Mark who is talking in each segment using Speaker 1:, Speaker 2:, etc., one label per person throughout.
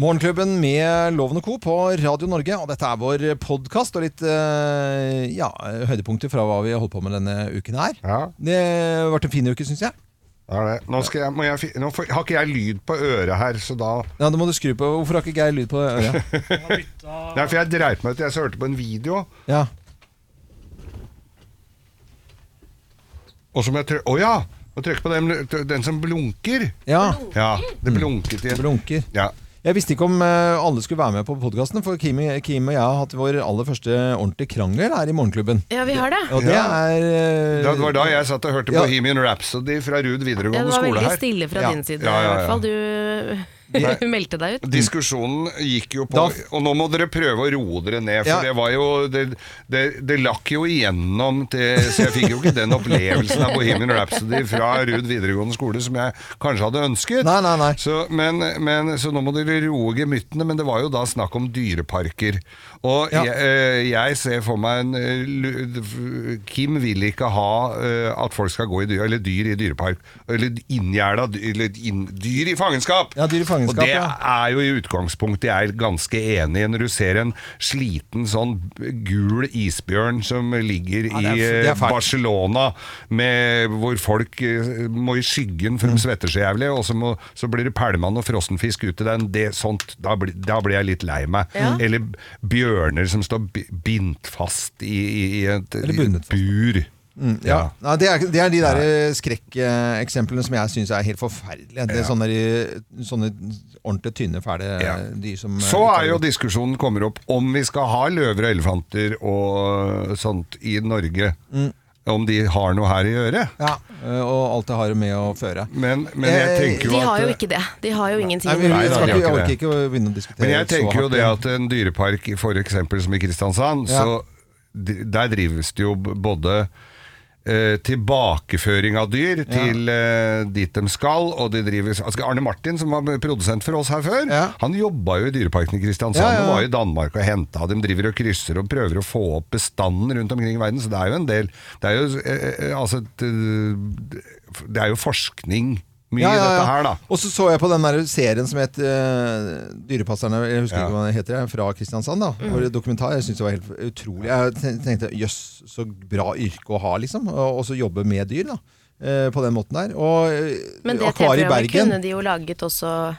Speaker 1: Morgenklubben med Loven og Co. på Radio Norge. Og dette er vår podkast og litt eh, ja, høydepunkter fra hva vi har holdt på med denne uken her.
Speaker 2: Ja,
Speaker 1: Det har vært en fin uke, syns jeg.
Speaker 2: det er det. Nå, skal jeg, må jeg, fi- nå får, har ikke jeg lyd på øret her, så da
Speaker 1: Ja, det må du skru på. Hvorfor har ikke Geir lyd på øret?
Speaker 2: Nei, for jeg dreit meg ut. Jeg så hørte på en video,
Speaker 1: Ja.
Speaker 2: og så må jeg trykke Å ja! Må trykke på den, den som blunker.
Speaker 1: ja.
Speaker 2: Ja, det blunket
Speaker 1: Det
Speaker 2: igjen.
Speaker 1: blunker.
Speaker 2: Ja.
Speaker 1: Jeg visste ikke om eh, alle skulle være med på podkasten, for Kim, Kim og jeg har hatt vår aller første ordentlige krangel her i Morgenklubben.
Speaker 3: Ja, vi har det.
Speaker 1: Og det
Speaker 2: Ja.
Speaker 1: er eh,
Speaker 2: Det var da jeg satt og hørte
Speaker 1: Ja.
Speaker 2: Bohemian Rhapsody fra Ruud
Speaker 3: Ja, det
Speaker 2: videregående
Speaker 3: var
Speaker 2: skole
Speaker 3: veldig
Speaker 2: her.
Speaker 3: stille fra
Speaker 1: Ja.
Speaker 3: din side,
Speaker 2: Ja, ja, ja.
Speaker 3: i hvert fall. Du meldte deg ut.
Speaker 2: Diskusjonen gikk jo på
Speaker 1: Da-
Speaker 2: Og nå må dere prøve å roe dere ned, for
Speaker 1: Ja.
Speaker 2: det var jo det, det, det lakk jo igjennom til Så jeg fikk jo ikke den opplevelsen av Bohemian Rhapsody fra Ruud videregående skole som jeg kanskje hadde ønsket.
Speaker 1: Nei, nei, nei.
Speaker 2: Så, men, men, så nå må dere roe gemyttene, men det var jo da snakk om dyreparker. Og
Speaker 1: Ja.
Speaker 2: jeg, eh, jeg ser for meg en eh, lu- Kim vil ikke ha eh, at folk skal gå i dyr, eller dyr i dyrepark. Eller inngjerda dy- eller inn, dyr i fangenskap!
Speaker 1: Ja, dyr i fangenskap,
Speaker 2: Og det
Speaker 1: ja.
Speaker 2: er jo i utgangspunktet jeg er ganske enig i. Når du ser en sliten sånn gul isbjørn som ligger
Speaker 1: det er-
Speaker 2: i eh,
Speaker 1: det er fælt.
Speaker 2: Barcelona, med, hvor folk eh, må i skyggen for de
Speaker 1: Mm.
Speaker 2: svetter så jævlig, og så, må, så blir det pælmann og frossenfisk ut i den. Det, sånt, da, blir, da blir jeg litt lei meg.
Speaker 1: Mm.
Speaker 2: Eller bjørner som står bi- bindt fast i, i, i et
Speaker 1: Eller bundet fast. Mm,
Speaker 2: bur.
Speaker 1: Ja. Nei, det, er, det er de der eh, skrekkeksemplene som jeg syns er helt forferdelige. Det er sånne, der, eh, sånne ordentlig tynne, fæle eh,
Speaker 2: Ja.
Speaker 1: dyr som eh,
Speaker 2: Så er jo
Speaker 1: ikke-
Speaker 2: diskusjonen kommer opp om vi skal ha løver og elefanter og sånt i Norge.
Speaker 3: Mm.
Speaker 2: Om de har noe her å gjøre.
Speaker 1: ja, eh, Og alt det har med å føre.
Speaker 2: Men, men jeg
Speaker 1: Eh,
Speaker 2: tenker jo
Speaker 3: De har
Speaker 2: at
Speaker 3: jo ikke det. De har jo ingenting
Speaker 1: Nei, vi,
Speaker 2: Nei,
Speaker 1: vi
Speaker 2: da,
Speaker 1: skal
Speaker 2: de
Speaker 1: ikke,
Speaker 2: har
Speaker 1: jeg
Speaker 2: ikke
Speaker 1: orker
Speaker 2: det.
Speaker 1: ikke å begynne å diskutere
Speaker 2: Men jeg tenker jo
Speaker 1: hardt.
Speaker 2: det at en dyrepark for eksempel som i Kristiansand,
Speaker 1: Ja.
Speaker 2: så d- der drives det jo b- både eh, tilbakeføring av dyr til eh, dit de skal, og de drives altså Arne Martin, som var produsent for oss her før,
Speaker 1: Ja.
Speaker 2: han jobba jo i dyreparken i Kristiansand
Speaker 1: Ja, ja, ja.
Speaker 2: og var i Danmark og henta. De driver og krysser og prøver å få opp bestanden rundt omkring i verden, så det er jo en del Det er jo, eh, eh, altså, et, eh, det er jo forskning mye i dette her, da.
Speaker 1: Og så så jeg på den der serien som het eh, Dyrepasserne, jeg husker
Speaker 2: Ja. Mm.
Speaker 1: ikke hva den heter, jeg, fra Kristiansand. da Hvor dokumentar, Jeg syntes det var helt utrolig. Jeg ten- tenkte jøss, så bra yrke å ha, liksom. Og og så jobbe med dyr, da. eh, På den måten der. Og
Speaker 3: Men
Speaker 1: eh,
Speaker 3: det
Speaker 1: Akvariet i
Speaker 3: TV-programmet
Speaker 1: Bergen
Speaker 3: kunne de jo laget også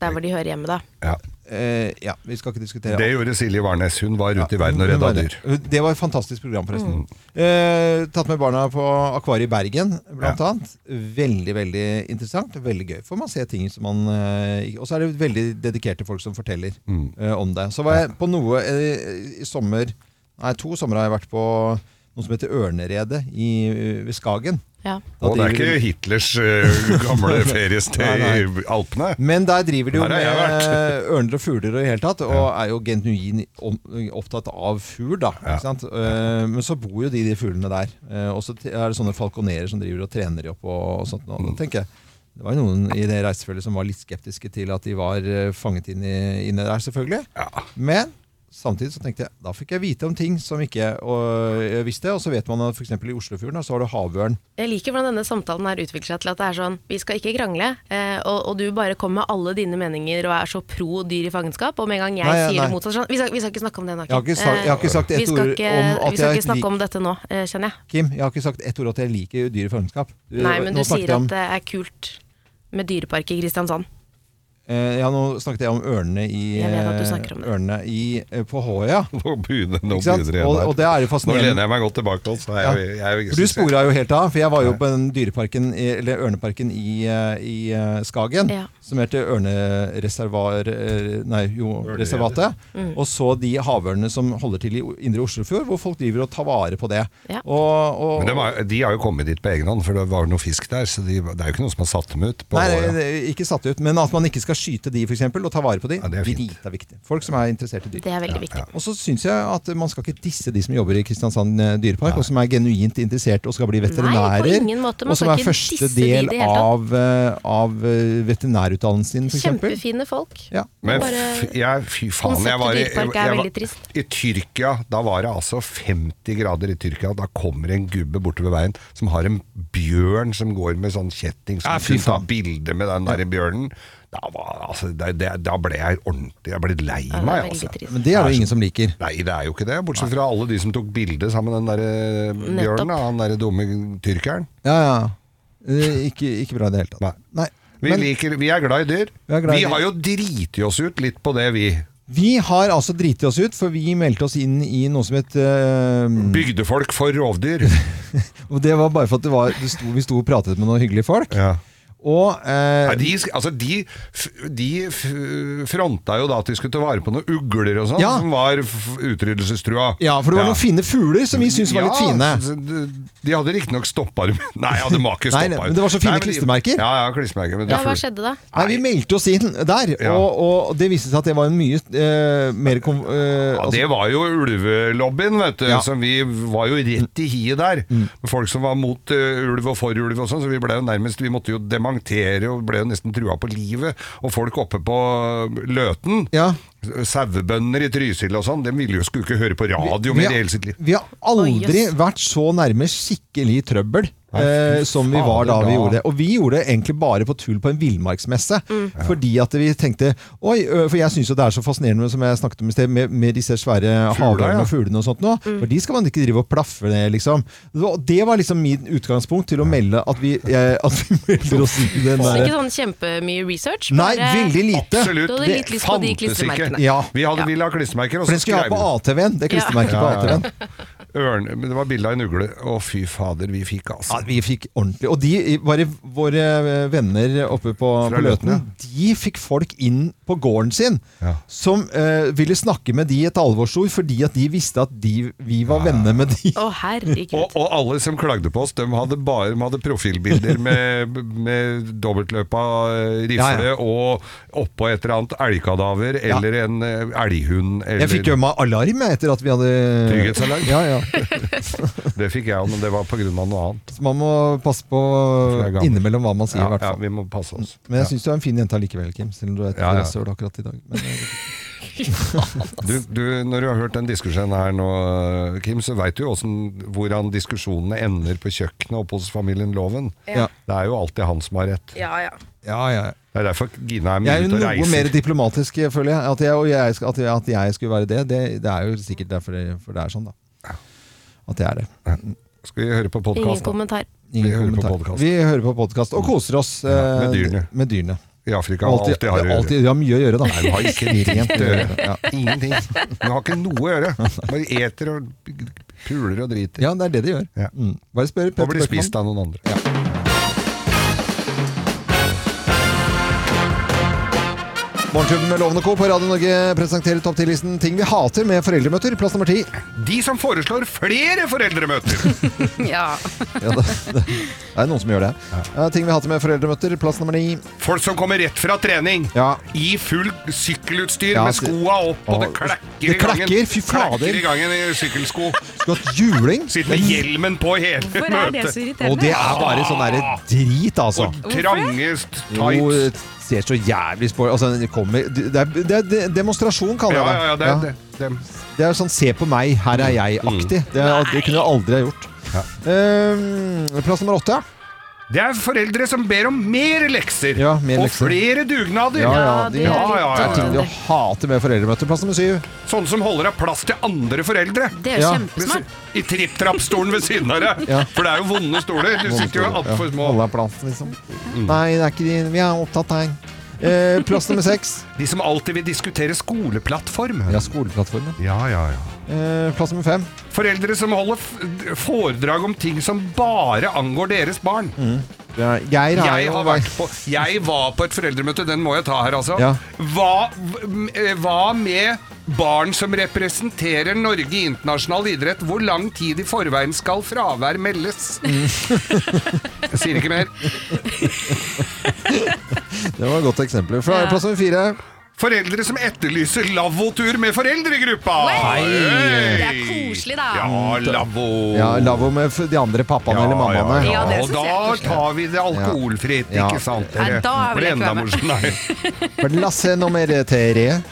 Speaker 3: der hvor de hører hjemme, da.
Speaker 2: Ja.
Speaker 1: eh, Ja, vi skal ikke diskutere
Speaker 2: Det gjorde Silje Warnes. Hun var ute i verden og
Speaker 1: Hun
Speaker 2: redda
Speaker 1: var
Speaker 2: dyr.
Speaker 1: det. Det var et fantastisk program, forresten. Eh, tatt med barna på Akvariet i Bergen, blant annet. Veldig, veldig interessant. og Veldig gøy. For man ser ting som man eh, ikke- Og så er det veldig dedikerte folk som forteller
Speaker 2: Mm.
Speaker 1: eh, om det. Så var jeg på noe eh, i sommer Nei, to somre har jeg vært på noe som heter Ørneredet i, eh, ved Skagen.
Speaker 3: Ja.
Speaker 1: Da
Speaker 2: Og det er
Speaker 1: driver
Speaker 2: ikke Hitlers eh, gamle feriested
Speaker 1: Nei,
Speaker 2: i Alpene.
Speaker 1: Men der driver de jo
Speaker 2: Her har jeg
Speaker 1: med ørner og fugler og i hele tatt, og er jo genuin om- opptatt av fugl, da.
Speaker 2: Ja.
Speaker 1: Ikke sant? Eh, Men så bor jo de, de fuglene der. Eh, Og så t- er det sånne falkonerer som driver og trener de opp og, og sånt. Og
Speaker 2: Mm.
Speaker 1: da tenker jeg det var jo noen i det reisefølget som var litt skeptiske til at de var eh, fanget inn i- inne der, selvfølgelig.
Speaker 2: Ja.
Speaker 1: Men samtidig så tenkte jeg da fikk jeg vite om ting som ikke og, jeg visste. Og så vet man at f.eks. i Oslofjorden da, så har du havørn.
Speaker 3: Jeg liker hvordan denne samtalen her utvikler seg til at det er sånn Vi skal ikke krangle, eh, og, og du bare kommer med alle dine meninger og er så pro dyr i fangenskap, og med en gang jeg
Speaker 1: Nei, ja,
Speaker 3: sier det
Speaker 1: nei.
Speaker 3: motsatt sånn vi skal, vi skal ikke snakke om det, Naken.
Speaker 1: Jeg har ikke sagt- jeg har ikke sagt
Speaker 3: Eh,
Speaker 1: ett
Speaker 3: vi skal
Speaker 1: ord
Speaker 3: ikke,
Speaker 1: om at
Speaker 3: Vi skal
Speaker 1: jeg
Speaker 3: ikke snakke
Speaker 1: lik-
Speaker 3: om dette nå, eh, kjenner jeg.
Speaker 1: Kim, jeg har ikke sagt ett ord at jeg liker dyr i fangenskap. Du-
Speaker 3: Nei, men
Speaker 1: Eh, nå
Speaker 3: du
Speaker 1: snakket
Speaker 3: sier
Speaker 1: jeg om-
Speaker 3: at det er kult med dyrepark i Kristiansand.
Speaker 1: Eh, ja, nå snakket jeg om ørnene i,
Speaker 3: Jeg vet at du
Speaker 1: eh,
Speaker 3: snakker om det.
Speaker 1: ørnene i eh, på Håøya.
Speaker 2: Nå begynner nå
Speaker 1: Ikke sant?
Speaker 2: begynner jeg
Speaker 1: Og-
Speaker 2: der.
Speaker 1: og det er
Speaker 2: Nå
Speaker 1: jo fascinerende.
Speaker 2: lener jeg meg godt tilbake. Altså. Jeg, jeg, jeg,
Speaker 1: For
Speaker 2: synes
Speaker 1: du
Speaker 2: jeg-
Speaker 1: spora jo helt av, for jeg var jo på den dyreparken, i- eller ørneparken i, eh, i eh, Skagen,
Speaker 3: Ja.
Speaker 1: som heter Ørnereservar... eh, Nei, jo, reservatet.
Speaker 3: Mm.
Speaker 1: Og så de havørnene som holder til i O- Indre Oslofjord, hvor folk driver og tar vare på det.
Speaker 3: Ja.
Speaker 1: Og, og,
Speaker 2: Men de, har- de har jo kommet dit på egen hånd, for det var noe fisk der. Så de, det er jo ikke noen som har satt dem ut. På
Speaker 1: Nei,
Speaker 2: året.
Speaker 1: det er ikke satt ut, men at man ikke skal skyte de, for eksempel, og ta vare på de,
Speaker 2: Ja, det er fint.
Speaker 1: drita viktig. Folk som er interessert i dyr.
Speaker 3: Det er veldig viktig.
Speaker 1: Og så syns jeg at man skal ikke disse de som jobber i Kristiansand eh, dyrepark, og som er genuint interessert og skal bli veterinærer.
Speaker 3: Nei, på ingen måte. Man
Speaker 1: og som
Speaker 3: skal
Speaker 1: er
Speaker 3: ikke
Speaker 1: første
Speaker 3: disse de i
Speaker 1: del
Speaker 3: det hele tatt.
Speaker 1: av, eh, av eh, veterinærutdannelsen sin, f.eks.
Speaker 3: Kjempefine folk.
Speaker 1: Ja.
Speaker 2: Men
Speaker 3: Bare-
Speaker 2: f jeg, fy faen, jeg
Speaker 3: Konseptet
Speaker 2: var, i,
Speaker 3: dyrepark er
Speaker 2: jeg
Speaker 3: veldig
Speaker 2: var
Speaker 3: trist.
Speaker 2: I Tyrkia, da var det altså 50 grader i Tyrkia. Da kommer en gubbe bortover veien som har en bjørn som går med sånn kjetting som
Speaker 1: Ja, fy
Speaker 2: kunne ta
Speaker 1: faen.
Speaker 2: bilde med den der bjørnen. Da, var, altså, det, det, da ble jeg ordentlig Jeg ble lei
Speaker 3: Ja,
Speaker 2: meg,
Speaker 3: det er
Speaker 2: altså.
Speaker 3: veldig trist.
Speaker 1: Men det er det jo ingen som liker.
Speaker 2: Nei, det er jo ikke det. Bortsett fra alle de som tok bilde sammen med den der eh, bjørnen. da, Han derre dumme tyrkeren.
Speaker 1: Ja, ja. Eh, Ikke, ikke bra i det hele tatt.
Speaker 2: Nei.
Speaker 1: Nei.
Speaker 2: Vi,
Speaker 1: Men
Speaker 2: liker, vi er glad i dyr.
Speaker 1: Vi er glad i
Speaker 2: vi
Speaker 1: dyr.
Speaker 2: har jo driti oss ut litt på det, vi.
Speaker 1: vi har altså driti oss ut, for vi meldte oss inn i noe som het eh,
Speaker 2: Bygdefolk for rovdyr.
Speaker 1: Og det var bare for at det var, det sto, vi sto og pratet med noen hyggelige folk.
Speaker 2: Ja.
Speaker 1: Og eh,
Speaker 2: Nei, de, sk- altså, de, f- de f- fronta jo da at de skulle ta vare på noen ugler og sånn,
Speaker 1: Ja.
Speaker 2: som var f- utryddelsestrua.
Speaker 1: Ja, for det var
Speaker 2: Ja.
Speaker 1: noen fine fugler som vi syntes var litt fine.
Speaker 2: så De, de hadde riktignok stoppa dem Nei, ja, de var ikke
Speaker 1: Nei,
Speaker 2: stoppa
Speaker 1: men det var så
Speaker 2: Nei,
Speaker 1: fine
Speaker 2: men de-
Speaker 1: klistremerker.
Speaker 2: Ja, ja, klistremerker. Men
Speaker 3: Ja,
Speaker 2: det
Speaker 3: hva
Speaker 2: ful-
Speaker 3: skjedde da?
Speaker 1: Nei, Vi meldte oss inn der,
Speaker 2: Ja.
Speaker 1: og, og det viste seg at det var en mye eh, mer kom,
Speaker 2: Ja,
Speaker 1: eh, altså,
Speaker 2: det var jo ulvelobbyen, vet du.
Speaker 1: Ja. Mm.
Speaker 2: Som vi var jo rett i hiet der. Folk som var mot eh, ulv og for ulv og sånn, så vi ble jo nærmest Vi måtte jo dementere og ble jo nesten trua på livet. Og folk oppe på eh, Løten,
Speaker 1: Ja.
Speaker 2: sauebønder i Trysil og sånn, de ville jo skulle ikke høre på radio med
Speaker 1: vi,
Speaker 2: det hele sitt
Speaker 1: har,
Speaker 2: liv.
Speaker 1: vi har aldri vært så nærme skikkelig trøbbel
Speaker 2: Nei, fy
Speaker 1: eh, som vi var da
Speaker 2: fader,
Speaker 1: vi
Speaker 2: da.
Speaker 1: gjorde det. Og vi gjorde det egentlig bare på tull på en villmarksmesse. Fordi at vi tenkte Oi, ø, for jeg syns jo det er så fascinerende som jeg snakket om i sted, med, med disse svære havørnene
Speaker 2: ja.
Speaker 1: og fuglene og sånt nå. For de skal man ikke drive og plaffe ned, liksom. Og det var liksom mitt utgangspunkt til å melde at vi, eh, at vi melder oss inn i den
Speaker 3: Så
Speaker 1: derre
Speaker 3: Ikke sånn kjempemye research?
Speaker 1: Nei,
Speaker 3: bare-
Speaker 1: veldig lite.
Speaker 2: Absolutt.
Speaker 3: Du hadde litt lyst på de klistremerkene.
Speaker 1: Ja.
Speaker 2: Vi hadde
Speaker 3: Ja.
Speaker 2: ville ha klistremerker, og
Speaker 1: For
Speaker 2: så
Speaker 1: den skulle jeg
Speaker 2: skrev
Speaker 1: ha på ATV-en. Det klistremerket
Speaker 2: Ja, ja,
Speaker 1: på
Speaker 2: ja.
Speaker 1: ATV-en.
Speaker 2: ørne, men det var bilde av en ugle. Å, fy fader, vi fikk
Speaker 1: Ja,
Speaker 2: altså.
Speaker 1: vi fikk ordentlig. Og de, var det våre eh, venner oppe på, på Løten,
Speaker 2: Løten,
Speaker 1: de fikk folk inn på gården sin
Speaker 2: Ja.
Speaker 1: som eh, ville snakke med de et alvorsord, fordi at de visste at de, vi var venner med de.
Speaker 3: Å, herregud.
Speaker 2: Og, og alle som klagde på oss, de hadde bare de hadde profilbilder med, med dobbeltløpa eh, rifle
Speaker 1: Ja, ja.
Speaker 2: og oppå et eller annet elgkadaver eller en eh, elghund. Eller,
Speaker 1: Jeg fikk jo meg alarm jeg, etter at vi hadde
Speaker 2: Trygghetsalarm.
Speaker 1: Ja, ja.
Speaker 2: Det fikk jeg òg, men det var pga. noe annet.
Speaker 1: Så man må passe på
Speaker 2: For jeg er gammel.
Speaker 1: innimellom hva man sier,
Speaker 2: Ja,
Speaker 1: i hvert
Speaker 2: ja,
Speaker 1: fall.
Speaker 2: vi må passe oss.
Speaker 1: Men jeg
Speaker 2: Ja.
Speaker 1: syns du er en fin jente allikevel, Kim, selv om du er et
Speaker 2: Ja, ja.
Speaker 1: rasshøl akkurat i dag. Men, eh,
Speaker 2: Du, du, når du har hørt den diskusjonen her nå, Kim, så veit du jo åssen- hvordan diskusjonene ender på kjøkkenet oppe hos familien Loven.
Speaker 1: ja.
Speaker 2: Det er jo alltid han som har rett.
Speaker 3: Ja, ja.
Speaker 1: Ja, ja.
Speaker 2: Det er derfor Gina er
Speaker 1: Jeg
Speaker 2: mye
Speaker 1: er
Speaker 2: ute
Speaker 1: jo
Speaker 2: Mm. og
Speaker 1: noe mer
Speaker 2: reiser.
Speaker 1: diplomatisk, føler jeg. At jeg, og jeg, skal- at jeg, at jeg skulle være det, det, det er jo sikkert derfor det, for det er sånn, da. At jeg er det.
Speaker 2: Skal vi høre på
Speaker 3: Ingen
Speaker 2: podkast, da?
Speaker 3: kommentar.
Speaker 1: Ingen
Speaker 2: Vi hører på
Speaker 1: kommentar.
Speaker 2: podcast. Mm.
Speaker 1: Vi hører på podkast og koser oss
Speaker 2: Ja, med
Speaker 1: eh,
Speaker 2: dyrene.
Speaker 1: med dyrene.
Speaker 2: I Afrika
Speaker 1: Alltid,
Speaker 2: alltid har du
Speaker 1: alltid, de har mye å gjøre, da.
Speaker 2: Nei, de har ikke
Speaker 1: Lite
Speaker 2: rent
Speaker 1: å
Speaker 2: å
Speaker 1: gjøre.
Speaker 2: gjøre.
Speaker 1: Ja.
Speaker 2: Ingenting. Du har ikke noe å gjøre. Bare eter og puler og driter.
Speaker 1: ja, det er det de gjør.
Speaker 2: Ja.
Speaker 1: Mm. Bare spør
Speaker 2: Og
Speaker 1: Petter
Speaker 2: blir
Speaker 1: Bøckmann.
Speaker 2: spist av noen andre.
Speaker 1: Morgenklubben med Lovende Co. på Radio Norge presenterer topp 10-listen Ting vi hater med foreldremøter. Plass nummer ti.
Speaker 2: De som foreslår flere foreldremøter!
Speaker 3: Ja.
Speaker 1: Ja, det, det det er noen som gjør det. Eh, ting vi hater med foreldremøter. Plass nummer ni.
Speaker 2: Folk som kommer rett fra trening.
Speaker 1: Ja.
Speaker 2: I full sykkelutstyr
Speaker 1: Ja,
Speaker 2: med
Speaker 1: så-
Speaker 2: skoa opp, og det
Speaker 1: Å,
Speaker 2: klakker i
Speaker 1: det
Speaker 2: gangen.
Speaker 1: klakker, fy fader.
Speaker 2: Klakker i gangen i sykkelsko.
Speaker 1: Skulle hatt juling.
Speaker 2: Sitter med hjelmen på hele
Speaker 4: Hvorfor er det så
Speaker 2: møtet.
Speaker 4: irriterende?
Speaker 1: Og det er bare sånn derre drit, altså.
Speaker 2: Ah. Og trange
Speaker 1: Jo, eh,
Speaker 2: tights.
Speaker 1: ser så jævlig spor... Altså, det kommer Det er, det er- det er demonstrasjon, kaller
Speaker 2: Ja,
Speaker 1: jeg
Speaker 2: ja, ja, det, Mm. det, det.
Speaker 1: Det er sånn 'se på meg, her er jeg'-aktig. Det, er- det kunne jeg aldri ha gjort. Eh, plass nummer åtte.
Speaker 2: det er foreldre som ber om mer lekser.
Speaker 1: Ja, mer
Speaker 2: og
Speaker 1: lekser.
Speaker 2: flere dugnader.
Speaker 3: Ja,
Speaker 1: de,
Speaker 3: det er
Speaker 1: ja,
Speaker 2: litt-
Speaker 1: ja, ja. Det er ting du hater med foreldremøter. Plass nummer syv.
Speaker 2: Sånne Sånn som holder av plass til andre foreldre.
Speaker 3: Det er jo
Speaker 1: Ja.
Speaker 3: kjempesmart.
Speaker 2: I tripp-trapp-stolen ved siden av deg.
Speaker 1: Ja.
Speaker 2: For det er jo vonde stoler. Du sitter jo altfor små. Mm.
Speaker 1: Holde av plass, liksom. Nei, det er ikke de. Vi er opptatt her. Eh, plass nummer seks.
Speaker 2: De som alltid vil diskutere skoleplattform.
Speaker 1: Ja, skoleplattformen.
Speaker 2: Ja, ja, ja.
Speaker 1: Eh, plass nummer fem.
Speaker 2: Foreldre som holder f- foredrag om ting som bare angår deres barn.
Speaker 1: Det er- Geir har
Speaker 2: Jeg,
Speaker 1: Mm. jo
Speaker 2: har vært på, jeg var på et foreldremøte, den må jeg ta her, altså.
Speaker 1: Ja.
Speaker 2: Hva, m- eh, hva med barn som representerer Norge i internasjonal idrett? Hvor lang tid i forveien skal fravær meldes?
Speaker 1: Mm.
Speaker 2: Jeg sier ikke mer.
Speaker 1: Det var et godt eksempel. Fra,
Speaker 3: Ja.
Speaker 1: Plass nummer fire.
Speaker 2: Foreldre som etterlyser lavvotur med foreldregruppa!
Speaker 3: Hei!
Speaker 2: Hei!
Speaker 3: Det er koselig, da.
Speaker 2: Ja, lavvo.
Speaker 1: Ja, Lavvo med f- de andre pappaene eller mammaene.
Speaker 2: Ja, ja,
Speaker 3: Ja, det
Speaker 2: ja. Og
Speaker 3: synes jeg er
Speaker 2: da
Speaker 3: koselig.
Speaker 2: tar vi det alkoholfritt,
Speaker 1: Ja.
Speaker 2: ikke sant?
Speaker 3: Ja,
Speaker 2: dere?
Speaker 3: da vil
Speaker 2: Blir
Speaker 3: jeg ikke
Speaker 2: enda
Speaker 3: være med.
Speaker 2: morsommere.
Speaker 1: Plass nummer tre.
Speaker 2: Nei.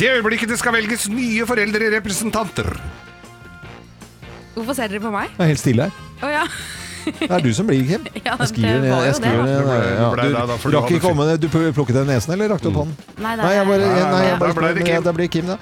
Speaker 2: Det øyeblikket det skal velges nye foreldrerepresentanter.
Speaker 4: Hvorfor ser dere på meg?
Speaker 1: Det er helt stille her.
Speaker 4: Å ja.
Speaker 1: Det er du som blir, Kim.
Speaker 3: Ja,
Speaker 1: Jeg skriver
Speaker 3: det
Speaker 1: ned.
Speaker 3: var
Speaker 1: Jeg
Speaker 3: jo
Speaker 1: skriver
Speaker 3: det.
Speaker 1: ned
Speaker 2: Det ble-
Speaker 1: ja.
Speaker 2: det ble
Speaker 1: Du
Speaker 2: deg da, for du
Speaker 1: rakk
Speaker 2: hadde Mm.
Speaker 1: ikke komme ned. Du pl- plukket ned nesen, eller rakk du opp hånden?
Speaker 3: Nei, det er
Speaker 1: Nei, jeg bare,
Speaker 3: jeg.
Speaker 2: Nei,
Speaker 1: nei, jeg
Speaker 2: da ble
Speaker 1: bare
Speaker 2: det
Speaker 1: men, ja,
Speaker 2: Kim.
Speaker 1: Da blir det Kim, da.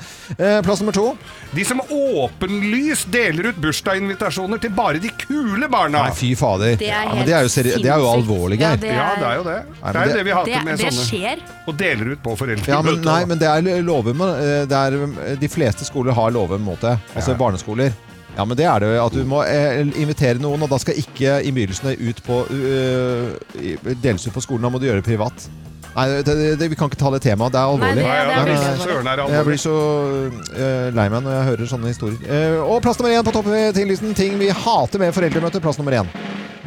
Speaker 1: Eh, Plass nummer to.
Speaker 2: De som åpenlyst deler ut bursdagsinvitasjoner til bare de kule barna.
Speaker 1: Nei, fy fader.
Speaker 4: Det er
Speaker 1: Ja, men
Speaker 4: helt
Speaker 1: det er jo, seri det er jo
Speaker 4: sinnssykt.
Speaker 1: alvorlig,
Speaker 4: Ja,
Speaker 1: Geir.
Speaker 4: det
Speaker 2: Ja, det er jo det.
Speaker 1: Nei,
Speaker 2: det er
Speaker 1: men
Speaker 2: jo
Speaker 1: det-
Speaker 2: det vi har
Speaker 4: Det,
Speaker 2: hatt med
Speaker 4: det
Speaker 2: sånne.
Speaker 4: skjer.
Speaker 2: Og deler ut på foreldremøtet.
Speaker 1: Ja, men, nei,
Speaker 2: da.
Speaker 1: men det er lover med, eh, det er, De fleste skoler har lover mot det. Altså
Speaker 2: Ja. Mm.
Speaker 1: barneskoler. Ja, men det er det jo. At du må eh, invitere noen, og da skal ikke innbydelsene ut på eh, i- deles ut på skolen. Da må du gjøre det privat. Nei, det, det, det, vi kan ikke ta det temaet. Det er
Speaker 3: Nei,
Speaker 1: alvorlig.
Speaker 3: det-
Speaker 2: Nei, ja,
Speaker 1: det er
Speaker 2: men
Speaker 1: veldig
Speaker 2: søren er
Speaker 1: Jeg blir
Speaker 2: alvorlig.
Speaker 1: så eh, lei meg når jeg hører sånne historier. Eh, og plass nummer én på toppen av tinglisten. Ting vi hater med foreldremøter. Plass nummer én.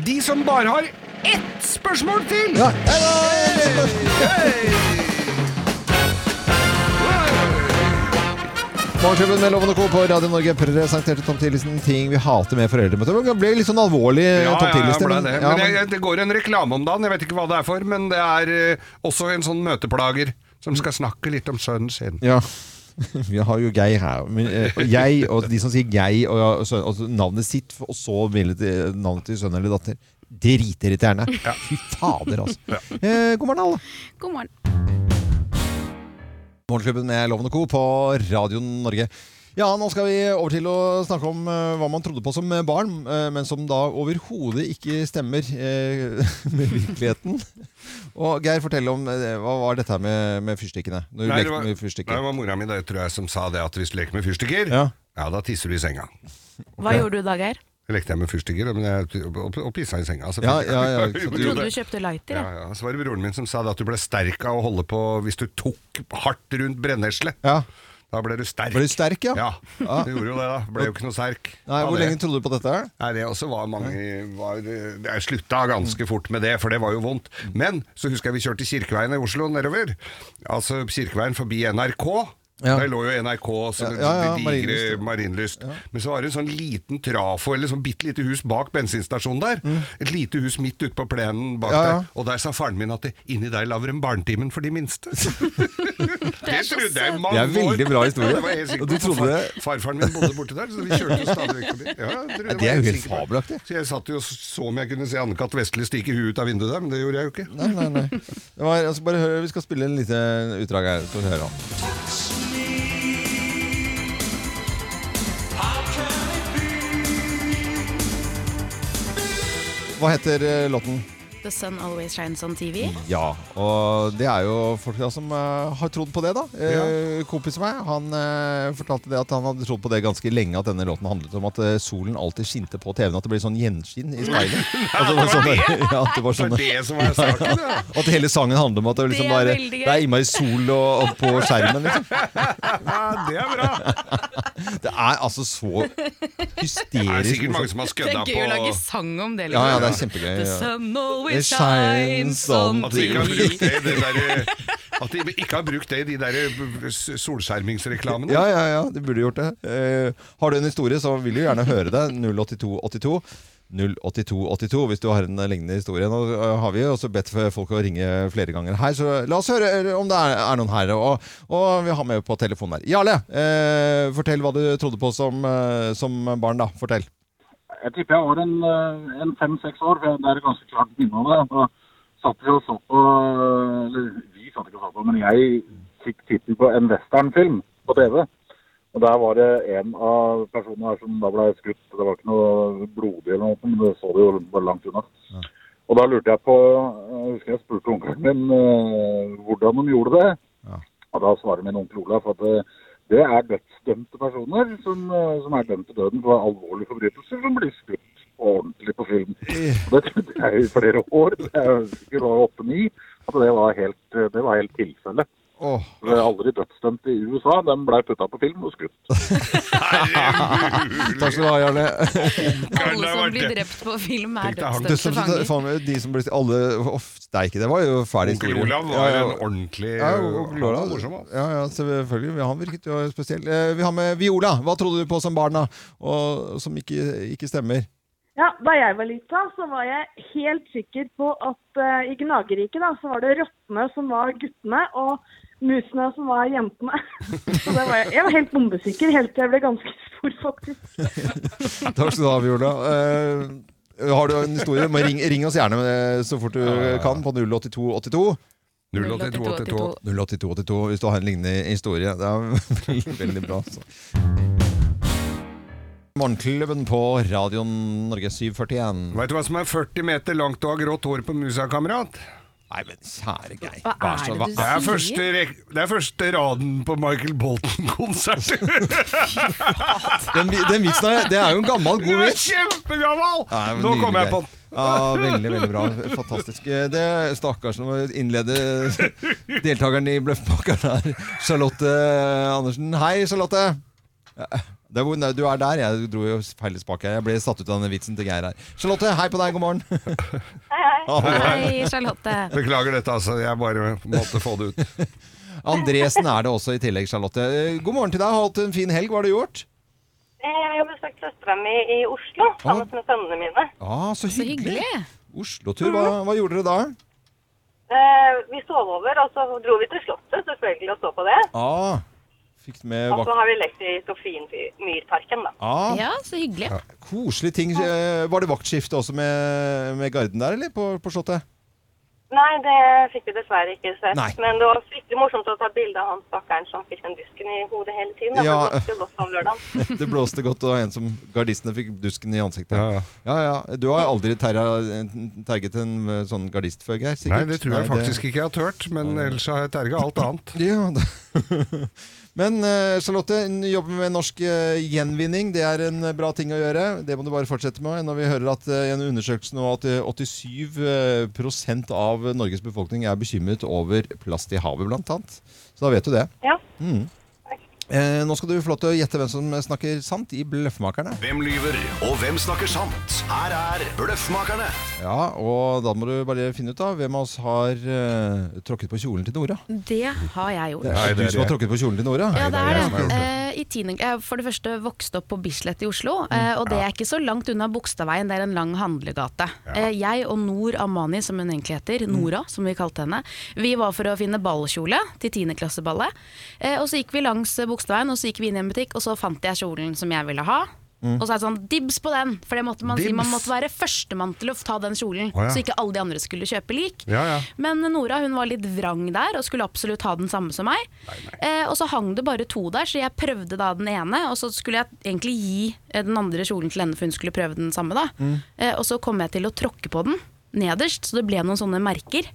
Speaker 2: De som bare har ett spørsmål til!
Speaker 1: Ja. Hei, hei! Morgenklubben med Loven og Co. på Radio Norge presenterte Tom Tillitsen ting vi hater med foreldremøter. Det ble litt sånn alvorlig,
Speaker 2: Ja,
Speaker 1: Tom
Speaker 2: ja, jeg
Speaker 1: Tillitsen.
Speaker 2: ble
Speaker 1: men-
Speaker 2: det.
Speaker 1: ja,
Speaker 2: Men jeg,
Speaker 1: men-
Speaker 2: jeg, det går en reklame om dagen, jeg vet ikke hva det er for, men det er eh, også en sånn møteplager som skal snakke litt om sønnen sin.
Speaker 1: ja. Vi har jo Geir her. Men, eh, og jeg, og de som sier Geir og, og, sø- og navnet sitt, og så vil det- navnet til sønn eller datter. Dritirriterende. Fy fader, altså. Eh, god morgen, alle.
Speaker 4: God morgen.
Speaker 1: Morgenklubben med Loven og Co. på Radio Norge. Ja, nå skal vi over til å snakke om eh, hva man trodde på som barn, eh, men som da overhodet ikke stemmer eh, med virkeligheten. Og Geir, fortell om eh, hva var dette her med, med fyrstikkene? Når du
Speaker 2: Nei,
Speaker 1: lekte med
Speaker 2: nei, det
Speaker 1: fyrstikker.
Speaker 2: var mora mi det, tror jeg, som sa det at hvis du leker med fyrstikker, ja.
Speaker 1: Ja.
Speaker 2: da tisser du i senga.
Speaker 3: Hva gjorde du da, Geir?
Speaker 2: Jeg lekte jeg med fyrstikker men jeg, og, og pissa i senga. selvfølgelig.
Speaker 1: Ja, ja, ja, så
Speaker 3: Jeg trodde du kjøpte lighter.
Speaker 2: Ja,
Speaker 3: jeg.
Speaker 2: ja. Så var det broren min som sa det at du ble sterk av å holde på hvis du tok hardt rundt brennesle.
Speaker 1: ja.
Speaker 2: Da ble du sterk.
Speaker 1: Var du sterk, ja?
Speaker 2: Ja, du gjorde jo det da. Ble jo ikke noe sterk.
Speaker 1: Nei,
Speaker 2: av
Speaker 1: hvor
Speaker 2: det.
Speaker 1: lenge trodde du på dette? her?
Speaker 2: Nei, det også var mange var, Jeg slutta ganske fort med det, for det var jo vondt. Men så husker jeg vi kjørte Kirkeveien i Oslo nedover. Altså Kirkeveien forbi NRK.
Speaker 1: Ja.
Speaker 2: Der lå jo NRK som
Speaker 1: Ja, ja, ja,
Speaker 2: de digre Marienlyst. Men så var det en sånn liten trafo, eller sånn bitte lite hus bak bensinstasjonen der. Et lite hus midt ute på plenen bak
Speaker 1: Mm. Ja, ja.
Speaker 2: der. Og der sa faren min at det, inni der lager de barnetimen for de minste. det trodde jeg i mange
Speaker 1: Det er
Speaker 2: år.
Speaker 1: veldig bra historie.
Speaker 2: Ja, det var jeg helt sikker
Speaker 1: Og du
Speaker 2: på, for
Speaker 1: trodde
Speaker 2: far- Farfaren min bodde borti der, så vi kjørte jo stadig vekk forbi. Ja, jeg tror var
Speaker 1: Ja, det er jo
Speaker 2: jeg
Speaker 1: helt
Speaker 2: sikker på.
Speaker 1: fabelaktig.
Speaker 2: Så jeg satt jo og så om jeg kunne se Anne-Kat. Vestli stikke huet ut av vinduet der, men det gjorde jeg jo ikke.
Speaker 1: Nei, nei, nei. Det var, altså, bare hør, vi skal spille en lite utdrag her. Skal vi høre om. Hva heter eh, låten?
Speaker 4: The sun always shines on TV.
Speaker 1: Ja, og det er jo folk da som eh, har trodd på det, da. Eh, Kompisen meg han eh, fortalte det at han hadde trodd på det ganske lenge, at denne låten handlet om at eh, solen alltid skinte på TV-en, at det ble sånn gjenskinn i speilet. Altså, det var sånn, ja, at det var
Speaker 2: Det
Speaker 1: sånn
Speaker 2: er det som er saken, da.
Speaker 1: og at hele sangen handler om at det, liksom
Speaker 4: Det er
Speaker 1: bare,
Speaker 4: veldig gøy.
Speaker 1: det er innmari sol og, og på skjermen. Liksom.
Speaker 2: Ja, det er bra.
Speaker 1: Det er altså så
Speaker 2: Det er
Speaker 1: hysterisk
Speaker 2: sikkert mange
Speaker 1: morsomt.
Speaker 2: som har
Speaker 4: Det
Speaker 2: skødda
Speaker 4: er gøy å lage
Speaker 2: på
Speaker 4: sang om det.
Speaker 1: Ja, ja, det er
Speaker 4: liksom.
Speaker 1: kjempegøy.
Speaker 4: The
Speaker 1: Ja.
Speaker 4: sun always
Speaker 1: It shines
Speaker 4: shines on
Speaker 1: on
Speaker 2: at de ikke har
Speaker 4: TV.
Speaker 2: brukt det i det derre- at de ikke har brukt det i de der eh, s- solskjermingsreklamene.
Speaker 1: Ja, ja, ja, du burde gjort det. Eh, har du en historie, så vil du gjerne høre det. 08282. 08282 hvis du har en lignende historie. Nå eh, har vi jo også bedt for folk å ringe flere ganger her, så la oss høre eh, om det er, er noen her. Og, og vi har med på telefonen her. Jarle, eh, fortell hva du trodde på som, eh, som barn, da. Fortell.
Speaker 5: Jeg tipper jeg var en, eh, en fem-seks år, for jeg- det er et ganske klart minne av det. Da satt vi og så på eh, Eller vi satt ikke og så på, men jeg fikk tittelen på en westernfilm på TV. Og der var det en av personene her som da ble skutt. Det var ikke noe blodig eller noe, men det så det jo bare langt unna. Og da lurte jeg på eh, Jeg husker jeg spurte onkelen min eh, hvordan de gjorde det. Og da svarer min onkel Olaf at eh, det er dødsdømte personer som, eh, som er dømt til døden for alvorlige forbrytelser som blir skutt ordentlig på film. Og det trodde jeg i flere år. Jeg husker da åtte-ni. At det var helt, eh, det var helt tilfelle.
Speaker 1: Åh.
Speaker 5: Det er Aldri dødsdømte i USA. De ble putta på film og skutt.
Speaker 1: Takk skal du ha, Jarle.
Speaker 4: Alle
Speaker 2: det
Speaker 4: som
Speaker 2: var
Speaker 4: blir
Speaker 2: det.
Speaker 4: drept på film, er
Speaker 2: Tenk deg han.
Speaker 1: Du,
Speaker 4: dødsdømte
Speaker 1: som,
Speaker 4: fanger.
Speaker 1: faen, de som ble alle Uff, steike, det var jo fæl
Speaker 2: Onkel
Speaker 1: historie.
Speaker 2: Olav
Speaker 1: Ja,
Speaker 2: var
Speaker 1: ja.
Speaker 2: en ordentlig
Speaker 1: ja, onkel Olav.
Speaker 2: han var morsom, altså.
Speaker 1: ja, ja, selvfølgelig. Han virket jo spesiell. Eh, Vi har med Viola. Hva trodde du på som barn, da? Og, som ikke, ikke stemmer?
Speaker 6: Ja, Da jeg var lita, så var jeg helt sikker på at eh, i Gnageriket da, så var det rottene som var guttene, og musene som var jentene. Så det var jeg. jeg var helt bombesikker helt til jeg ble ganske stor, faktisk.
Speaker 1: Takk skal du ha, Viola. sånn, Eh, Har du en historie, må ring, ring oss gjerne eh, så fort du kan på 08282.
Speaker 2: 08282.
Speaker 1: 08282 hvis du har en lignende historie. Det er veldig, veldig bra. altså. Så. Morgenklubben på radioen Norge 741.
Speaker 2: Veit du hva som er 40 meter langt og har grått hår på musa, kamerat?
Speaker 1: Nei, men kjære Geir.
Speaker 3: Hva er
Speaker 1: så-
Speaker 3: det du
Speaker 2: Det er
Speaker 3: Sier?
Speaker 2: første, rek- det er første raden på Michael Bolton-konsert.
Speaker 1: Den, vi- den vitsen her, det er jo en gammel,
Speaker 2: Du
Speaker 1: god
Speaker 2: er
Speaker 1: vits.
Speaker 2: kjempegammal!
Speaker 1: Nei, men
Speaker 2: Nå
Speaker 1: nydelig,
Speaker 2: kom jeg
Speaker 1: Geir.
Speaker 2: på den.
Speaker 1: Ja, veldig, veldig bra. Fantastisk. Eh, Det Stakkars å innlede deltakeren i Bløffmakeren her, Charlotte eh, Andersen. Hei, Charlotte. Eh, Det er, hvor- nei, du er der. Jeg dro jo feil spak her. Jeg ble satt ut av den vitsen til Geir her. Charlotte, hei på deg. God morgen.
Speaker 3: Hei, Charlotte.
Speaker 2: Beklager dette, altså. Jeg bare måtte få det ut.
Speaker 1: Andresen er det også i tillegg, Charlotte. Eh, God morgen til deg. Har du hatt en fin helg? Hva har du gjort?
Speaker 7: Jeg har besøkt søstera mi i Oslo sammen med sønnene mine.
Speaker 1: Ah, så
Speaker 3: Så
Speaker 1: hyggelig.
Speaker 3: hyggelig. Mm.
Speaker 1: Oslo-tur. Hva, hva gjorde dere da?
Speaker 7: Eh, vi sov over, og så dro vi til Slottet selvfølgelig og så på det.
Speaker 1: Ah, fikk med
Speaker 7: Og så
Speaker 1: vak...
Speaker 7: har vi lekt i Sofienmyrparken, da.
Speaker 1: Ah,
Speaker 3: Ja, så hyggelig.
Speaker 1: Koselige ting. Eh, Var det vaktskifte også med, med garden der, eller? På, på Slottet?
Speaker 7: Nei, det fikk vi dessverre ikke sett.
Speaker 1: Nei.
Speaker 7: Men det var fryktelig morsomt å ta bilde av han stakkaren som fikk den dusken i hodet hele tiden. da,
Speaker 1: Ja.
Speaker 7: for Det blåste jo godt om lørdagen.
Speaker 1: Det blåste godt, og en som gardistene fikk dusken i ansiktet.
Speaker 2: Ja, ja.
Speaker 1: ja, ja. Du har aldri terra- terget en eh, sånn gardist før, Geir?
Speaker 2: Nei,
Speaker 1: sikkert?
Speaker 2: det tror jeg
Speaker 1: Nei, det-
Speaker 2: faktisk ikke jeg har tørt, men ellers har jeg terga alt annet.
Speaker 1: Ja, da. Men eh, Charlotte, n- jobbe med norsk eh, gjenvinning det er en eh, bra ting å gjøre. Det må du bare fortsette med. Når vi hører at eh, i en undersøkelse nå at eh, 87 eh, prosent av Norges befolkning er bekymret over plast i havet, blant annet. Så da vet du det.
Speaker 7: Ja.
Speaker 1: Mm. Eh, nå skal du få lov til å gjette hvem som eh, snakker sant i Bløffmakerne.
Speaker 8: Hvem lyver, og hvem snakker sant? Her er Bløffmakerne.
Speaker 1: Ja, og da må du bare finne ut av hvem av oss har eh, tråkket på kjolen til Nora.
Speaker 3: Det har jeg gjort.
Speaker 1: Det er
Speaker 2: Nei,
Speaker 1: du
Speaker 2: det er
Speaker 1: som har
Speaker 2: jeg.
Speaker 1: tråkket på kjolen til Nora.
Speaker 3: Ja, det
Speaker 2: det er
Speaker 3: er
Speaker 2: jeg som har
Speaker 3: det.
Speaker 2: gjort
Speaker 3: Eh, I tiende, jeg er for det første vokste opp på Bislett i Oslo,
Speaker 2: Mm.
Speaker 3: eh, og det er ikke så langt unna Bogstadveien, det er en lang handlegate. Eh, jeg og Nor Amani, som hun egentlig
Speaker 2: Mm.
Speaker 3: heter, Nora, som vi kalte henne, vi var for å finne ballkjole til tiendeklasseballet. Eh, og så gikk vi langs eh, Bogstadveien, og så gikk vi inn i en butikk, og så fant jeg kjolen som jeg ville ha. Og så er det sånn dibs på den, for det måtte man si. Man
Speaker 2: Mm. Dibs?
Speaker 3: måtte være førstemann til å ta den kjolen,
Speaker 2: Å, ja.
Speaker 3: så ikke alle de andre skulle kjøpe lik.
Speaker 2: Ja, ja.
Speaker 3: Men Nora hun var litt vrang der og skulle absolutt ha den samme som meg. Eh, og så hang det bare to der, så jeg prøvde da den ene. Og så skulle jeg egentlig gi eh, den andre kjolen til henne for hun skulle prøve den samme. da.
Speaker 1: Mm.
Speaker 3: Eh, og så kom jeg til å tråkke på den nederst, så det ble noen sånne merker.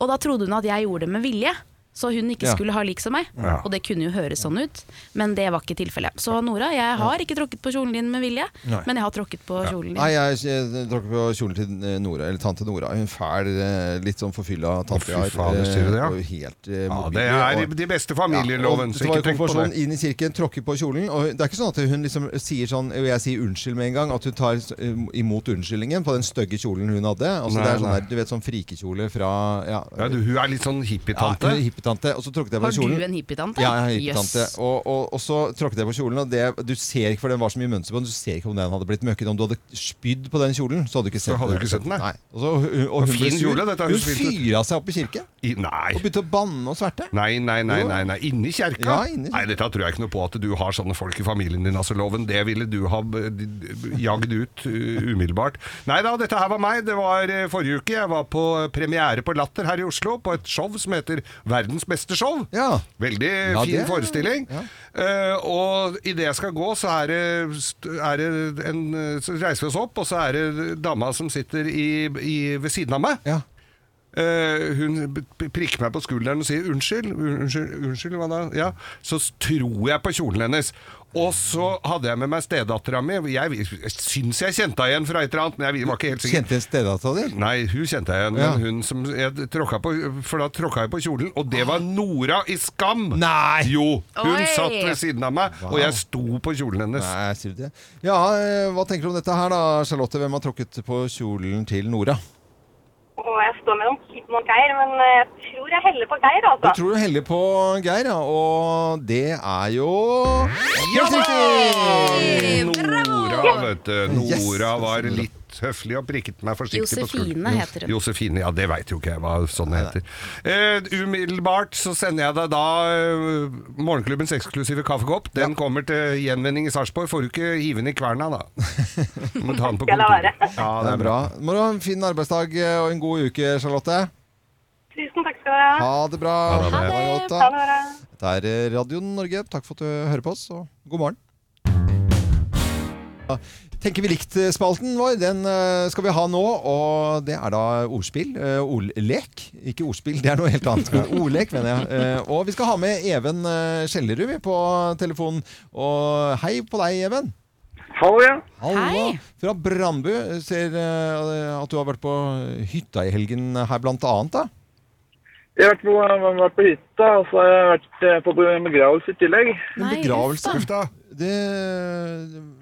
Speaker 3: Og da trodde hun at jeg gjorde det med vilje. Så hun
Speaker 1: Mm.
Speaker 3: ikke
Speaker 1: Ja.
Speaker 3: skulle ha lik som meg.
Speaker 2: Ja.
Speaker 3: Og det kunne jo høres sånn ut, men det var ikke tilfellet. Så Nora, jeg har ikke tråkket på kjolen din med vilje,
Speaker 1: Nei.
Speaker 3: men jeg har tråkket på kjolen din.
Speaker 1: Nei, jeg, jeg tråkker på kjolen til eh, Nora, eller tante Nora. Hun fæl, eh, litt sånn forfylla tante
Speaker 2: fy
Speaker 1: jeg har.
Speaker 2: fader, sier du det, ja?
Speaker 1: og Helt eh,
Speaker 2: Ja,
Speaker 1: mobil.
Speaker 2: det er i
Speaker 1: og-
Speaker 2: de beste
Speaker 1: Ja,
Speaker 2: familieloven,
Speaker 1: og
Speaker 2: så
Speaker 1: det var
Speaker 2: ikke
Speaker 1: jo
Speaker 2: tenk på
Speaker 1: konfirmasjon,
Speaker 2: det.
Speaker 1: sånn Inn i kirken, tråkker på kjolen. Og det er ikke sånn at hun liksom sier sånn Og jeg sier unnskyld med en gang. At hun tar eh, imot unnskyldningen på den stygge kjolen hun hadde. Altså,
Speaker 2: Nei,
Speaker 1: det er sånn
Speaker 2: nei.
Speaker 1: der, du vet, sånn frikekjole fra Ja,
Speaker 2: Ja, du, hun er litt sånn
Speaker 1: ja,
Speaker 2: hippietante.
Speaker 1: hippietante. Og så tråkket jeg på
Speaker 3: Har
Speaker 1: kjolen.
Speaker 3: du en hippietante?
Speaker 1: Ja, jeg er hippietante.
Speaker 3: Jøss.
Speaker 1: Og, og, og så tråkket jeg på kjolen, og det, du ser ikke, for den var så mye mønster på den, du ser ikke om den hadde blitt møkket. Om du hadde spydd på den kjolen, så hadde du ikke sett
Speaker 2: hadde du ikke sett den, nei.
Speaker 1: Nei. Og så, og, og hun
Speaker 2: Fin
Speaker 1: ble sur.
Speaker 2: kjole, dette er
Speaker 1: hun
Speaker 2: jo så fint ut.
Speaker 1: fyra seg opp i kirke
Speaker 2: I- Nei.
Speaker 1: og begynte å banne og sverte.
Speaker 2: Nei, nei, nei,
Speaker 1: Jo.
Speaker 2: nei, nei. inni kjerka?
Speaker 1: Ja, inni
Speaker 2: Nei,
Speaker 1: kjerka.
Speaker 2: Dette tror jeg ikke noe på, at du har sånne folk i familien din. altså loven, Det ville du ha eh, d- d- jagd ut eh, umiddelbart. Nei da, dette her var meg. Det var eh, forrige uke. Jeg var på premiere på Latter her i Oslo, på et show som heter Verdens beste show.
Speaker 1: Ja.
Speaker 2: Veldig
Speaker 1: Ja,
Speaker 2: fin
Speaker 1: det-
Speaker 2: forestilling.
Speaker 1: ja.
Speaker 2: Eh, og idet jeg skal gå, så er det, st- er det en, eh, så reiser vi oss opp, og så er det dama som sitter i, i, ved siden av meg.
Speaker 1: Ja.
Speaker 2: Eh, hun p- p- prikker meg på skulderen og sier 'unnskyld', un- unnskyld, unnskyld, hva da? Ja, så s- tror jeg på kjolen hennes. Og så hadde jeg med meg stedattera mi. Jeg, vi- jeg syns jeg kjente henne igjen fra et eller annet, men jeg var ikke helt sikker.
Speaker 1: Kjente en stedata di?
Speaker 2: Nei, hun kjente jeg igjen,
Speaker 1: Ja.
Speaker 2: men hun som jeg tråkka på, for da tråkka jeg på kjolen, og det var Nora i Skam!
Speaker 1: Nei!
Speaker 2: Jo! Hun
Speaker 3: Oi!
Speaker 2: satt ved siden av meg, og jeg sto på kjolen hennes.
Speaker 1: Nei, sier du det? Ja, eh, hva tenker du om dette her da, Charlotte? Hvem har tråkket på kjolen til Nora?
Speaker 7: Og jeg står mellom Kidman og Geir, men eh, jeg tror jeg heller på Geir,
Speaker 1: Du
Speaker 7: altså.
Speaker 1: tror du heller på Geir, ja, og det er jo Helt
Speaker 2: Ja da!
Speaker 1: riktig!
Speaker 2: Nora, vet du. Nora
Speaker 1: Yes!
Speaker 2: var litt smilt høflig og prikket meg forsiktig på
Speaker 3: Josefine heter hun.
Speaker 2: Josefine, ja, det veit jo ikke jeg hva sånne heter. Eh, umiddelbart så sender jeg deg da eh, morgenklubbens eksklusive kaffekopp. Den kommer til gjenvinning i Sarpsborg. Får du ikke hive den i kverna, da? Må ta den på
Speaker 7: Skal la
Speaker 2: kontoret.
Speaker 7: være.
Speaker 2: Ja,
Speaker 1: Det er bra. Må du ha en fin arbeidsdag eh, og en god uke, Charlotte.
Speaker 7: Tusen takk skal dere ha.
Speaker 1: Ha det bra.
Speaker 2: Ha det. Ha
Speaker 1: det.
Speaker 7: Ha det bra.
Speaker 1: Dette er eh, Radio Norge. Takk for at du hører på oss, og god morgen. Tenker vi likt-spalten vår, den eh, skal vi ha nå. Og det er da ordspill. eh, Ordlek. Ikke ordspill, det er noe helt annet. men Ordlek, mener jeg. Eh, Og vi skal ha med Even eh, Skjellerud vi, på telefonen. Og hei på deg, Even.
Speaker 5: Hallo, ja.
Speaker 1: Hallo.
Speaker 3: Hei.
Speaker 1: Fra Brandbu. Ser eh, at du har vært på hytta i helgen her, blant annet. da.
Speaker 5: Jeg har vært på, jeg har vært på hytta, og så har jeg vært eh, på begravelse i tillegg.
Speaker 1: En
Speaker 3: Nei,
Speaker 1: begravelse.
Speaker 3: uff
Speaker 2: Uff da.
Speaker 1: Det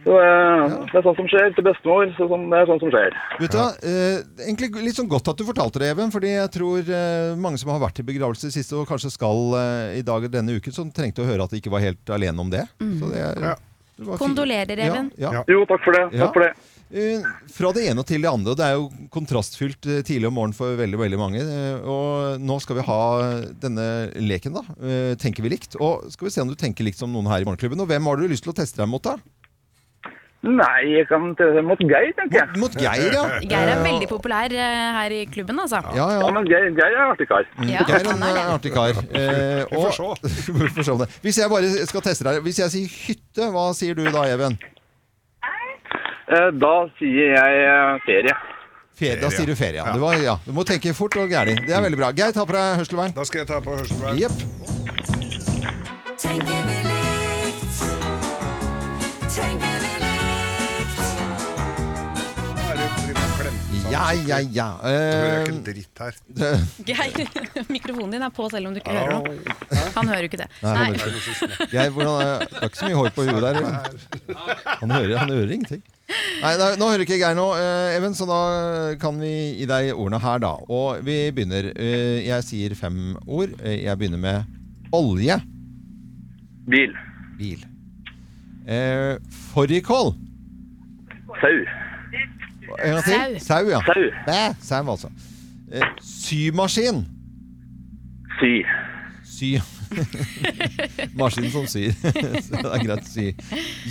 Speaker 5: Så eh, det er sånn som skjer til bestemor. Så sånn, det er sånn som skjer.
Speaker 1: Vet du, hva, eh, egentlig litt sånn godt at du fortalte det, Even, fordi jeg tror eh, mange som har vært i begravelse sist, og kanskje skal eh, i dag eller denne uken, som trengte å høre at de ikke var helt alene om det. Så det er,
Speaker 2: Ja.
Speaker 1: det var fint.
Speaker 3: Mm. Kondolerer, Even.
Speaker 1: Ja, ja.
Speaker 2: Ja.
Speaker 5: Jo, takk for det.
Speaker 1: Ja.
Speaker 5: Takk for det.
Speaker 1: Eh, Fra det ene til det andre, og det er jo kontrastfylt eh, tidlig om morgenen for veldig veldig mange. eh, Og nå skal vi ha denne leken, da. eh, Tenker vi likt? Og skal vi se om du tenker likt som noen her i Morgenklubben. Og hvem har du lyst til å teste deg mot, da?
Speaker 5: Nei, jeg kan til mot Geir, tenker jeg.
Speaker 1: Mot, mot Geir, ja.
Speaker 3: Geir er veldig populær eh, her i klubben, altså.
Speaker 1: Ja, ja.
Speaker 5: Ja, men Geir, Geir er artig kar.
Speaker 3: Ja,
Speaker 1: Geir er
Speaker 3: han
Speaker 1: en
Speaker 3: er det.
Speaker 1: eh, artig kar. Eh,
Speaker 2: Vi får
Speaker 1: og- Vi får se om det. Hvis jeg bare skal teste deg Hvis jeg sier hytte, hva sier du da, Even?
Speaker 5: Eh, Da sier jeg eh, ferie.
Speaker 1: Ferie, da
Speaker 2: Ferie.
Speaker 1: sier du ferie. Ja.
Speaker 2: Ja.
Speaker 1: Det var, ja. Du må tenke fort og gærlig. Det er veldig bra. Geir, ta på deg hørselvern.
Speaker 2: Da skal jeg ta på hørselsveien.
Speaker 1: Jepp.
Speaker 9: Tenker vi likt? Tenker vi likt?
Speaker 2: Da er det jo dritt og klemt sammen.
Speaker 1: Ja, ja, ja.
Speaker 2: Da hører
Speaker 1: Eh,
Speaker 2: jeg ikke en dritt her.
Speaker 3: Geir, mikrofonen din er på selv om du ikke hører noe. Han hører jo ikke det.
Speaker 1: Nei,
Speaker 3: Nei.
Speaker 1: men- Geir, hvordan er Det er ikke så mye hår på huet der. Even. Han hører, han hører ingenting. Nei, nei, Nå hører ikke Geir noe, eh, Even, så da kan vi gi deg ordene her, da. Og vi begynner. eh, Jeg sier fem ord. Eh, Jeg begynner med olje.
Speaker 5: Bil.
Speaker 1: Bil. Eh, Fårikål.
Speaker 5: Sau.
Speaker 1: En gang til. Sau. ja.
Speaker 5: Sau.
Speaker 1: Bæ, sau, altså. Eh, symaskin.
Speaker 5: Sy.
Speaker 1: Sy. Maskin som syr. Så det er greit å sy.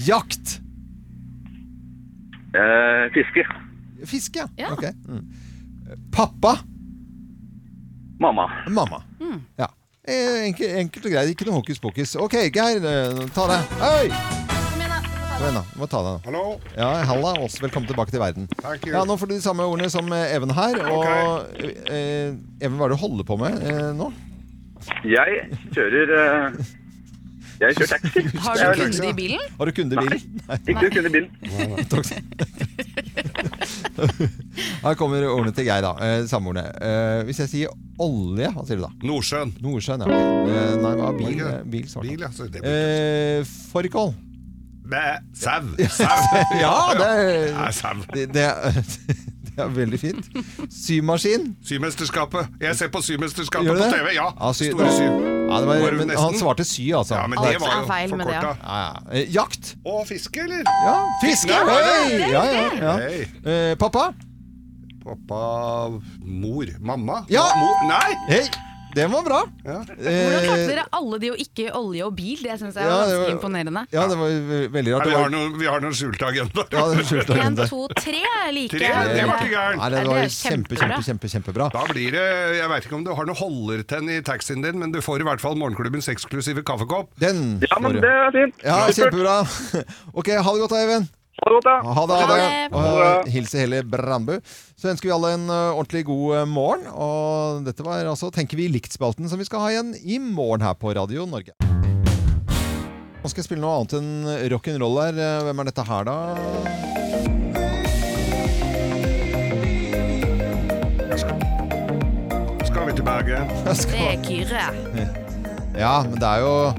Speaker 1: Jakt.
Speaker 5: Eh, fiske.
Speaker 1: Fiske,
Speaker 3: Ja.
Speaker 1: Ok. Mm. Eh, Pappa.
Speaker 5: Mamma.
Speaker 1: Mamma. Ja. Eh, Enkelt, enkelt og greit. Ikke noe hokus pokus. Ok, Geir, eh, ta det. Oi! Kom igjen, da. Du må ta det. da.
Speaker 2: Hallo?
Speaker 1: Ja, halla oss. Velkommen tilbake til verden.
Speaker 2: Thank you.
Speaker 1: Ja, Nå får du de samme ordene som eh, Even her. Og eh, Even, hva er det du holder på med eh, nå?
Speaker 5: Jeg kjører eh, Jeg kjører taxi.
Speaker 3: Har du kunde i bilen?
Speaker 1: Har du kunde i bilen? Nei.
Speaker 5: Ikke kun i bilen.
Speaker 1: Takk skal Her kommer ordene til Geir, da. Eh, samme ordene. Eh, hvis jeg sier olje, hva sier du da?
Speaker 2: Nordsjøen.
Speaker 1: Nordsjøen, ja. Eh, nei, hva, bil,
Speaker 2: Norge.
Speaker 1: eh, bil, svart.
Speaker 2: Bil, altså. Det blir...
Speaker 1: Eh, Fårikål.
Speaker 2: Bæ. Sau. Sau.
Speaker 1: Ja, det
Speaker 2: Nei,
Speaker 1: er,
Speaker 2: sau.
Speaker 1: det, det er, det er veldig fint. Symaskin.
Speaker 2: Symesterskapet. Jeg ser på Symesterskapet
Speaker 1: Gjør du
Speaker 2: på
Speaker 1: det?
Speaker 2: TV. Ja,
Speaker 1: Ja, sy-
Speaker 2: Store Sy.
Speaker 1: Ja, det
Speaker 2: Var
Speaker 1: var,
Speaker 2: det
Speaker 1: men
Speaker 2: nesten?
Speaker 1: han svarte sy, altså.
Speaker 2: Ja, men
Speaker 1: Ja,
Speaker 2: det var
Speaker 3: er
Speaker 2: jo
Speaker 3: feil med det,
Speaker 2: forkorta.
Speaker 1: ja. Eh, jakt.
Speaker 2: Å, fiske, eller?
Speaker 1: Ja, fiske.
Speaker 2: Ja,
Speaker 1: Hei!
Speaker 2: det er
Speaker 1: Ja, ja, ja.
Speaker 2: Hei.
Speaker 1: Eh, pappa.
Speaker 2: Pappa Mor. Mamma?
Speaker 1: Ja!
Speaker 2: Mor. Nei!
Speaker 1: Hei, den var bra.
Speaker 2: Ja.
Speaker 3: Hvordan
Speaker 1: Eh,
Speaker 3: klarte dere alle de å ikke olje og bil? Det syns jeg
Speaker 1: Ja, det
Speaker 3: var
Speaker 1: var-
Speaker 3: ganske imponerende.
Speaker 1: Ja, det var ve- veldig
Speaker 2: Nei,
Speaker 1: rart. Det
Speaker 2: vi,
Speaker 1: var-
Speaker 2: har noen, vi har noen skjulte agendaer.
Speaker 1: Ja, det var skjult
Speaker 3: En,
Speaker 1: agenda.
Speaker 3: to, tre like.
Speaker 2: Tre, det var ikke gærent.
Speaker 1: Nei, det var
Speaker 3: Det er
Speaker 1: kjempe,
Speaker 3: kjempebra.
Speaker 1: kjempe, kjempe, kjempebra.
Speaker 2: Da blir det Jeg veit ikke om du har noen holdertenn i taxien din, men du får i hvert fall morgenklubbens eksklusive kaffekopp.
Speaker 1: Den
Speaker 5: Ja,
Speaker 1: får
Speaker 5: men
Speaker 1: du.
Speaker 5: det er fint.
Speaker 1: Ja, kjempebra. Ok, ha det godt, Eivind.
Speaker 5: Ha det godt, da.
Speaker 1: Ha det. Ha det.
Speaker 3: Ha det.
Speaker 1: Og eh, hilse hele Brandbu. Så ønsker vi alle en ø, ordentlig god ø, morgen. Og dette var altså Tenker vi likt-spalten som vi skal ha igjen i morgen her på Radio Norge. Nå skal jeg spille noe annet enn rock'n'roll her. Eh, Hvem er dette her, da?
Speaker 2: Skal vi tilbake?
Speaker 1: Jeg skal-
Speaker 3: Det er Kyrre.
Speaker 1: Ja, men det er jo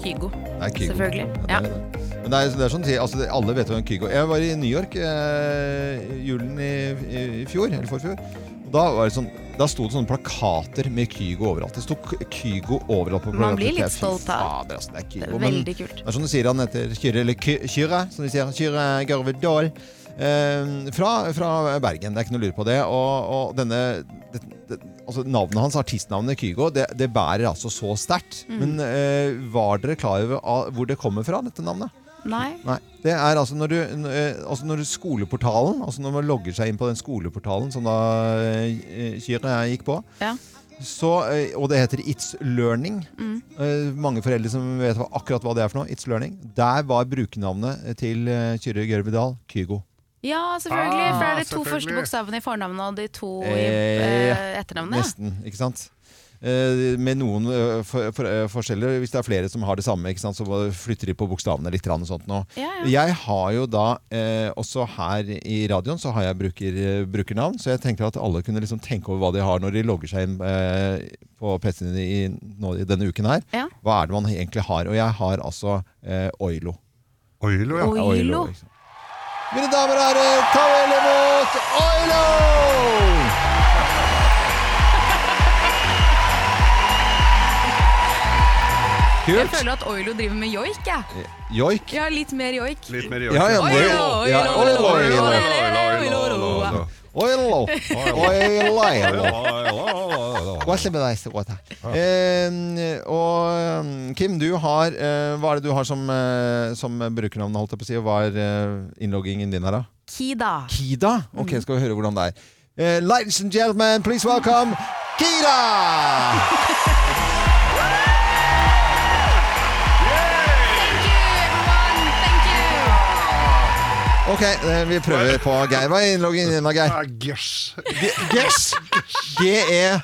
Speaker 3: Kygo.
Speaker 1: Det er Kygo.
Speaker 3: Selvfølgelig.
Speaker 1: Ja, det er det. Men det er, det er sånn, å si, altså, det- alle vet hvem Kygo Jeg var i New York eh, julen i, i- i fjor, eller forfjor. Og da, var det sånn, da sto det sånne plakater med Kygo overalt. Det sto K- Kygo overalt på plakater.
Speaker 3: Man blir litt
Speaker 1: Fy
Speaker 3: stolt av.
Speaker 1: fader, altså, det. Er Kygo,
Speaker 3: Det er
Speaker 1: men-
Speaker 3: veldig kult.
Speaker 1: det er sånn du sier han heter Kyrre, eller Ky- Kyrre, som de sier. Kyrre Garvedal. Eh, fra, fra Bergen, det er ikke noe lur på det. Og, og denne det, det, altså navnet hans, artistnavnet Kygo, det, det bærer altså så sterkt. Men eh, var dere klar over ah, hvor det kommer fra, dette navnet?
Speaker 3: Nei.
Speaker 1: Nei. Det er altså når du, n- eh, altså når du skoleportalen, altså når man logger seg inn på den skoleportalen som da eh, Kyrre her gikk på,
Speaker 3: Ja.
Speaker 1: så, eh, og det heter It's Learning. Eh, mange foreldre som vet hva, akkurat hva det er for noe. It's Learning. Der var brukernavnet til eh, Kyrre Gørve Dahl Kygo.
Speaker 3: Ja, selvfølgelig.
Speaker 2: Ah,
Speaker 3: for det er de to
Speaker 2: selvfølgelig.
Speaker 3: første bokstavene i fornavnet og de to i
Speaker 1: Eh,
Speaker 3: eh, etternavnet.
Speaker 1: Nesten, ikke sant? Eh, Med noen eh, for, for, eh, forskjeller. Hvis det er flere som har det samme, ikke sant? så bare flytter de på bokstavene litt. grann Og sånt nå.
Speaker 3: Ja, ja.
Speaker 1: Jeg har jo da, eh, også her i radioen, så har jeg bruker, eh, brukernavn. Så jeg tenkte at alle kunne liksom tenke over hva de har når de logger seg inn eh, på PC-en i, nå i denne uken her.
Speaker 3: Ja.
Speaker 1: Hva er det man egentlig har? Og jeg har altså eh, Oilo.
Speaker 2: Oilo, ja.
Speaker 3: Oilo.
Speaker 1: ikke sant. Mine damer og herrer, ta vel imot Oilo!
Speaker 3: Jeg
Speaker 1: Kult.
Speaker 3: føler at Oilo driver med joik, jeg.
Speaker 1: Eh. Joik.
Speaker 3: Ja, litt mer joik.
Speaker 2: Litt mer
Speaker 1: Ja, ja,
Speaker 2: Oilo,
Speaker 1: det- ja, Oilo, Oilo,
Speaker 2: oilo, oilo, oilo.
Speaker 1: Oilo. Oilo. Oilo. Hva skjer med deg, Ståta? Eh, og eh, Kim, du har eh, Hva er det du har som, eh, som brukernavn, holdt jeg på å si? Og hva er eh, innloggingen din her, da?
Speaker 3: Kida.
Speaker 1: Kida? Ok, skal vi høre hvordan det er. Eh, ladies and gentlemen, please welcome Kida!
Speaker 3: Thank you, everyone. Thank you.
Speaker 1: Ok, eh, vi prøver på Geir. Hva er innloggingen din, da, Geir?
Speaker 2: Ah, Gers.
Speaker 1: Gess! G-e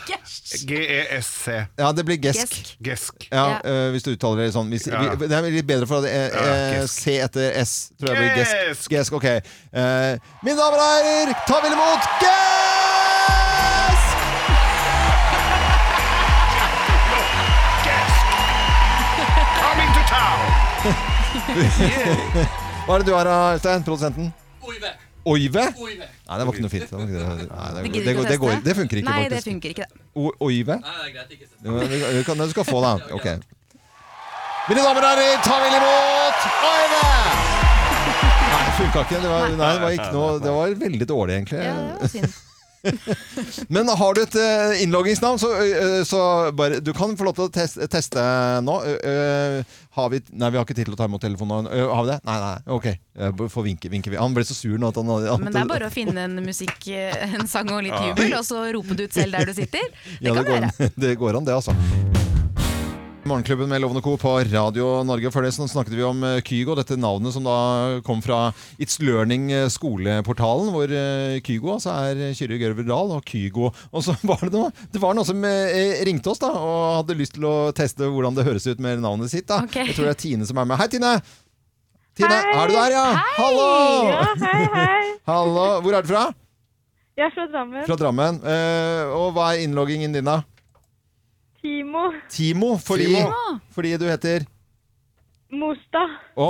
Speaker 2: G-E-S-C.
Speaker 1: Ja, det blir gesk.
Speaker 3: Gesk.
Speaker 2: E Gesk.
Speaker 1: Ja,
Speaker 3: Ja.
Speaker 1: øh, hvis du uttaler det sånn. Hvis,
Speaker 2: Ja.
Speaker 1: vi, det er litt bedre for at eh,
Speaker 2: Ja,
Speaker 1: eh,
Speaker 2: gesk.
Speaker 1: C etter S. Tror jeg blir gesk.
Speaker 2: Gesk!
Speaker 1: Gesk, ok. Eh, mine damer og herrer, ta vel imot Gesk!
Speaker 2: Coming to town!
Speaker 1: Hva er det du har, Øystein? Produsenten? Oive. Oive? Nei, det var ikke noe fint. Det, var ikke det. Nei, det, det, det,
Speaker 3: gidder ikke å
Speaker 1: går- det, går,
Speaker 3: teste.
Speaker 1: det funker ikke,
Speaker 3: Nei, det
Speaker 1: faktisk.
Speaker 3: funker ikke. det.
Speaker 1: O- Oive? Nei, det er greit. Ikke du, kan, du skal få, da. Ok. Mine damer og herrer, ta vel imot Oive! Nei, det funka ikke. Det var, nei, det var ikke noe Det var veldig dårlig, egentlig.
Speaker 3: Ja, det var synd.
Speaker 1: Men har du et eh, innloggingsnavn, så, eh, så bare Du kan få lov til å tes- teste nå. Eh, eh, har vi Nei, vi har ikke tid til å ta imot telefonen. nå. Eh, har vi det? Nei, nei. Ok. Eh, bare Få vinke, vinke. Han ble så sur nå at han at-
Speaker 3: Men det er bare å finne en musikk, eh, en sang og litt jubel, og så rope det ut selv der du sitter. Det
Speaker 1: ja, det,
Speaker 3: kan
Speaker 1: går,
Speaker 3: være.
Speaker 1: an. det går an, det, altså. Morgenklubben med Lovende Co. på Radio Norge. Før det så snakket vi om eh, Kygo, dette navnet som da kom fra It's Learning eh, skoleportalen, hvor eh, Kygo altså er Kyrre Gørver Dahl og Kygo. Og så var det noe Det var noe som eh, ringte oss da og hadde lyst til å teste hvordan det høres ut med navnet sitt. da
Speaker 3: Ok.
Speaker 1: Jeg tror det er Tine som er med. Hei, Tine! Tine, er du der, ja? Hallo!
Speaker 6: Ja, hei, hei.
Speaker 1: Hallo! Hvor er du fra?
Speaker 6: Jeg er fra Drammen.
Speaker 1: Fra Drammen. Eh, og hva er innloggingen din, da?
Speaker 6: Timo
Speaker 1: Timo, fordi,
Speaker 2: Timo.
Speaker 1: fordi du heter
Speaker 6: Mostad.
Speaker 1: Å,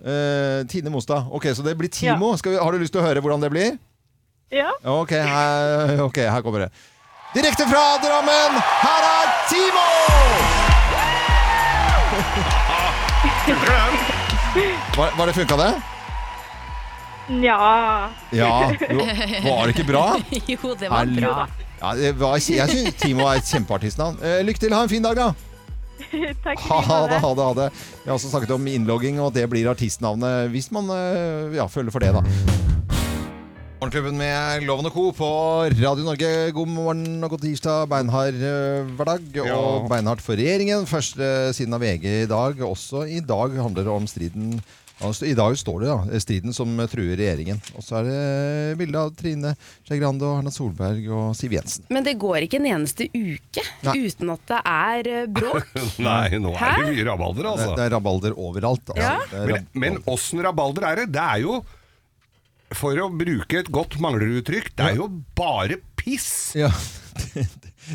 Speaker 1: eh, Tine Mostad. Ok, Så det blir Timo. Skal vi, har du lyst til å høre hvordan det blir?
Speaker 6: Ja.
Speaker 1: Ok, her, ok, her kommer det. Direkte fra Drammen, her er Timo! Var, var det funka, det?
Speaker 6: Nja.
Speaker 1: Ja. Jo, var det ikke bra?
Speaker 3: Jo, det var
Speaker 1: Hallo.
Speaker 3: bra.
Speaker 1: Ja, det var, jeg syns Timo er et kjempeartistnavn. Eh, lykke til, ha en fin dag, da!
Speaker 6: Takk
Speaker 1: Ha
Speaker 6: for
Speaker 1: det, ha det, ha det. Vi har også snakket om innlogging, og det blir artistnavnet hvis man eh, ja, føler for det, da. Morgenklubben med Loven og Co. på Radio Norge. God morgen og god tirsdag. Beinhard eh, hverdag og
Speaker 2: Ja.
Speaker 1: beinhardt for regjeringen. Første siden av VG i dag. Også i dag handler det om striden altså, I dag står det da, striden som truer regjeringen. Og så er det bilde av Trine Skei Grande og Erna Solberg og Siv Jensen.
Speaker 10: Men det går ikke en eneste uke
Speaker 1: Nei.
Speaker 10: uten at det er eh, bråk.
Speaker 2: Nei, nå er det mye rabalder,
Speaker 1: Det,
Speaker 2: altså.
Speaker 1: det er rabalder overalt. Altså. Det er
Speaker 2: Men, men åssen rabalder er det? Det er jo, for å bruke et godt mangleruttrykk, det er jo bare piss!
Speaker 1: Ja.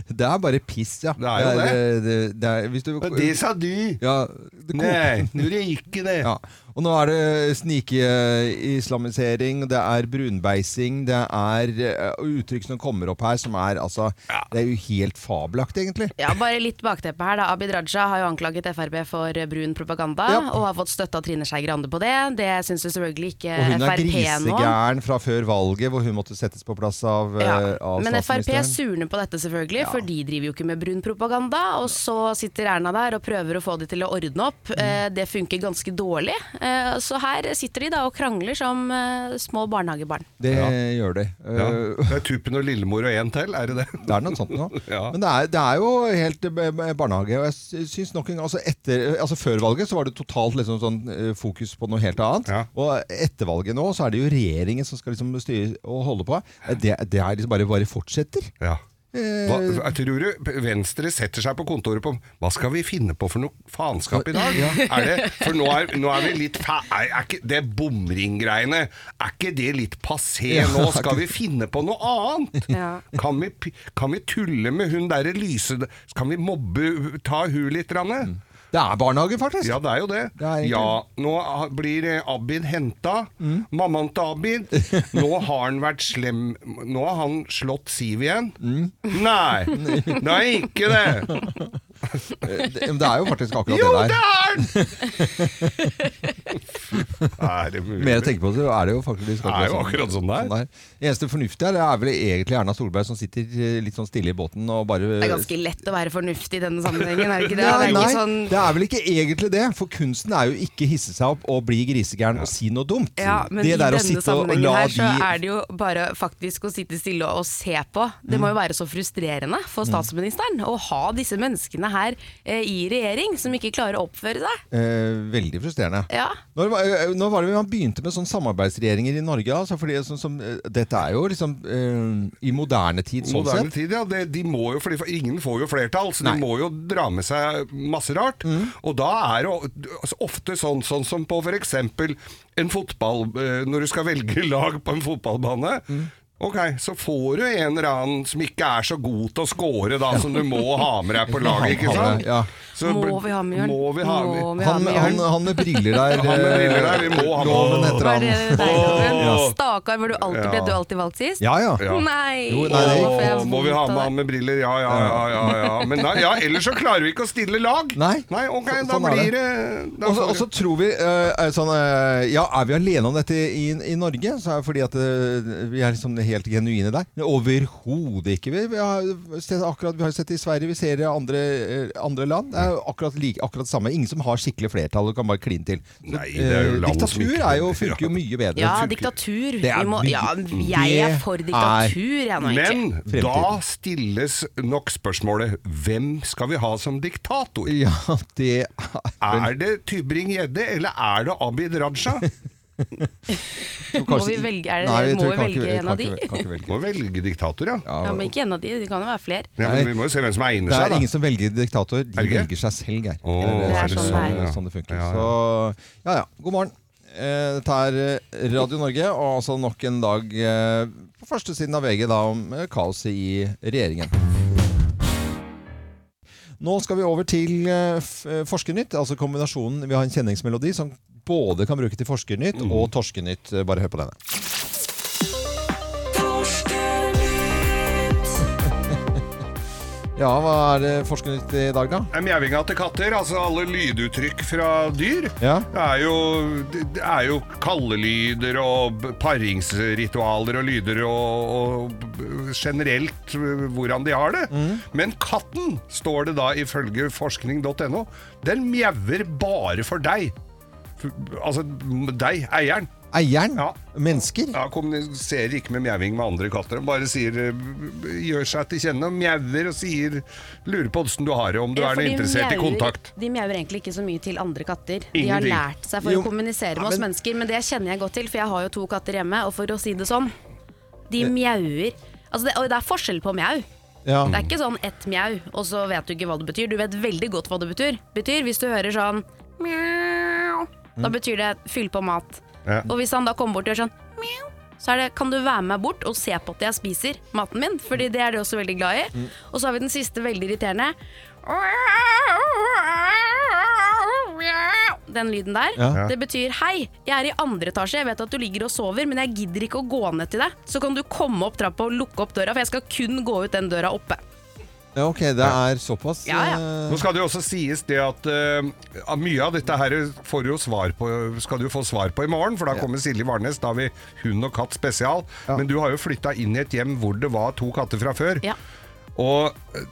Speaker 1: Det er bare piss, ja. eh,
Speaker 2: Det er jo
Speaker 1: det. det er, hvis du,
Speaker 2: Det sa du!
Speaker 1: ja, det koker-
Speaker 2: Nei, gjorde jeg ikke det.
Speaker 1: ja. Og nå er det eh, snikeislamisering, det er brunbeising, det er eh, uttrykk som kommer opp her som er altså Det er jo helt fabelaktig, egentlig.
Speaker 3: Ja, bare litt bakteppe her da. Abid Raja har jo anklaget FRB for brun propaganda,
Speaker 1: Ja.
Speaker 3: og har fått støtte av Trine Skei Grande på det. Det syns jo selvfølgelig ikke
Speaker 1: Og hun er
Speaker 3: FRP nå.
Speaker 1: grisegæren fra før valget, hvor hun måtte settes på plass av, eh, av
Speaker 3: Men Frp
Speaker 1: statsministeren.
Speaker 3: surner på dette, selvfølgelig, for de driver jo ikke med brun propaganda. Og så sitter Erna der og prøver å få de til å ordne
Speaker 1: Mm.
Speaker 3: opp. Eh, Det funker ganske dårlig. Eh, Så her sitter de da og krangler som eh, små barnehagebarn.
Speaker 1: Det gjør de. Eh,
Speaker 2: Ja. Det er Tuppen og Lillemor og én til, er det det?
Speaker 1: Det er noe sånt nå.
Speaker 2: ja.
Speaker 1: Men det er, det er jo helt eh, b- barnehage. Og jeg sy- syns nok en gang altså etter, altså Før valget så var det totalt liksom sånn eh, fokus på noe helt annet. Og etter valget nå så er det jo regjeringen som skal liksom styre og holde på. Det, det er liksom bare, bare fortsetter. Eh,
Speaker 2: Hva, jeg tror du Venstre setter seg på kontoret på Hva skal vi finne på for noe faenskap i dag?
Speaker 1: Ja.
Speaker 2: Er det, for nå er, nå er vi litt fa... Er, er ikke, det bomringgreiene, er ikke det litt passé
Speaker 1: Ja,
Speaker 2: nå?
Speaker 1: er
Speaker 2: Skal
Speaker 1: ikke-
Speaker 2: vi finne på noe annet? Kan, vi, pi- kan vi tulle med hun derre lyse... Kan vi mobbe Ta hun litt? Ranne?
Speaker 1: Det er barnehage, faktisk.
Speaker 2: Ja, det er jo det.
Speaker 1: egentlig-
Speaker 2: ja, nå ha- blir eh, Abid henta. Mammaen til Abid. Nå har han vært slem Nå har han slått Siv igjen. Nei, det er ikke det.
Speaker 1: Det, men det er jo faktisk akkurat
Speaker 2: Jo,
Speaker 1: det der.
Speaker 2: det er den!
Speaker 1: Mer jeg tenker på det, så er det jo faktisk
Speaker 2: Det er jo akkurat sånn det er.
Speaker 1: Det eneste fornuftige her det er vel egentlig Erna Solberg som sitter eh, litt sånn stille i båten og bare
Speaker 3: Det er ganske lett å være fornuftig i denne sammenhengen, er det ikke det?
Speaker 1: Nei,
Speaker 3: Det er ikke
Speaker 1: nei,
Speaker 3: sånn
Speaker 1: det er vel ikke egentlig det, for kunsten er jo ikke hisse seg opp og bli grisegæren og si noe dumt.
Speaker 3: Ja, men
Speaker 1: Mm. det
Speaker 3: i
Speaker 1: der å
Speaker 3: denne
Speaker 1: sitte og
Speaker 3: sammenhengen
Speaker 1: la
Speaker 3: her så
Speaker 1: de-
Speaker 3: er det jo bare faktisk å sitte stille og se på. Det må jo
Speaker 1: Mm.
Speaker 3: være så frustrerende for statsministeren å ha disse menneskene her eh, i regjering som ikke klarer å oppføre seg.
Speaker 1: Eh, veldig frustrerende.
Speaker 3: Ja.
Speaker 1: Når, var- eh, når var det man begynte med sånne samarbeidsregjeringer i Norge? Altså, fordi, sånn som, eh, dette er jo liksom eh, i moderne tid, sånn
Speaker 2: Moderne
Speaker 1: sett.
Speaker 2: tid, ja. Det, de må jo, fordi ingen får jo flertall, så de må jo dra med seg masse rart.
Speaker 1: Mm.
Speaker 2: Og da er det o- altså, ofte sånn, sånn som på f.eks. en fotball eh, Når du skal velge lag på en fotballbane.
Speaker 1: Mm.
Speaker 2: Ok, Så får du en eller annen som ikke er så god til å score, da, som du må ha med deg på laget. ikke
Speaker 1: Ha med,
Speaker 2: sant?
Speaker 1: ja.
Speaker 2: Så
Speaker 3: Må
Speaker 2: bl-
Speaker 3: vi ha med Jørn?
Speaker 2: Må vi ha med
Speaker 3: Må vi ha
Speaker 1: Han,
Speaker 3: med
Speaker 1: han,
Speaker 3: Jørn?
Speaker 1: han med briller der. eh,
Speaker 2: Han med briller der, vi må ha med.
Speaker 1: Loven heter
Speaker 3: Var
Speaker 1: han.
Speaker 3: det deg, Loven?
Speaker 2: Ja.
Speaker 3: Stakkar, var du alltid ble du alltid valgt sist?
Speaker 1: Ja, ja.
Speaker 3: Nei!
Speaker 1: Jo, nei, det-
Speaker 3: Å, for jeg
Speaker 2: Åh, må vi ha med han med briller? Ja, ja, ja. ja, ja. Men nei, ja, ellers så klarer vi ikke å stille lag.
Speaker 1: Nei.
Speaker 2: ok,
Speaker 1: Så-
Speaker 2: da
Speaker 1: sånn er
Speaker 2: blir
Speaker 1: det.
Speaker 2: det da
Speaker 1: Og så-
Speaker 2: får-
Speaker 1: Og så tror vi eh, er sånn, eh, Ja, er vi alene om dette i, i Norge? Så er det fordi at eh, vi er liksom helt genuine der. Overhodet ikke. Vi, vi, har sett, akkurat, vi har sett det i Sverige, vi ser det i andre, eh, andre land. Det er jo akkurat, like, akkurat samme. Ingen som har skikkelig flertall og kan bare kline til. Så,
Speaker 2: Nei, det er jo
Speaker 1: eh,
Speaker 2: land som
Speaker 1: diktatur
Speaker 2: ikke-
Speaker 1: er jo, funker jo mye bedre.
Speaker 3: Ja, diktatur.
Speaker 1: Det er
Speaker 3: Vi må,
Speaker 1: mye-
Speaker 3: ja, jeg er for
Speaker 1: Det
Speaker 3: diktatur, jeg nå, egentlig.
Speaker 2: Men da stilles nok spørsmålet hvem skal vi ha som diktator?
Speaker 1: Ja, det er
Speaker 2: Er det Tybring-Gjedde, eller er det Abid Raja?
Speaker 3: Må vi velge, er det,
Speaker 1: Nei, jeg
Speaker 3: må
Speaker 1: tror
Speaker 3: vi
Speaker 1: jeg kan ikke-
Speaker 3: velge
Speaker 1: jeg
Speaker 3: en
Speaker 1: kan
Speaker 3: av de?
Speaker 1: ikke- kan ikke velge.
Speaker 2: Må velge diktator, ja.
Speaker 3: Ja, men ikke en av de, det kan jo være flere.
Speaker 2: Ja, men vi må jo se hvem som egner
Speaker 1: Det
Speaker 2: seg,
Speaker 1: er
Speaker 2: da.
Speaker 1: ingen som velger diktator, de
Speaker 2: Er det ikke?
Speaker 1: velger seg selv, Geir.
Speaker 2: Åh,
Speaker 1: Eller,
Speaker 2: Det er
Speaker 1: eh,
Speaker 2: sånn det er.
Speaker 1: sånn, sånn det funker.
Speaker 2: Ja, ja.
Speaker 1: Så ja ja, god morgen. Eh, Dette er eh, Radio Norge, og altså nok en dag eh, på første siden av VG da, om eh, kaoset i regjeringen. Nå skal vi over til eh, f- eh, Forskernytt, altså kombinasjonen Vi har en kjenningsmelodi som både kan bruke til Forskernytt
Speaker 2: Mm.
Speaker 1: og Torskenytt. Eh, Bare hør på denne. Ja, hva er det Forskernytt i dag, da?
Speaker 2: Em, Jævinga til katter, altså alle lyduttrykk fra dyr.
Speaker 1: Ja.
Speaker 2: Det er jo, det det er jo kallelyder og b- paringsritualer og lyder og, og b- generelt øh, hvordan de har det. Men katten, står det da ifølge forskning.no, den mjauer bare for deg. For- Altså m- deg, eieren.
Speaker 1: Eieren?
Speaker 2: Ja.
Speaker 1: Mennesker?
Speaker 2: Ja, kommuniserer ikke med mjauing med andre katter. Han bare sier, øh, gjør seg til kjenne og mjauer og sier, lurer på åssen du har det, om du
Speaker 3: Ja,
Speaker 2: er
Speaker 3: for de
Speaker 2: interessert i
Speaker 3: mjauer-
Speaker 2: kontakt.
Speaker 3: De mjauer egentlig ikke så mye til andre katter. De har
Speaker 2: Ingenting.
Speaker 3: lært seg for
Speaker 2: Jo.
Speaker 3: å kommunisere med
Speaker 2: Ja,
Speaker 3: oss
Speaker 2: men-
Speaker 3: mennesker, men det kjenner jeg godt til, for jeg har jo to katter hjemme, og for å si det sånn, de mjauer Altså det, og det er forskjell på mjau.
Speaker 1: Ja.
Speaker 3: Det er ikke sånn ett mjau, og så vet du ikke hva det betyr. Du vet veldig godt hva det betyr. betyr hvis du hører sånn mjau, da betyr det fyll på mat.
Speaker 2: Ja.
Speaker 3: Og hvis han da kommer bort og gjør sånn mjau, så er det kan du være med bort og se på at jeg spiser maten min, fordi det er de også veldig glad i. Og så har vi den siste veldig irriterende. den lyden der,
Speaker 1: Ja.
Speaker 3: det betyr hei, jeg er i andre etasje, jeg vet at du ligger og sover, men jeg gidder ikke å gå ned til deg. Så kan du komme opp trappa og lukke opp døra, for jeg skal kun gå ut den døra oppe.
Speaker 1: Ja, ok, det er såpass.
Speaker 3: Ja, ja.
Speaker 1: eh,
Speaker 2: Nå skal det jo også sies det at eh, av mye av dette her får du jo svar på, skal du få svar på i morgen, for da kommer Silje Varnes. Da har vi hund og katt spesial. Men du har jo flytta inn i et hjem hvor det var to katter fra før.
Speaker 3: Ja.
Speaker 2: Og eh,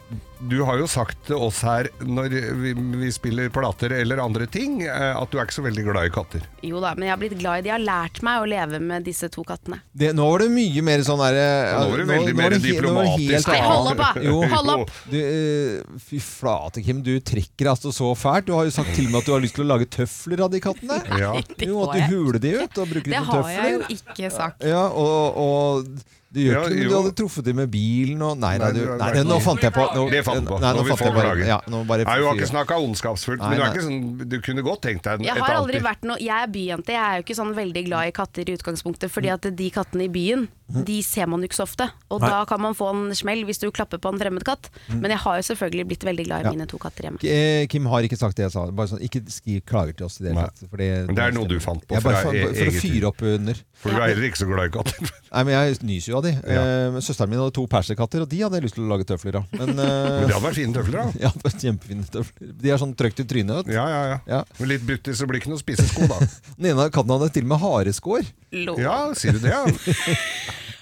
Speaker 2: du har jo sagt til oss her når vi, vi spiller plater eller andre ting, eh, at du er ikke så veldig glad i katter.
Speaker 3: Jo da, men jeg har blitt glad i de. Jeg har lært meg å leve med disse to kattene.
Speaker 1: det, nå var det mye mer sånn derre
Speaker 2: Ja, nå var det veldig mer diplomatisk.
Speaker 3: Nei, hold opp, da.
Speaker 1: Jo.
Speaker 3: Hold opp.
Speaker 1: Du, eh, fy flate, Kim. Du trekker altså så fælt. Du har jo sagt til og med at du har lyst til å lage tøfler av de kattene.
Speaker 2: Ja.
Speaker 3: det
Speaker 1: jo,
Speaker 3: har
Speaker 1: at
Speaker 3: jeg
Speaker 1: du huler de ut og bruker
Speaker 3: Det
Speaker 1: de som
Speaker 3: har jeg
Speaker 1: tøfler.
Speaker 3: jo ikke sagt.
Speaker 1: Ja, og, og det gjør
Speaker 2: Ja,
Speaker 1: ikke noe om du
Speaker 2: jo.
Speaker 1: hadde truffet dem med bilen og Nei,
Speaker 2: Nei,
Speaker 1: nei, du,
Speaker 2: du-
Speaker 1: nei det, nå fant jeg på. Nå,
Speaker 2: Det fant du på.
Speaker 1: Nei,
Speaker 2: Nå
Speaker 1: nå
Speaker 2: vi
Speaker 1: fant
Speaker 2: får
Speaker 1: jeg bare,
Speaker 2: klage.
Speaker 1: ja, nå bare
Speaker 2: Nei, du har ikke snakka ondskapsfullt,
Speaker 1: Nei,
Speaker 2: men du, er
Speaker 1: nei.
Speaker 2: ikke sånn, du kunne godt tenkt deg
Speaker 3: Jeg
Speaker 2: et
Speaker 3: har aldri
Speaker 2: annet
Speaker 3: vært noe Jeg er byjente, jeg er jo ikke sånn veldig glad i katter i utgangspunktet, fordi at de kattene i byen, de ser man jo ikke så ofte.
Speaker 1: Mhm.
Speaker 3: Og
Speaker 1: Nei. Mhm.
Speaker 3: da kan man få en smell hvis du klapper på en fremmed katt. Men jeg har jo selvfølgelig blitt veldig glad i
Speaker 1: Ja.
Speaker 3: mine to katter hjemme.
Speaker 1: Eh, Kim har ikke sagt det jeg sa. Bare sånn, ikke skriv klager til oss i det hele tatt. for
Speaker 2: Men det er noe du fant på
Speaker 1: Jeg
Speaker 2: fra
Speaker 1: bare for,
Speaker 2: e-
Speaker 1: for å
Speaker 2: eget liv.
Speaker 1: fyre opp under.
Speaker 2: For du er heller ikke så glad i katter.
Speaker 1: Nei, men Jeg nyser jo av de. Eh, men Søsteren min hadde to perserkatter, og de hadde jeg lyst til å lage tøfler av. Men,
Speaker 2: Men det
Speaker 1: eh,
Speaker 2: hadde vært fine tøfler, da.
Speaker 1: ja, kjempefine tøfler. De er sånn trøkt i trynet. vet du.
Speaker 2: Ja, ja, ja.
Speaker 1: Ja.
Speaker 2: Med litt butti så blir det ikke noe spisesko, da.
Speaker 1: Den ene av katten hadde til og med hareskår.
Speaker 3: Lo.
Speaker 2: Ja, sier du det,
Speaker 1: Altså-
Speaker 2: ja.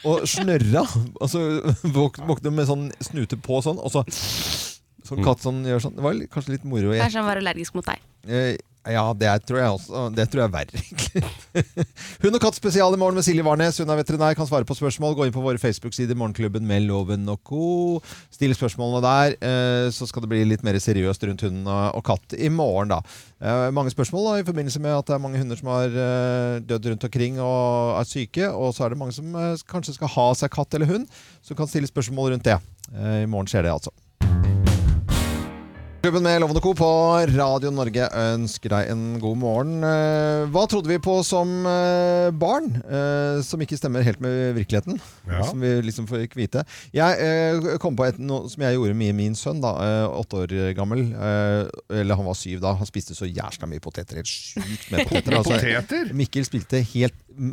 Speaker 1: Og snørra. Altså våk- våkne med sånn snute på sånn, og så Sånn katt som gjør sånn. Det var litt- kanskje litt moro. Jeg,
Speaker 3: Kanskje han var sånn allergisk mot deg.
Speaker 1: eh, ja, det er- tror jeg også. Det tror jeg er verre, egentlig. Hund og katt spesial i morgen med Silje Warnes. Hun er veterinær, kan svare på spørsmål. Gå inn på våre Facebook-sider, Morgenklubben med Loven og co. Still spørsmålene der, eh, så skal det bli litt mer seriøst rundt hund og og katt i morgen, da. Eh, Mange spørsmål da, i forbindelse med at det er mange hunder som har eh, dødd rundt omkring og er syke, og så er det mange som eh, kanskje skal ha seg katt eller hund, som kan stille spørsmål rundt det. Eh, I morgen skjer det, altså. Klubben med Lovende Co. på Radio Norge ønsker deg en god morgen. Eh, Hva trodde vi på som eh, barn, eh, som ikke stemmer helt med virkeligheten?
Speaker 2: Ja.
Speaker 1: Som vi liksom fikk vite. Jeg eh, kom på et, noe som jeg gjorde med min sønn, da, eh, åtte år gammel. eh, Eller han var syv da. Han spiste så jæsla mye poteter. Helt sjukt med poteter. altså.
Speaker 2: Poteter?
Speaker 1: Mikkel spilte helt mm,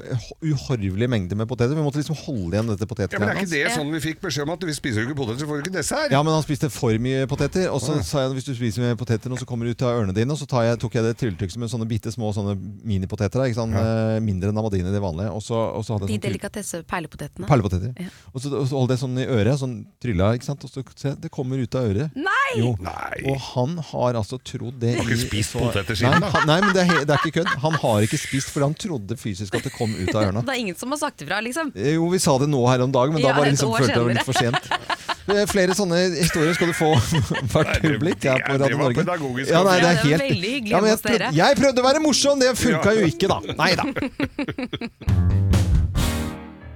Speaker 1: uhorvelige mengder med poteter. Vi måtte liksom holde igjen dette
Speaker 2: ja. Men er
Speaker 1: potetgreiene
Speaker 2: ikke
Speaker 1: hans.
Speaker 2: det sånn vi fikk beskjed om at vi spiser jo ikke poteter, så får du ikke dessert?
Speaker 1: Ja, men han spiste for mye poteter. Og så sa jeg hvis du spiser mye poteter nå, så kommer det ut av ørene dine. Og så tar jeg, tok jeg det trylletykset med sånne bitte små sånne minipoteter. da, Ikke sant? Eh, Mindre enn amadine, de vanlige. Og så, og så hadde
Speaker 3: De
Speaker 1: jeg sånn tryll-
Speaker 3: delikatesse perlepotetene.
Speaker 1: Perlepoteter. Og så, og så holdt jeg sånn i øret, sånn trylla, ikke sant. Og så se, det kommer ut av øret. Nei! Jo.
Speaker 2: Nei.
Speaker 1: Og han har altså trodd det
Speaker 2: Har ikke
Speaker 1: i-
Speaker 2: spist
Speaker 1: så-
Speaker 2: poteter siden,
Speaker 1: nei,
Speaker 2: da.
Speaker 1: han- Nei, men det er, he- det er ikke kødd. Han har ikke spist fordi han trodde fysisk at det kom ut av ørene.
Speaker 3: Det er ingen som har sagt ifra, liksom.
Speaker 1: Eh, Jo, vi sa det nå her om dagen, men da
Speaker 3: Ja,
Speaker 1: var det
Speaker 3: et
Speaker 1: liksom,
Speaker 3: år
Speaker 1: følte jeg det var
Speaker 3: senere.
Speaker 1: litt for sent. Eh, Flere sånne historier skal du få hvert øyeblikk her på
Speaker 2: det
Speaker 1: Radio
Speaker 2: var
Speaker 1: Norge.
Speaker 2: pedagogisk.
Speaker 1: Ja, nei, det er
Speaker 3: Ja, det var
Speaker 1: helt...
Speaker 3: veldig hyggelig
Speaker 1: men jeg,
Speaker 3: hos dere.
Speaker 1: prøvde, jeg prøvde å være morsom, det funka jo ikke, da. Nei da.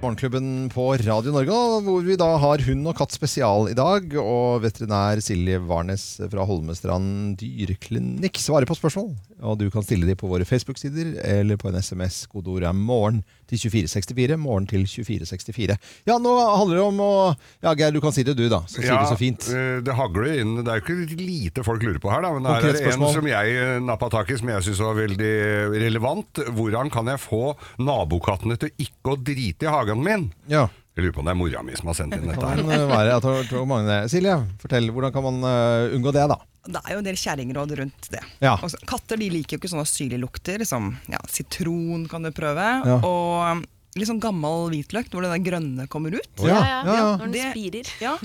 Speaker 1: Morgenklubben på Radio Norge, og hvor vi da har hund og katt spesial i dag. Og veterinær Silje Warnes fra Holmestrand dyreklinikk svarer på spørsmål. Og du kan stille de på våre Facebook-sider eller på en SMS. Kodeord er 'morgen' til 2464. Morgen til 2464. Ja, nå handler det om å Ja, Geir, du kan si det du, da. Så sier du så fint.
Speaker 2: eh, det hagler inn. Det er jo ikke lite folk lurer på her, da. Men her
Speaker 1: Konkret
Speaker 2: er det en
Speaker 1: spørsmål.
Speaker 2: som jeg eh, nappa tak i, som jeg syns var veldig relevant. Hvordan kan jeg få nabokattene til ikke å drite i hagen min?
Speaker 1: Ja.
Speaker 2: Jeg lurer på om det er mora mi som har sendt inn dette her.
Speaker 1: Kan være at det er mange det. Silje, fortell. Hvordan kan man eh, unngå det, da?
Speaker 11: Det er jo en del kjerringråd rundt det.
Speaker 1: Ja.
Speaker 11: Og så- katter de liker jo ikke sånne syrlige lukter, som ja, sitron kan du prøve,
Speaker 1: Ja.
Speaker 11: og litt sånn gammel hvitløk hvor det der grønne kommer ut.
Speaker 3: Ja, ja, ja.
Speaker 1: ja.
Speaker 3: Når den
Speaker 11: Det-
Speaker 3: spirer.
Speaker 11: Ja,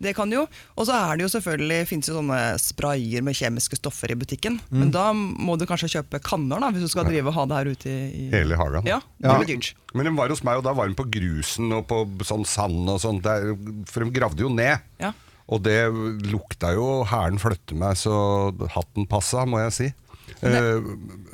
Speaker 11: det kan jo. Og så er det jo selvfølgelig, finnes jo sånne sprayer med kjemiske stoffer i butikken,
Speaker 1: Mm.
Speaker 11: men da må du kanskje kjøpe kanner da, hvis du skal drive og ha det her ute i...
Speaker 2: Hele hagen.
Speaker 11: Ja, det
Speaker 1: Ja.
Speaker 11: blir dyrt.
Speaker 2: Men den var hos meg, og da var den på grusen og på sånn sand og sånt. Der, for de gravde jo ned.
Speaker 11: Ja.
Speaker 2: Og det lukta jo hæren flytte meg, så hatten passa, må jeg si. Eh,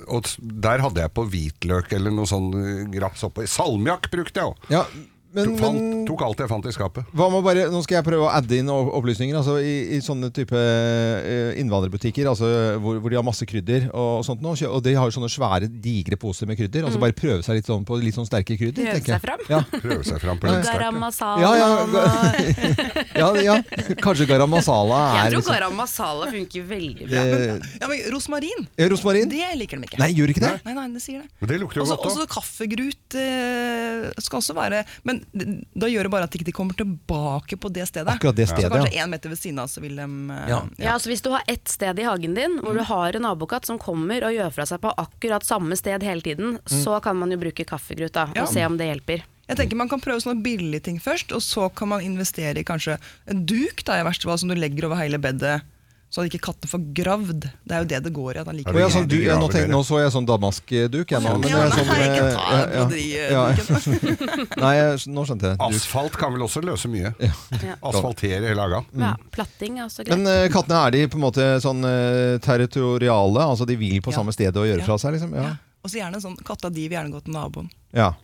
Speaker 2: og s- der hadde jeg på hvitløk eller noe sånn eh, graps oppå. Salmiakk brukte jeg òg.
Speaker 1: Ja,
Speaker 2: tok, fant, tok alt jeg fant i skapet.
Speaker 1: Hva med bare, nå skal jeg prøve å adde inn opp- opplysninger. Altså I, i sånne type eh, innvandrerbutikker altså hvor, hvor de har masse krydder, og, og sånt nå, kjø- og de har jo sånne svære, digre poser med krydder. Altså
Speaker 3: Mm.
Speaker 1: Bare prøve seg litt sånn på litt sånn sterke krydder.
Speaker 3: Prøve
Speaker 1: tenker jeg.
Speaker 3: seg fram.
Speaker 1: Ja.
Speaker 2: Prøve seg fram
Speaker 3: på litt sterkt, ja. Garam masala
Speaker 1: Ja, ja,
Speaker 3: og-
Speaker 1: ga- ja, ja. Kanskje garam masala
Speaker 3: Jeg
Speaker 1: er liksom-
Speaker 3: tror garam masala funker veldig bra.
Speaker 1: Det-
Speaker 11: Ja, men Rosmarin,
Speaker 1: Ja, eh, Rosmarin?
Speaker 11: det liker de ikke.
Speaker 1: Nei, gjør ikke det?
Speaker 11: Nei, nei, det sier det.
Speaker 2: Men det lukter jo
Speaker 11: Også,
Speaker 2: godt
Speaker 11: Altså, også
Speaker 2: òg.
Speaker 11: kaffegrut eh, skal også være Men d- da gjør det bare at de ikke kommer tilbake på det stedet.
Speaker 1: Akkurat det
Speaker 11: Så
Speaker 1: stedet,
Speaker 11: kanskje
Speaker 1: ja.
Speaker 11: én meter ved siden av, så vil de eh,
Speaker 1: Ja. Mm.
Speaker 3: Ja, altså Hvis du har ett sted i hagen din hvor du har en nabokatt som kommer og gjør fra seg på akkurat samme sted hele tiden,
Speaker 1: Mm.
Speaker 3: så kan man jo bruke kaffegrut da,
Speaker 11: Ja.
Speaker 3: og se om det hjelper.
Speaker 11: Jeg tenker Man kan prøve sånne billige ting først, og så kan man investere i kanskje en duk da, i verste fall, som du legger over hele bedet, så at ikke kattene får gravd. Det er jo det det går i. at han liker
Speaker 1: Å, ja, sånn, du, ja, nå, tenk, nå så jeg sånn damaskduk. Jeg, nå, men det
Speaker 11: Ja,
Speaker 1: er
Speaker 11: nei,
Speaker 1: sånn,
Speaker 11: ikke
Speaker 1: eh,
Speaker 11: ta
Speaker 1: ja, ja.
Speaker 11: broderiet,
Speaker 1: Ja. Nei, jeg, nå skjønte jeg. Duk.
Speaker 2: Asfalt kan vel også løse mye. Asfaltere hele hagen.
Speaker 3: Ja, Platting er også greit.
Speaker 1: Mm. Men eh, kattene, er de på en måte sånn eh, territoriale? Altså de vil på
Speaker 11: Ja.
Speaker 1: samme sted og gjøre
Speaker 11: Ja.
Speaker 1: fra seg, liksom? Ja.
Speaker 11: Og så gjerne sånn, Katta di vil gjerne gå til naboen.
Speaker 1: ja.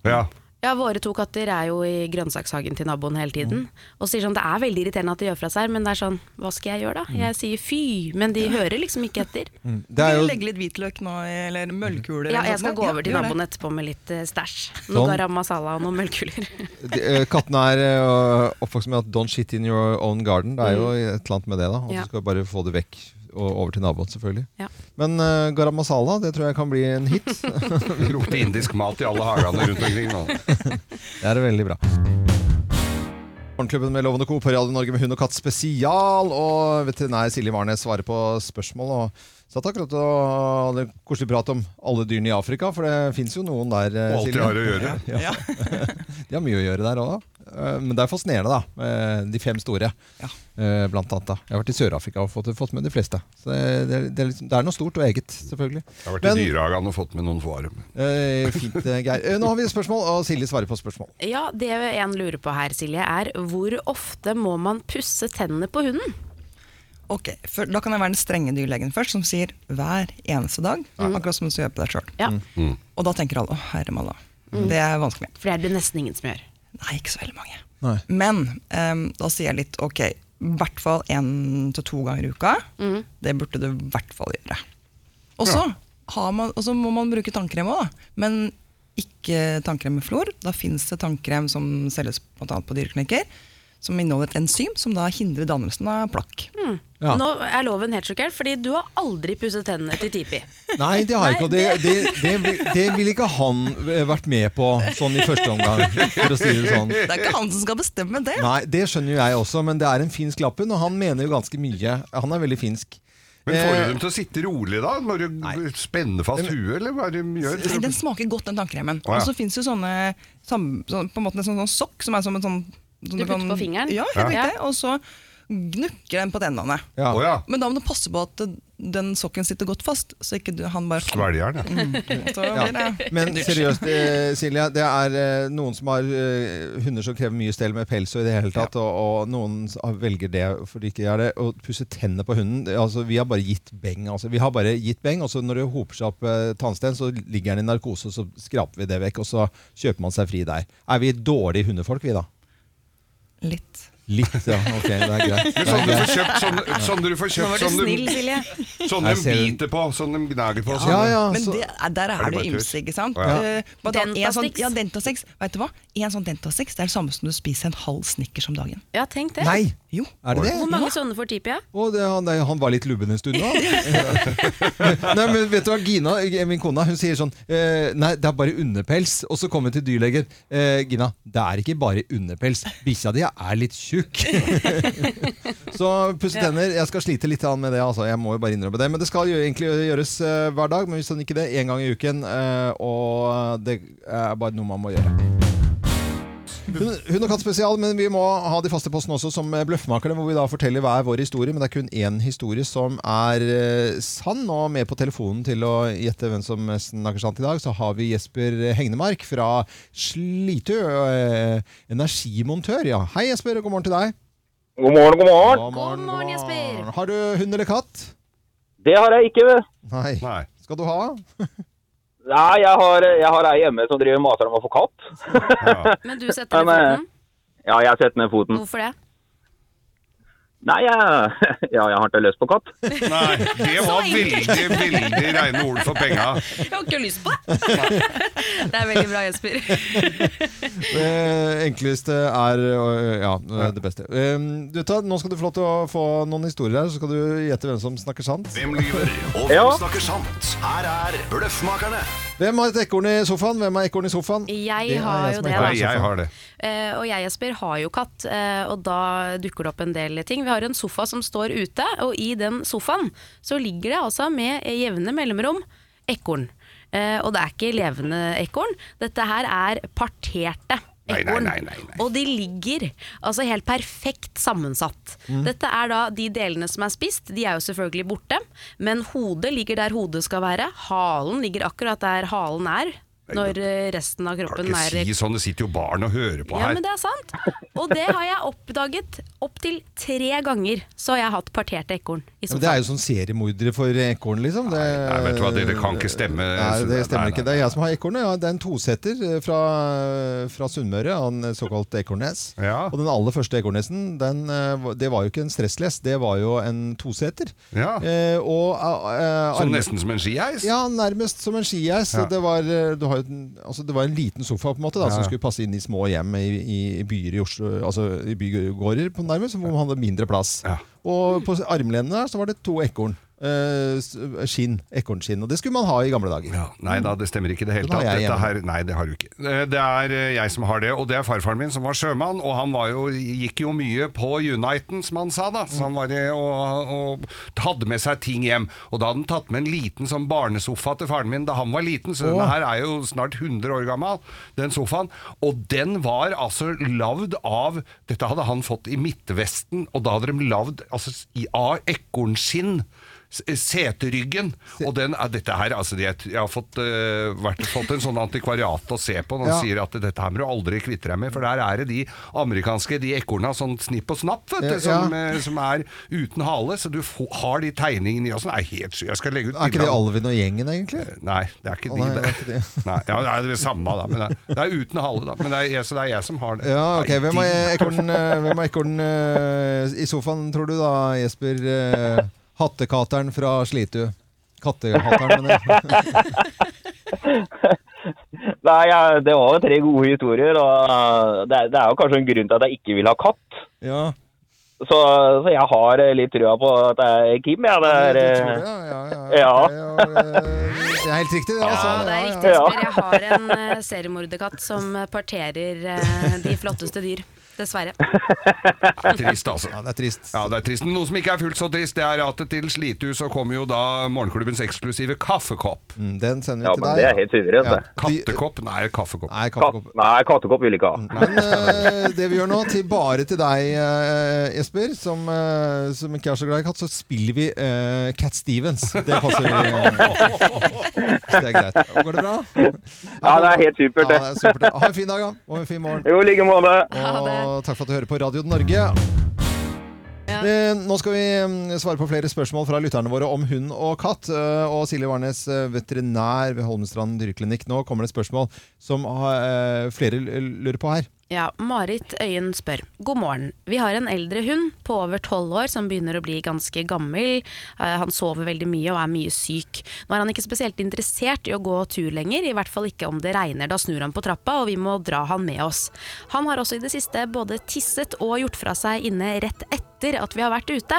Speaker 3: Ja, Våre to katter er jo i grønnsakshagen til naboen
Speaker 1: Mm.
Speaker 3: hele tiden. Og sier sånn, Det er veldig irriterende at de gjør fra seg, men det er sånn Hva skal jeg gjøre, da? Jeg sier fy, men de hører liksom ikke etter.
Speaker 1: Mm.
Speaker 11: Du
Speaker 1: Det er
Speaker 11: vil
Speaker 1: jo
Speaker 11: legge litt hvitløk nå, eller møllkuler?
Speaker 3: Ja,
Speaker 11: eller
Speaker 3: jeg
Speaker 11: sånt
Speaker 3: skal
Speaker 11: nå.
Speaker 3: gå over til
Speaker 11: gjør
Speaker 3: naboen
Speaker 11: det.
Speaker 3: etterpå med litt eh, stæsj.
Speaker 1: Sånn.
Speaker 3: Noe garam masala og noen møllkuler.
Speaker 1: de, eh, Kattene er eh, oppvokst med at 'don't shit in your own garden'. Det er jo et eller annet med det, da. Og
Speaker 3: Ja.
Speaker 1: så skal du bare få det vekk og over til naboen, selvfølgelig.
Speaker 3: Ja.
Speaker 1: Men eh, garam masala, det tror jeg kan bli en hit.
Speaker 2: Lukter indisk mat i alle hagene rundt omkring nå.
Speaker 1: Det er veldig bra. Morgenklubben med Lovende Co. på Radio Norge med hund og katt spesial. Og veterinær Silje Warnes svarer på spørsmål. Og satt akkurat og hadde en koselig prat om alle dyrene i Afrika, for det fins jo noen der. eh,
Speaker 2: Og alt de
Speaker 1: Silje.
Speaker 2: har å gjøre.
Speaker 1: Ja. De har mye å gjøre der òg, men det er fascinerende, da. med De fem store, eh, blant annet. Da. Jeg har vært i Sør-Afrika og fått, fått med de fleste. Så det, det, er- det, er liksom, det er noe stort og eget, selvfølgelig.
Speaker 2: Jeg har vært
Speaker 1: Men-
Speaker 2: i dyrehagen og fått med noen varm.
Speaker 1: Eh, fint, eh, Geir. Eh, Nå har vi et spørsmål, og Silje svarer på spørsmål.
Speaker 3: Ja, det en lurer på her, Silje, er hvor ofte må man pusse tennene på hunden?
Speaker 11: Ok, for Da kan jeg være den strenge dyrlegen først, som sier hver eneste dag. Akkurat som du gjør på deg sjøl.
Speaker 1: Mm.
Speaker 3: Ja.
Speaker 11: Og da tenker alle 'å, herre malla'.
Speaker 3: Mm.
Speaker 11: Det er vanskelig.
Speaker 3: For det er det nesten ingen som gjør.
Speaker 11: Nei, ikke så veldig mange. Men ehm, da sier jeg litt ok, i hvert fall én til to ganger i uka.
Speaker 3: Mm.
Speaker 11: Det burde du i hvert fall gjøre. Og så har man- og så må man bruke tannkrem òg, men ikke tannkrem med flor. Da fins det tannkrem som selges bl.a. på dyreklinikker, som inneholder et enzym som da hindrer dannelsen av plakk.
Speaker 3: Hmm.
Speaker 11: Ja.
Speaker 3: Nå er loven helt sjokkert, fordi du har aldri pusset tennene til Tipi.
Speaker 1: Nei, det har jeg ikke. Og det, det, det, vil- det ville ikke han eh, vært med på sånn i første omgang, for å si det sånn.
Speaker 11: Det er ikke han som skal bestemme det.
Speaker 1: Nei, Det skjønner jo jeg også, men det er en finsk lappen, og han mener jo ganske mye. Han er veldig finsk.
Speaker 2: Men får
Speaker 1: Eh,
Speaker 2: du dem til å sitte rolig da? Må du spenne fast huet, eller hva er det de
Speaker 11: Nei,
Speaker 2: gjør?
Speaker 11: Den smaker godt, den tannkremen.
Speaker 2: Å, ja.
Speaker 11: Og så fins jo sånne sam, sånn, På en måte en sånn, sånn sokk som er som en sånn som
Speaker 3: Du putter på fingeren?
Speaker 11: Ja,
Speaker 3: Ja.
Speaker 11: helt riktig. Og så gnukker den på tennene.
Speaker 1: Ja.
Speaker 2: Å, ja.
Speaker 11: Men da må du passe på at den sokken sitter godt fast, så ikke du, han bare
Speaker 2: Svelger den, ja.
Speaker 11: Mm. Så
Speaker 1: Ja.
Speaker 11: blir det-
Speaker 1: Men
Speaker 11: dyrt.
Speaker 1: seriøst, eh, Silje. Det er eh, noen som har eh, hunder som krever mye stell med pels og i det hele tatt, og, og noen s- har- velger det fordi ikke gjør det. Å pusse tennene på hunden det- altså, Vi har bare gitt beng. Altså. Vi har bare gitt beng, og så når det hoper seg opp eh, tannsten, så ligger den i narkose, og så skraper vi det vekk, og så kjøper man seg fri der. Er vi dårlige hundefolk, vi da?
Speaker 11: Litt.
Speaker 1: Litt, ja. Ok, det er greit.
Speaker 2: Men
Speaker 1: Det er
Speaker 2: sånn du får
Speaker 1: greit.
Speaker 2: kjøpt, sånn, sånn du får kjøpt sånn du- Sånn de
Speaker 1: Jeg ser den.
Speaker 2: biter på, sånn de gnager på.
Speaker 1: Ja,
Speaker 2: sånn de-
Speaker 11: men det, er- der er,
Speaker 2: Er det
Speaker 11: det
Speaker 2: bare
Speaker 11: jo
Speaker 2: tøys?
Speaker 11: ymse, ikke sant?
Speaker 2: Å, ja.
Speaker 11: Eh, bare ta en
Speaker 3: Dentastix.
Speaker 11: Sånn, ja, Dentastix. Vet du hva? En sånn Dentastix det er det samme som du spiser en halv Snickers om dagen.
Speaker 3: Ja, tenk det.
Speaker 1: Nei!
Speaker 11: Jo.
Speaker 1: Er det det?
Speaker 3: Hvor mange sånne får Tipi? Ja?
Speaker 1: Å, det, han, nei, han var litt lubben en stund da. nei, men vet du hva, Gina, eh, min kone, hun sier sånn eh, Nei, det er bare underpels. Og så kommer vi til dyrlegen. Eh, Gina, det er ikke bare underpels. Bikkja di er litt tjukk. så pusse
Speaker 12: Ja.
Speaker 1: tenner. Jeg skal slite litt med det, altså. Jeg må jo bare innrømme det. Men det skal jo egentlig gjøres eh, hver dag. Men hvis han ikke det, én gang i uken. eh, og det er bare noe man må gjøre. Hun, hun og katt spesial, men vi må ha de faste postene også som Bløffmakerne, hvor vi da forteller hver vår historie, men det er kun én historie som er eh, sann. Og med på telefonen til å gjette hvem som snakker sant i dag, så har vi Jesper Hegnemark fra Slitu. eh, Energimontør, ja. Hei, Jesper, og god morgen til deg.
Speaker 13: God morgen, god morgen.
Speaker 1: God morgen, Jesper. Har du hund eller katt?
Speaker 13: Det har jeg ikke.
Speaker 1: Nei. Skal du ha?
Speaker 13: Nei, jeg har, jeg har ei hjemme som driver og maser om å få katt.
Speaker 3: Men du setter ned
Speaker 13: Men, eh,
Speaker 3: foten.
Speaker 13: Ja, jeg setter ned foten.
Speaker 3: Hvorfor det?
Speaker 13: Nei, jeg, ja, jeg har ikke lyst på katt.
Speaker 2: Nei, det var veldig, veldig reine ord for penga.
Speaker 3: Jeg har ikke lyst på det! Det er veldig bra, Jesper.
Speaker 1: Det enkleste er øh, ja, øh, det beste. Ehm, Du, ta, nå skal du få lov til å få noen historier her, så skal du gjette hvem som snakker sant.
Speaker 8: Hvem lyver, og hvem snakker sant? Her er Bløffmakerne.
Speaker 1: Hvem har et ekorn i sofaen? Hvem har ekorn i sofaen?
Speaker 3: Jeg
Speaker 1: Det er
Speaker 3: har jo
Speaker 1: som
Speaker 3: det,
Speaker 1: ekorn i sofaen.
Speaker 3: da. Nei, jeg har Eh, og jeg, Jesper, har jo katt, eh, og da dukker det opp en del ting. Vi har en sofa som står ute, og i den sofaen så ligger det altså med jevne mellomrom ekorn. Eh, og det er ikke levende ekorn, dette her er parterte.
Speaker 2: Nei, nei,
Speaker 3: ekorn.
Speaker 2: nei, nei,
Speaker 3: Og de ligger altså helt perfekt sammensatt.
Speaker 2: Mm.
Speaker 3: Dette er da de delene som er spist, de er jo selvfølgelig borte. Men hodet ligger der hodet skal være. Halen ligger akkurat der halen er. Når eh, resten av kroppen
Speaker 2: Ikke
Speaker 3: er
Speaker 2: si sånn, det sitter jo barn og hører på
Speaker 3: ja,
Speaker 2: her.
Speaker 3: men det er sant. Og det har jeg oppdaget opptil tre ganger. Så har jeg hatt parterte ekorn i
Speaker 1: Men det er
Speaker 3: sofaen.
Speaker 1: jo sånn seriemordere for ekorn, liksom. Det,
Speaker 2: Nei, vet du hva, det, det kan ikke stemme.
Speaker 1: Nei, det stemmer
Speaker 2: Nei, nei,
Speaker 1: ikke. Det er jeg som har ekornet. Ja, det er en tosetter eh, fra, fra Sunnmøre, han eh, såkalt ekornes. Og den aller første ekornesen, den, eh, var- det var jo ikke en stressless, det var jo en tosetter. Eh, og, eh,
Speaker 2: Sånn
Speaker 1: arme-
Speaker 2: nesten som en skiheis?
Speaker 1: Ja, nærmest som en skiheis.
Speaker 2: Ja.
Speaker 1: Det, var, eh, du har jo den- altså, det var en liten sofa på en måte da,
Speaker 2: Ja,
Speaker 1: som
Speaker 2: ja.
Speaker 1: skulle passe inn i små hjem i, i- i byer i Oslo, altså i bygårder på nærmest, hvor man hadde mindre plass. Og på armlenene der så var det to ekorn. Eh, s- skinn. Ekornskinn. Og det skulle man ha i gamle dager.
Speaker 2: Nei da, det stemmer ikke i det hele
Speaker 1: Den har
Speaker 2: tatt.
Speaker 1: jeg
Speaker 2: Dette
Speaker 1: hjemme.
Speaker 2: her, nei, det har du ikke. Eh, Det er eh, jeg som har det, og det er farfaren min som var sjømann, og han var jo, gikk jo mye på Uniten, som han sa da. Så han var det, og, og hadde med seg ting hjem. Og da hadde han tatt med en liten sånn barnesofa til faren min da han var liten, så denne
Speaker 12: Åh.
Speaker 2: her er jo snart 100 år gammel, den sofaen. Og den var altså lavd av, dette hadde han fått i Midtvesten, og da hadde de lavd altså, i, av ekornskinn. s- eh, Seteryggen. Og den er dette her altså, jeg, jeg har fått, eh, vært, fått en sånn antikvariat å se på. Når han
Speaker 12: Ja.
Speaker 2: sier at dette her må du aldri kvitte deg med, for der er det de amerikanske de ekorna sånn snipp og snapp, vet du,
Speaker 1: Ja.
Speaker 2: som, eh, som er uten hale. Så du få, har de tegningene i oss. Det er helt sykt. Jeg skal legge ut
Speaker 1: Er ikke det
Speaker 2: bilder av-
Speaker 1: Alvin og gjengen, egentlig?
Speaker 2: Nei, det er ikke
Speaker 1: Å,
Speaker 2: de.
Speaker 1: nei, det er
Speaker 2: det. Nei, ja, det er det samme, da. Men det er, det er uten hale, da. Men det er, jeg- så det er jeg som har det.
Speaker 1: Ja, ok.
Speaker 2: Nei,
Speaker 1: Hvem har
Speaker 2: de-
Speaker 1: ekorn, eh, hvem har ekorn eh, i sofaen, tror du da, Jesper? Eh, Hattekateren fra Slitu. Kattehateren, mener jeg.
Speaker 13: Nei, jeg, det var jo tre gode historier, og det, er- det er jo kanskje en grunn til at jeg ikke vil ha katt.
Speaker 1: Ja.
Speaker 13: Så, så jeg har eh, litt trua på at det er Kim, jeg. Det er, eh, ja.
Speaker 1: eh, Det er helt riktig, det. Altså.
Speaker 3: Ja, det er riktig, Jesper. Jeg har en eh, seriemorderkatt som eh, parterer eh, de flotteste dyr. Dessverre.
Speaker 2: Trist, altså.
Speaker 1: Ja, det er trist.
Speaker 2: Ja, det er trist. Men Noe som ikke er fullt så trist, det er at til Slitehus så kommer jo da morgenklubbens eksklusive kaffekopp.
Speaker 1: Mm, Den sender
Speaker 2: Ja,
Speaker 1: vi til
Speaker 2: men
Speaker 1: deg.
Speaker 2: det er helt
Speaker 13: suverent, det.
Speaker 2: Kattekopp? Nei, kaffekopp.
Speaker 1: Nei, kaffekopp.
Speaker 13: Nei, kattekopp vil ikke ha.
Speaker 1: Eh, det vi gjør nå, til bare til deg, eh, Jesper, som, eh, som ikke er så glad i katt, så spiller vi eh, Cat Stevens. Det passer. eh, det er greit. Går det bra?
Speaker 13: Ja, det er helt supert, det.
Speaker 1: Ja, det er supert, det. Ha en fin dag, da. Og en fin morgen.
Speaker 13: Jo, i like måte.
Speaker 1: Og takk for at du hører på Radio Norge. Eh, Nå skal vi mm, svare på flere spørsmål fra lytterne våre om hund og katt. Eh, Og Silje Warnes, eh, veterinær ved Holmestrand dyreklinikk. Nå kommer det et spørsmål som eh, flere l- lurer på her.
Speaker 3: Ja, Marit Øyen spør. God morgen. Vi har en eldre hund på over tolv år som begynner å bli ganske gammel. Eh, Han sover veldig mye og er mye syk. Nå er han ikke spesielt interessert i å gå tur lenger, i hvert fall ikke om det regner. Da snur han på trappa, og vi må dra han med oss. Han har også i det siste både tisset og gjort fra seg inne rett etter at vi har vært ute.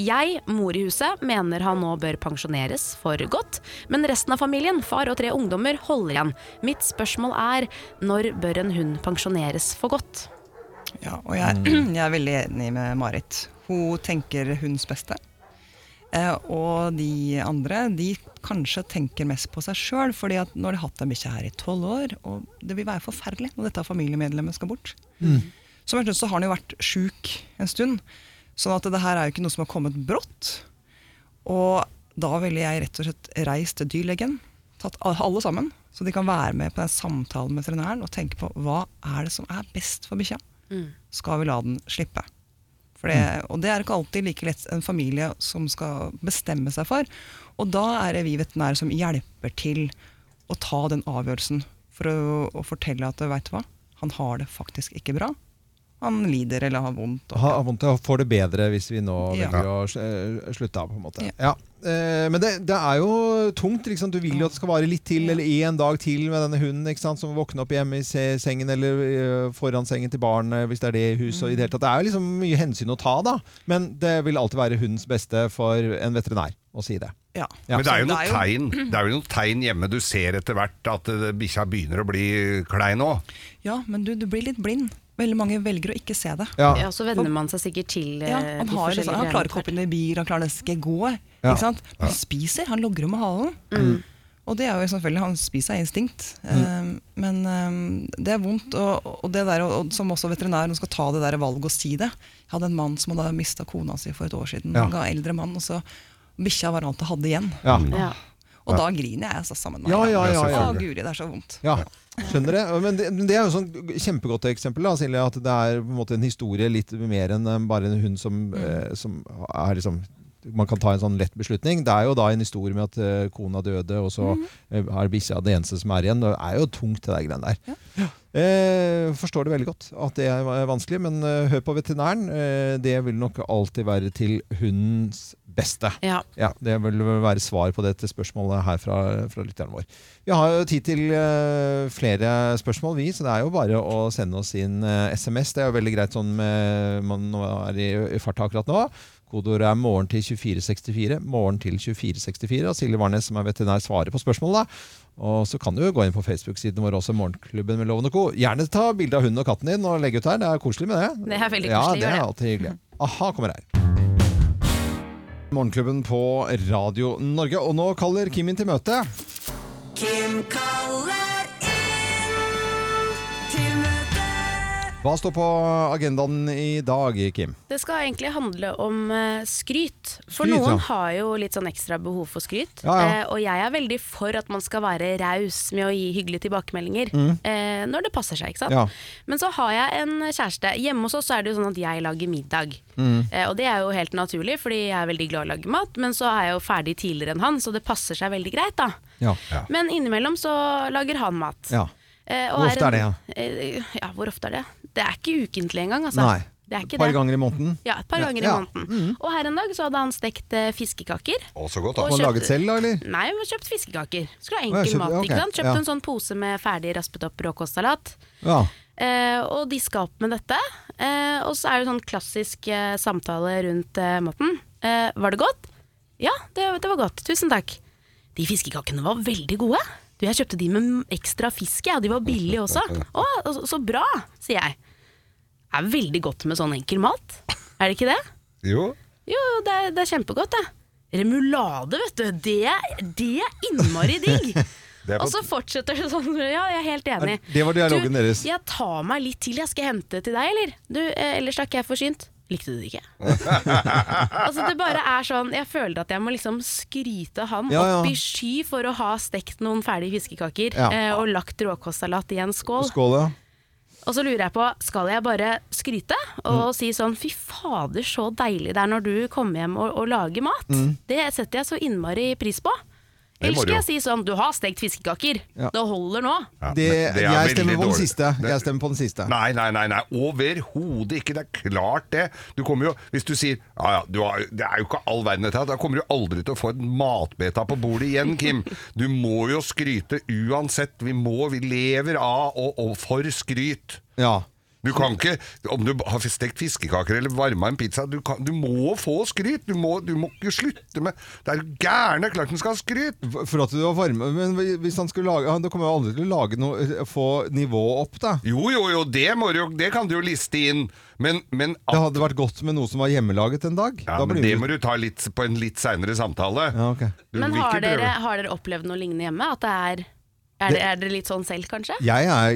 Speaker 3: Jeg, mor i huset, mener han nå bør pensjoneres for godt, men resten av familien, far og tre ungdommer, holder igjen. Mitt spørsmål er når bør en hund pensjoneres for godt?
Speaker 11: Ja, og jeg, jeg er veldig enig med Marit. Hun tenker hunds beste. Eh, og de andre de kanskje tenker mest på seg sjøl. fordi at nå har de hatt en bikkje her i tolv år, og det vil være forferdelig når dette familiemedlemmet skal bort. Som en stund så har han jo vært sjuk en stund, sånn at det her er jo ikke noe som har kommet brått. Og da ville jeg rett og slett reist til dyrlegen, tatt a- alle sammen, så de kan være med på den samtalen med veterinæren og tenke på hva er det som er best for bikkja. Skal vi la den slippe? For det, og det er ikke alltid like lett en familie som skal bestemme seg for. Og da er det vi veterinære som hjelper til å ta den avgjørelsen for å, å fortelle at vet du hva, han har det faktisk ikke bra. Han lider eller har vondt.
Speaker 1: Ha, ha vondt og får det bedre hvis vi nå
Speaker 11: Ja.
Speaker 1: velger å sl- eh, slutte av, på en måte. Ja. Eh, men det, det er jo tungt. Ikke sant? Du vil jo at det skal vare litt til, eller en dag til med denne hunden ikke sant? som våkner opp hjemme i se- sengen eller eh, foran sengen til barnet, hvis det er det i huset. og i Det hele tatt. Det er jo liksom mye hensyn å ta, da. Men det vil alltid være hundens beste for en veterinær å si det.
Speaker 11: Ja.
Speaker 2: Men det er jo noen tegn Det er jo noen tegn hjemme du ser etter hvert at eh, bikkja begynner å bli klein òg.
Speaker 11: Ja, men du, du blir litt blind. Veldig mange velger å ikke se det.
Speaker 2: Ja.
Speaker 3: Ja, så venner man seg sikkert til eh,
Speaker 11: Ja, han,
Speaker 3: de
Speaker 11: har,
Speaker 3: forskjellige
Speaker 11: liksom, han
Speaker 3: greiene.
Speaker 11: klarer ikke å hoppe inn i bil, han klarer nesten ikke gå.
Speaker 3: Ja.
Speaker 11: Ikke sant?
Speaker 3: Ja.
Speaker 11: Han spiser, han logrer med halen.
Speaker 3: Mm.
Speaker 11: Og det er jo selvfølgelig, han spiser er instinkt.
Speaker 1: Mm.
Speaker 11: Eh, men eh, det er vondt, og, og det der, og, og som også veterinær, hun skal ta det der valget og si det. Jeg hadde en mann som hadde mista kona si for et år siden.
Speaker 1: Ja.
Speaker 11: Han ga eldre mann, og så bikkja var alt han hadde igjen.
Speaker 1: Ja. Ja.
Speaker 11: Og da griner jeg altså, sammen med
Speaker 1: Ja,
Speaker 11: ham.
Speaker 1: ja, ja, ja.
Speaker 11: Å, guri, det er så vondt.
Speaker 1: Ja, skjønner det. Men det, men det er jo sånn kjempegodt eksempel, da, Silje, at det er på en måte en historie litt mer enn eh, bare en hund som, eh, som er liksom man kan ta en sånn lett beslutning. Det er jo da en historie med at eh, kona døde, og så eh, er bikkja det eneste som er igjen. Det er jo tungt, det der greiene der. Eh, forstår det veldig godt at det er eh, vanskelig, men eh, hør på veterinæren. Eh, det vil nok alltid være til hundens beste.
Speaker 3: Ja.
Speaker 1: Det vil være svar på dette spørsmålet her fra, fra lytteren vår. Vi har jo tid til eh, flere spørsmål, vi, så det er jo bare å sende oss inn eh, SMS. Det er jo veldig greit sånn med, man nå er i, i farta akkurat nå. Kodeordet er 'morgen til 2464'. Morgen til 2464, og Silje Warnes, som er veterinær, svarer på spørsmålet. da. Og så kan du jo gå inn på Facebook-siden vår også, Morgenklubben med Loven og Co. Gjerne ta bilde av hunden og katten din og legge ut her. Det er koselig med det.
Speaker 3: Det er veldig
Speaker 1: ja,
Speaker 3: koselig,
Speaker 1: det
Speaker 3: gjør
Speaker 1: er
Speaker 3: det.
Speaker 1: alltid hyggelig. Aha kommer her. Morgenklubben på Radio Norge. Og nå kaller Kim inn til møte.
Speaker 9: Kim kaller inn til møte.
Speaker 1: Hva står på agendaen i dag, Kim?
Speaker 3: Det skal egentlig handle om eh, skryt. For
Speaker 1: Skryt,
Speaker 3: noen
Speaker 1: ja.
Speaker 3: har jo litt sånn ekstra behov for skryt.
Speaker 1: Ja, ja.
Speaker 3: Eh, og jeg er veldig for at man skal være raus med å gi hyggelige tilbakemeldinger.
Speaker 4: Mm.
Speaker 3: Eh, når det passer seg, ikke sant.
Speaker 4: Ja.
Speaker 3: Men så har jeg en kjæreste. Hjemme hos oss så er det jo sånn at jeg lager middag.
Speaker 4: Mm.
Speaker 3: Eh, og det er jo helt naturlig, fordi jeg er veldig glad i å lage mat. Men så er jeg jo ferdig tidligere enn han, så det passer seg veldig greit, da.
Speaker 1: Ja.
Speaker 3: Men innimellom så lager han mat.
Speaker 1: Ja.
Speaker 3: Eh,
Speaker 1: Hvor ofte er det,
Speaker 3: en- eh, Ja, hvor ofte er det? Det er ikke ukentlig engang, altså.
Speaker 1: Nei.
Speaker 3: Det er ikke
Speaker 1: Et par
Speaker 3: det.
Speaker 1: ganger i måneden? Mm.
Speaker 3: Ja, et par ganger i måneden. Og her en dag så hadde han stekt eh, fiskekaker.
Speaker 2: Å, så godt,
Speaker 1: da. Og laget selv, da, eller?
Speaker 3: Nei, vi har kjøpt fiskekaker. Skulle ha
Speaker 1: Å,
Speaker 3: enkel
Speaker 1: jeg kjøpte-
Speaker 3: mat,
Speaker 1: ok,
Speaker 3: ikke sant. Kjøpte
Speaker 1: ja.
Speaker 3: en sånn pose med ferdig raspet opp råkostsalat.
Speaker 1: Ja.
Speaker 3: Eh, og diska opp med dette. Eh, og så er det sånn klassisk eh, samtale rundt eh, maten. Eh, var det godt? Ja, det, det var godt. Tusen takk. De fiskekakene var veldig gode. Du, jeg kjøpte de med ekstra fisk, jeg, og de var billige også. Å, så- så bra, sier jeg. Det er veldig godt med sånn enkel mat. Er det ikke det?
Speaker 2: Jo.
Speaker 3: Jo, jo, det er, det er kjempegodt, det. Remulade, vet du. Det er, det er innmari digg.
Speaker 1: Det er på-
Speaker 3: Og så fortsetter det sånn. Ja, jeg er helt enig.
Speaker 1: Er- det var dialogen
Speaker 3: du,
Speaker 1: deres.
Speaker 3: Jeg tar meg litt til. Jeg skal hente til deg, eller? Du, eh, ellers stakk jeg forsynt. Likte du det ikke? Altså Det bare er sånn Jeg føler at jeg må liksom skryte han
Speaker 1: Ja, ja.
Speaker 3: opp i sky for å ha stekt noen ferdige fiskekaker
Speaker 1: Ja.
Speaker 3: eh, og lagt råkostsalat i en skål.
Speaker 1: Skål, ja.
Speaker 3: Og så lurer jeg på, skal jeg bare skryte
Speaker 1: Mm.
Speaker 3: og si sånn fy fader så deilig det er når du kommer hjem og, og lager mat.
Speaker 1: Mm.
Speaker 3: Det setter jeg så innmari pris på.
Speaker 1: Det
Speaker 3: Eller
Speaker 1: må du
Speaker 3: skal
Speaker 1: jo.
Speaker 3: jeg si sånn du har stekt fiskekaker,
Speaker 1: Ja.
Speaker 3: det holder nå.
Speaker 1: Det,
Speaker 2: men det er
Speaker 1: jeg
Speaker 2: veldig
Speaker 1: stemmer på den
Speaker 2: dårlig.
Speaker 1: siste. Jeg stemmer på den siste.
Speaker 2: Nei, nei, nei, nei. overhodet ikke. Det er klart det. Du kommer jo, Hvis du sier ja, ja, du har, det er jo ikke all verden dette her, da kommer du aldri til å få en matbeta på bordet igjen, Kim. Du må jo skryte uansett. Vi må, vi lever av og, og for skryt.
Speaker 1: Ja.
Speaker 2: Du kan ikke, Om du har stekt fiskekaker eller varma en pizza Du, kan, du må få skryt! Du må, du må ikke slutte med Det er jo gærne klart den skal ha skryt!
Speaker 1: For at du var varme Men hvis han skulle lage han- Da kommer han aldri til å lage noe, eh, få nivået opp, da.
Speaker 2: Jo, jo, jo, det, må du, jo- det kan du jo liste inn, men, men
Speaker 1: Det hadde vært godt med noe som var hjemmelaget en dag.
Speaker 2: Ja,
Speaker 1: Da
Speaker 2: men det
Speaker 1: blir vi-
Speaker 2: må du ta litt, på en litt seinere samtale.
Speaker 1: Ja, ok.
Speaker 2: Du
Speaker 3: Men
Speaker 2: vil
Speaker 3: har
Speaker 2: ikke
Speaker 3: dere,
Speaker 2: prøve.
Speaker 3: har dere opplevd noe lignende hjemme? At det er Er dere er dere litt sånn selv, kanskje?
Speaker 1: Jeg er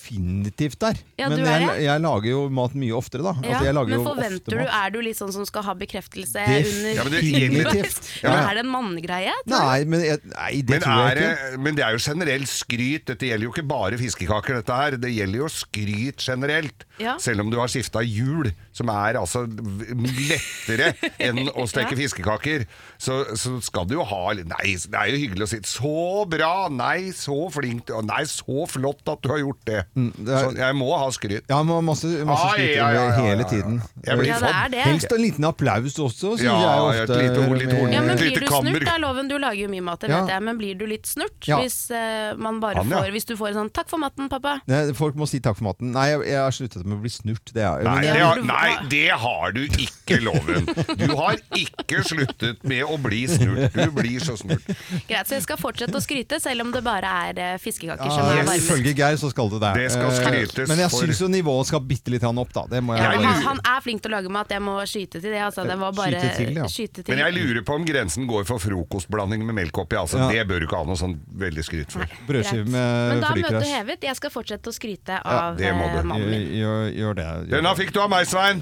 Speaker 1: definitivt der.
Speaker 3: Ja,
Speaker 1: men
Speaker 3: du er
Speaker 1: jeg,
Speaker 3: det.
Speaker 1: jeg lager jo mat mye oftere, da.
Speaker 3: Ja,
Speaker 1: altså, jeg lager
Speaker 3: men
Speaker 1: jo ofte
Speaker 3: forventer du,
Speaker 1: mat.
Speaker 3: er du litt sånn som skal ha bekreftelse under
Speaker 2: Ja, men det- Definitivt.
Speaker 3: Men
Speaker 2: Ja.
Speaker 3: er det en manngreie? tror du?
Speaker 1: Nei, men, jeg, nei, det
Speaker 2: men,
Speaker 1: tror jeg
Speaker 2: er det- men det er jo generelt skryt. Dette gjelder jo ikke bare fiskekaker, dette her. Det gjelder jo skryt generelt.
Speaker 3: Ja.
Speaker 2: Selv om du har skifta hjul, som er altså v- lettere enn å steke fiskekaker, så, så skal du jo ha litt- Nei, det er jo hyggelig å si 'så bra', 'nei, så flink', du- 'nei, så flott at du har gjort det'.
Speaker 1: Mm,
Speaker 2: Så jeg må ha skryt.
Speaker 1: Ja, man har masse, masse
Speaker 2: Ah,
Speaker 1: skryt
Speaker 2: ja, ja, ja, ja,
Speaker 1: hele
Speaker 2: ja.
Speaker 1: tiden.
Speaker 2: Jeg blir Ja, det er fått. det.
Speaker 1: Helst en liten applaus også, synes
Speaker 2: Ja,
Speaker 1: jeg
Speaker 2: ja, et
Speaker 1: ofte.
Speaker 2: lite ord, litt ord.
Speaker 1: med-
Speaker 3: Ja, men
Speaker 2: Et
Speaker 3: blir
Speaker 2: lite
Speaker 3: du
Speaker 2: kammer.
Speaker 3: snurt, da, Loven? Du lager jo mye mat, det
Speaker 1: Ja.
Speaker 3: vet jeg, men blir du litt snurt
Speaker 1: Ja.
Speaker 3: hvis, eh, man bare
Speaker 1: Han, ja.
Speaker 3: får, hvis du får sånn 'takk for maten, pappa'?
Speaker 1: Nei, Folk må si takk for maten. Nei, jeg, jeg har sluttet med å bli snurt. Det er,
Speaker 2: Nei
Speaker 1: men jeg-
Speaker 2: det, har, nei, det har du ikke, Loven. Du har ikke sluttet med å bli snurt. Du blir så snurt.
Speaker 3: Greit, så jeg skal fortsette å skryte, selv om det bare er eh, fiskekaker
Speaker 1: Ja,
Speaker 2: Ah,
Speaker 3: som er
Speaker 1: yes.
Speaker 3: varme.
Speaker 1: Ifølge Geir så skal det det.
Speaker 2: Det skal
Speaker 1: Eh,
Speaker 2: skrytes
Speaker 1: Men jeg
Speaker 2: for-
Speaker 1: syns jo nivået skal bitte litt opp, da. Det må jeg
Speaker 3: Ja,
Speaker 1: bare-
Speaker 3: han, han er flink til å lage mat, jeg må skyte til det. Altså, det var bare
Speaker 2: Skyte til, ja.
Speaker 3: skyte til.
Speaker 2: Men jeg lurer på om grensen går for frokostblanding med melk oppi. Altså, Det bør du ikke ha noe sånn veldig skryt for.
Speaker 1: Brødskive
Speaker 3: Men
Speaker 1: med
Speaker 3: da er møtet
Speaker 1: flykrasj.
Speaker 3: hevet. Jeg skal fortsette å skryte
Speaker 2: Ja,
Speaker 3: av
Speaker 2: det må
Speaker 3: eh,
Speaker 2: du.
Speaker 3: mannen min.
Speaker 1: Gjør, gjør det.
Speaker 2: Denne fikk du av meg, Svein!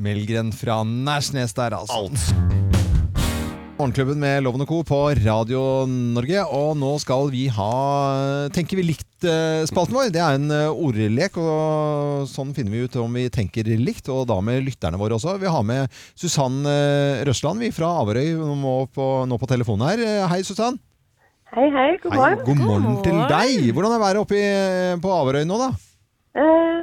Speaker 1: Melgren fra Nærsnes der, altså. Morgenklubben med Loven og Co. på Radio Norge. Og nå skal vi ha Tenker vi likt-spalten vår. Det er en eh, ordlek, og sånn finner vi ut om vi tenker likt. Og da med lytterne våre også. Vi har med Susann eh, Røsland vi fra Averøy hun må på, nå på telefonen her. Eh, Hei, Susann.
Speaker 12: Hei, hei. God
Speaker 1: Hei,
Speaker 12: morgen.
Speaker 1: God morgen til deg. Hvordan er været oppe i- på Averøy nå, da?
Speaker 12: Eh, nå er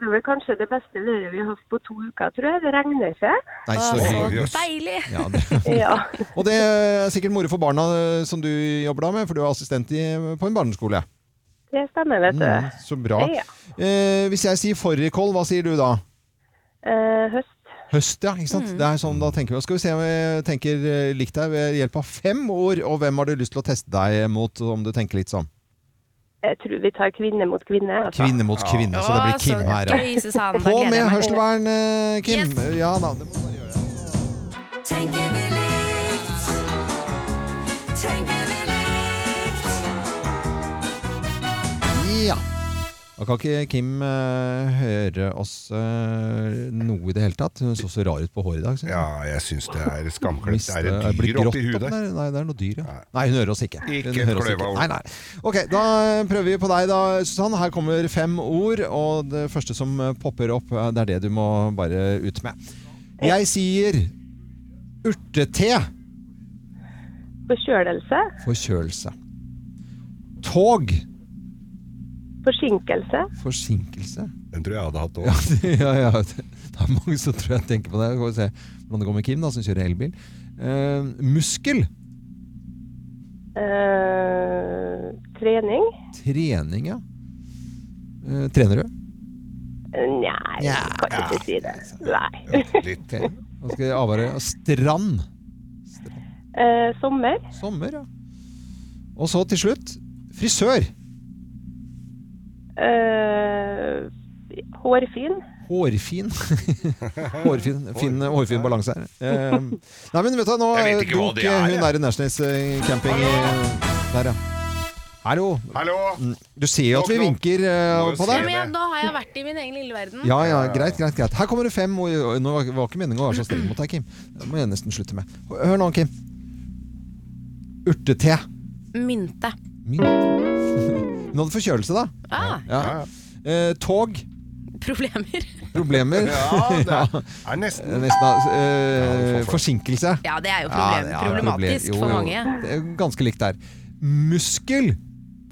Speaker 12: det vel kanskje det beste været vi har hatt på to uker, tror jeg. Det regner ikke.
Speaker 1: Nei, så
Speaker 12: Å,
Speaker 1: hyggelig.
Speaker 3: deilig!
Speaker 1: Ja, det.
Speaker 12: Ja.
Speaker 1: Og det er sikkert moro for barna eh, som du jobber da med, for du er assistent i, på en barneskole.
Speaker 12: Det stemmer, vet du.
Speaker 1: Mm, så bra.
Speaker 12: Ja.
Speaker 1: Eh, hvis jeg sier fårikål, hva sier du da?
Speaker 12: Eh, høst.
Speaker 1: Høst, ja. ikke sant? Det er sånn, da tenker vi, Skal vi se om jeg tenker eh, likt deg ved hjelp av fem ord, og hvem har du lyst til å teste deg mot, om du tenker litt sånn?
Speaker 12: Jeg tror vi tar kvinne mot kvinne. Altså.
Speaker 1: Kvinne mot kvinne, så det blir Kim her. ja. På med hørselvern, eh, Kim. Ja da, det må du bare gjøre.
Speaker 9: Tenker vi likt? Tenker vi
Speaker 1: Ja. Da kan ikke Kim eh, høre oss eh, noe i det hele tatt. Hun så så rar ut på håret i dag.
Speaker 2: Ja, jeg syns det er skamklipt.
Speaker 1: Miste-
Speaker 2: Er det
Speaker 1: blir
Speaker 2: dyr oppi
Speaker 1: grått
Speaker 2: huet
Speaker 1: opp
Speaker 2: der?
Speaker 1: der? Nei, det er noe dyr, ja. Nei, hun hører oss ikke.
Speaker 2: Ikke
Speaker 1: hun hører oss
Speaker 2: kløyva ord.
Speaker 1: Nei, nei. Ok, da eh, prøver vi på deg da, Susann. Her kommer fem ord, og det første som popper opp, eh, det er det du må bare ut med. Jeg sier urtete
Speaker 12: Forkjølelse.
Speaker 1: forkjølelse. Tog
Speaker 12: Forsinkelse.
Speaker 1: forsinkelse.
Speaker 2: Den tror jeg hadde hatt
Speaker 1: Ja,
Speaker 2: òg.
Speaker 1: det- ja, ja. Det er mange som tror jeg tenker på det. Vi får se hvordan det går med Kim, da, som kjører elbil. Eh, muskel.
Speaker 12: Eh, trening.
Speaker 1: Trening, ja. Eh, trener du?
Speaker 12: Eh, Nei,
Speaker 1: Ja.
Speaker 12: kan ikke si det. Nei.
Speaker 1: Litt. Hva skal jeg avvare? Strand.
Speaker 12: Eh, sommer.
Speaker 1: Sommer, ja. Og så til slutt frisør.
Speaker 12: Eh, hårfin.
Speaker 1: Hårfin. hårfin, fin, hårfin balanse her. Eh, nei, men vet du, nå
Speaker 2: Jeg vet ikke hva
Speaker 1: dunk,
Speaker 2: det er,
Speaker 1: Hun
Speaker 2: jeg.
Speaker 1: er i Nærsnes eh, camping eh, der, ja. Hallo. Mm, Du ser jo at vi vinker eh,
Speaker 2: Må jo
Speaker 1: på
Speaker 2: se
Speaker 1: deg.
Speaker 3: Men jeg, nå har jeg vært i min egen lille verden.
Speaker 1: Ja, ja, greit, greit, greit. Her kommer det fem ord. Oi, Nå var var ikke meningen å være så streng mot deg, Kim. Det må jeg nesten slutte med. Hør- Hør nå, Kim. Urtete.
Speaker 3: Mynte.
Speaker 1: Min. Hun hadde forkjølelse, da.
Speaker 3: Ah,
Speaker 1: Ja. Eh, tog.
Speaker 3: problemer.
Speaker 1: Problemer.
Speaker 3: Ja, det er-
Speaker 2: er nesten.
Speaker 1: eh, forsinkelse.
Speaker 3: Ja, det er jo
Speaker 1: Ja,
Speaker 3: problem,
Speaker 1: det er problem.
Speaker 3: problematisk
Speaker 1: Jo,
Speaker 3: for
Speaker 1: jo.
Speaker 3: mange.
Speaker 1: Det er ganske likt der. Muskel.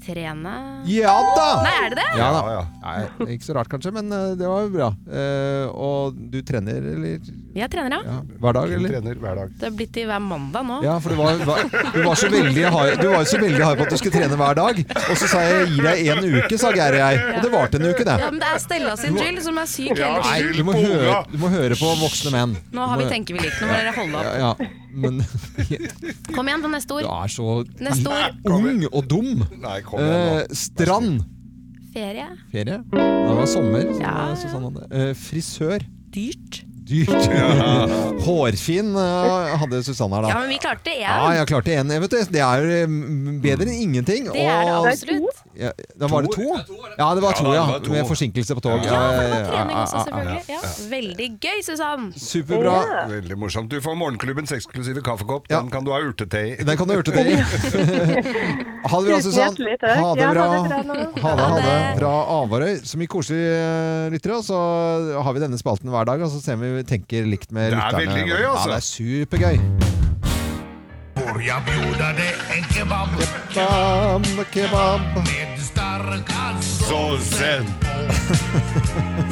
Speaker 3: Trene
Speaker 1: Ja da!
Speaker 3: Nei, er det det?
Speaker 1: Ja, da. Nei, ikke så rart kanskje, men eh, det var jo bra. Eh, og du trener, eller?
Speaker 3: Jeg trener, ja.
Speaker 1: Ja, hver dag, eller?
Speaker 2: trener hver dag.
Speaker 3: Det har blitt til hver mandag nå.
Speaker 1: Ja, for du var, var, du var så veldig hard, du var jo så veldig hard på at du skulle trene hver dag. Og så sa jeg 'gi deg én uke', sa Geir og jeg. Og det varte en uke, det.
Speaker 3: Ja, men det er Stella sin skyld som er syk hele
Speaker 1: Nei,
Speaker 3: tiden.
Speaker 1: du må høre, du må høre på voksne menn.
Speaker 3: Nå har vi tenker vi likt. Nå må dere holde opp.
Speaker 1: Ja, ja. Men
Speaker 3: Kom igjen, da, neste
Speaker 1: du
Speaker 3: ord.
Speaker 1: er så
Speaker 3: Neste ord.
Speaker 1: ung og dum. Eh, strand.
Speaker 3: Ferie.
Speaker 1: Ferie. Det var sommer. Så det var Susanne hadde. Eh, frisør.
Speaker 3: Dyrt.
Speaker 1: Dyrt. Hårfin eh, hadde Susanne her, da.
Speaker 3: Ja, men vi klarte det,
Speaker 1: Ja, jeg klarte én. Vet du, det er jo mm, bedre enn ingenting.
Speaker 3: Det er det altså.
Speaker 1: og-
Speaker 3: absolutt.
Speaker 1: Ja, da var det to? Ja, det var to, ja. Med forsinkelse på tog.
Speaker 2: Ja, for det var
Speaker 3: Trening også, selvfølgelig.
Speaker 2: Ja,
Speaker 3: Ja,
Speaker 2: ja,
Speaker 3: veldig gøy, Susann!
Speaker 1: Eh.
Speaker 2: Veldig morsomt. Du får Morgenklubbens eksklusive kaffekopp. Den kan du ha urtete i.
Speaker 1: Den kan du ha urtete i. Ha det bra,
Speaker 2: Tusen
Speaker 1: Susann.
Speaker 2: hjertelig takk.
Speaker 1: Ha det
Speaker 2: Ja,
Speaker 1: bra.
Speaker 2: ha det bra nå.
Speaker 1: Ha det, ha det. Fra Avarøy. Så mye koselige eh, lyttere. Og så har vi denne spalten hver dag, og så ser vi om vi tenker likt med
Speaker 2: Det er
Speaker 1: lytterne.
Speaker 2: veldig gøy, altså.
Speaker 1: Ja, det er supergøy. Kebab, kebab.
Speaker 9: Med sterk
Speaker 2: Såsen.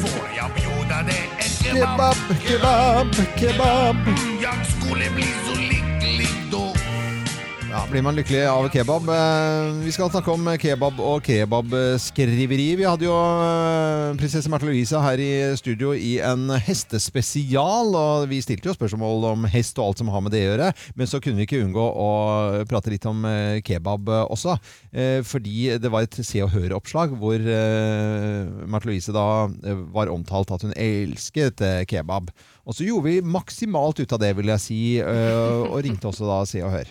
Speaker 9: Får jeg bjuda deg en
Speaker 1: Kebab, kebab, kebab.
Speaker 9: Jeg skulle bli så lykkelig da.
Speaker 1: Ja, Blir man lykkelig av kebab? Eh, Vi skal snakke om kebab og kebabskriveri. Vi hadde jo eh, prinsesse Märtha Louise her i studio i en hestespesial, og vi stilte jo spørsmål om hest og alt som har med det å gjøre, men så kunne vi ikke unngå å prate litt om eh, kebab eh, også. Eh, Fordi det var et Se og Hør-oppslag hvor eh, Märtha Louise da eh, var omtalt at hun elsket eh, kebab. Og så gjorde vi maksimalt ut av det, vil jeg si, eh, og ringte også da Se og Hør.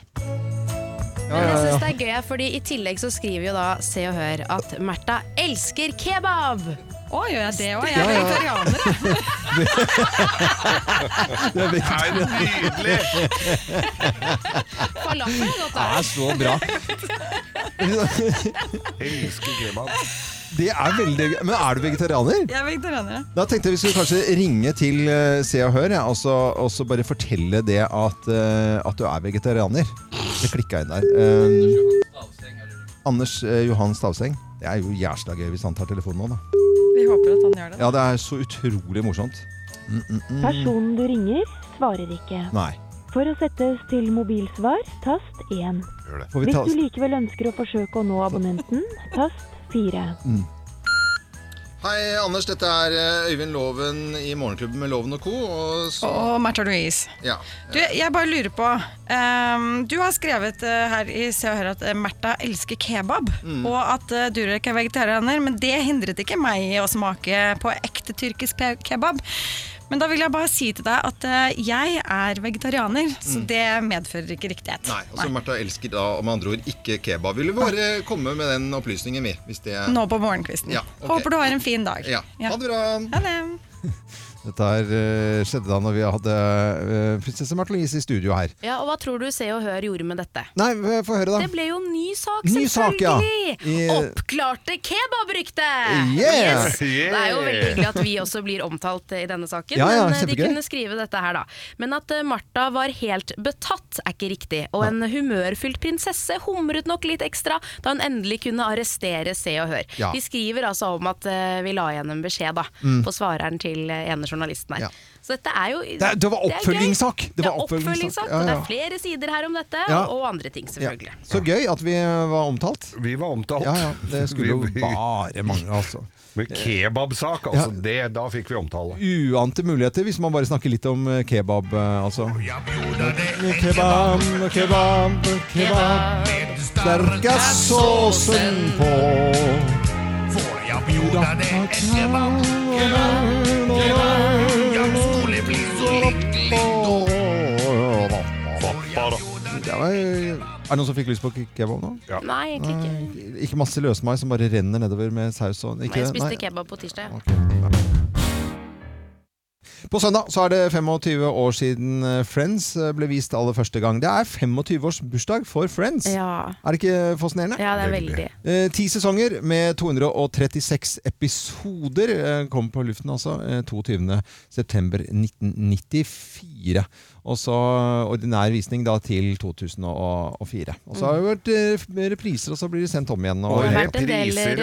Speaker 3: Men jeg syns det er gøy, fordi i tillegg så skriver jo da Se og Hør at Märtha elsker kebab! Å, gjør jeg det òg?
Speaker 9: Jeg er Ja, ja.
Speaker 3: vegetarianer, jeg.
Speaker 1: Det er
Speaker 2: veldig nydelig!
Speaker 3: Falafel er godt,
Speaker 1: Det er så bra.
Speaker 2: Elsker kebab.
Speaker 1: Det er veldig gøy. Men er du vegetarianer?
Speaker 11: Jeg er vegetarianer, ja.
Speaker 1: Da tenkte jeg vi skulle kanskje ringe til eh, Se og Hør ja, og, så, og så bare fortelle det at, eh, at du er vegetarianer. Det klikka inn der. Eh, Anders eh, Johan Stavseng. Det er jo jævla gøy hvis han tar telefonen nå, da.
Speaker 11: Vi håper at han gjør det.
Speaker 1: Ja, det er så utrolig morsomt. Mm, mm, mm.
Speaker 14: Personen du ringer, svarer ikke.
Speaker 1: Nei.
Speaker 14: For å settes til mobilsvar, tast 1.
Speaker 1: Gjør det. Får vi
Speaker 14: Hvis
Speaker 1: ta-
Speaker 14: du likevel ønsker å forsøke å nå abonnenten, tast 4.
Speaker 1: Hei, Anders. Dette er eh, Øyvind Loven i Morgenklubben med Loven og co. Og så
Speaker 15: Og Märtha Louise.
Speaker 1: Ja.
Speaker 15: Du, jeg bare lurer på ehm, Du har skrevet eh, her i Se og Hør at eh, Märtha elsker kebab.
Speaker 1: Mm.
Speaker 15: Og at eh, Durek er vegetarianer, men det hindret ikke meg i å smake på ekte tyrkisk pe- kebab. Men da vil jeg bare si til deg at eh, jeg er vegetarianer, så
Speaker 1: Mm.
Speaker 15: det medfører ikke riktighet.
Speaker 1: Nei, altså Märtha elsker da med andre ord ikke kebab. Vil du bare komme med den opplysningen, vi? Hvis det
Speaker 15: Nå på morgenkvisten.
Speaker 1: Ja, ok.
Speaker 15: Håper du har en fin dag.
Speaker 1: Ja.
Speaker 15: Ha
Speaker 1: det bra.
Speaker 15: Ha det.
Speaker 1: Dette her eh, skjedde da når vi hadde eh, prinsesse Märtha Louise i studio her.
Speaker 3: Ja, og hva tror du Se og Hør gjorde med dette?
Speaker 1: Nei, eh, få høre, da.
Speaker 3: Det ble jo ny sak,
Speaker 1: Ny sak, ja.
Speaker 3: selvfølgelig!
Speaker 1: I-
Speaker 3: Oppklarte
Speaker 1: Yeah!
Speaker 3: kebabryktet! Yes! Det er jo veldig hyggelig at vi også blir omtalt i denne saken,
Speaker 1: Ja, ja,
Speaker 3: men eh, de
Speaker 1: kjempegøy.
Speaker 3: kunne skrive dette her, da. Men at eh, Martha var helt betatt er ikke riktig, og en humørfylt prinsesse humret nok litt ekstra da hun endelig kunne arrestere Se og Hør.
Speaker 9: Ja.
Speaker 3: De skriver altså om at eh, vi la igjen en beskjed, da,
Speaker 1: Mm.
Speaker 3: på svareren til eh, ene journalisten her. Så dette er jo
Speaker 1: Det, er- det var
Speaker 3: er gøy.
Speaker 1: oppfølgingssak!
Speaker 3: Det
Speaker 1: var
Speaker 3: er oppfølgingssak,
Speaker 1: Ja,
Speaker 3: og det
Speaker 1: ja.
Speaker 3: er flere sider her om dette,
Speaker 1: Ja.
Speaker 3: og andre ting selvfølgelig.
Speaker 1: Ja. Så gøy at vi eh, var omtalt.
Speaker 2: Vi var omtalt.
Speaker 1: Ja, ja, det skulle jo
Speaker 2: Vi- vi-
Speaker 1: bare mangle, altså.
Speaker 2: Med kebabsak, altså. Det, da fikk vi omtale.
Speaker 1: Uante muligheter hvis man bare snakker litt om eh, kebab, eh, altså. Kebab, kebab, kebab. Sterke såsen på.
Speaker 9: Får jeg bjuda deg en kebab? Kebab, kebab. Jeg skulle bli så lykkelig da.
Speaker 1: Det var, er det noen som fikk lyst på ke- kebab nå?
Speaker 3: Nei, egentlig ikke.
Speaker 1: Ikke masse løsmai som bare renner nedover med saus og
Speaker 3: Nei,
Speaker 1: ikke,
Speaker 3: jeg spiste
Speaker 1: nei.
Speaker 3: kebab på tirsdag.
Speaker 1: På søndag så er det 25 år siden eh, Friends eh, ble vist aller første gang. Det er 25 års bursdag for Friends.
Speaker 3: Ja.
Speaker 1: Er det ikke fascinerende?
Speaker 3: Ja, det er veldig.
Speaker 1: Eh, Ti sesonger med 236 episoder eh, kom på luften altså eh, 22. september 1994. Og så ordinær visning da til 2004. Og så har det vært eh, f- repriser, og så blir det sendt om igjen.
Speaker 2: Og repriser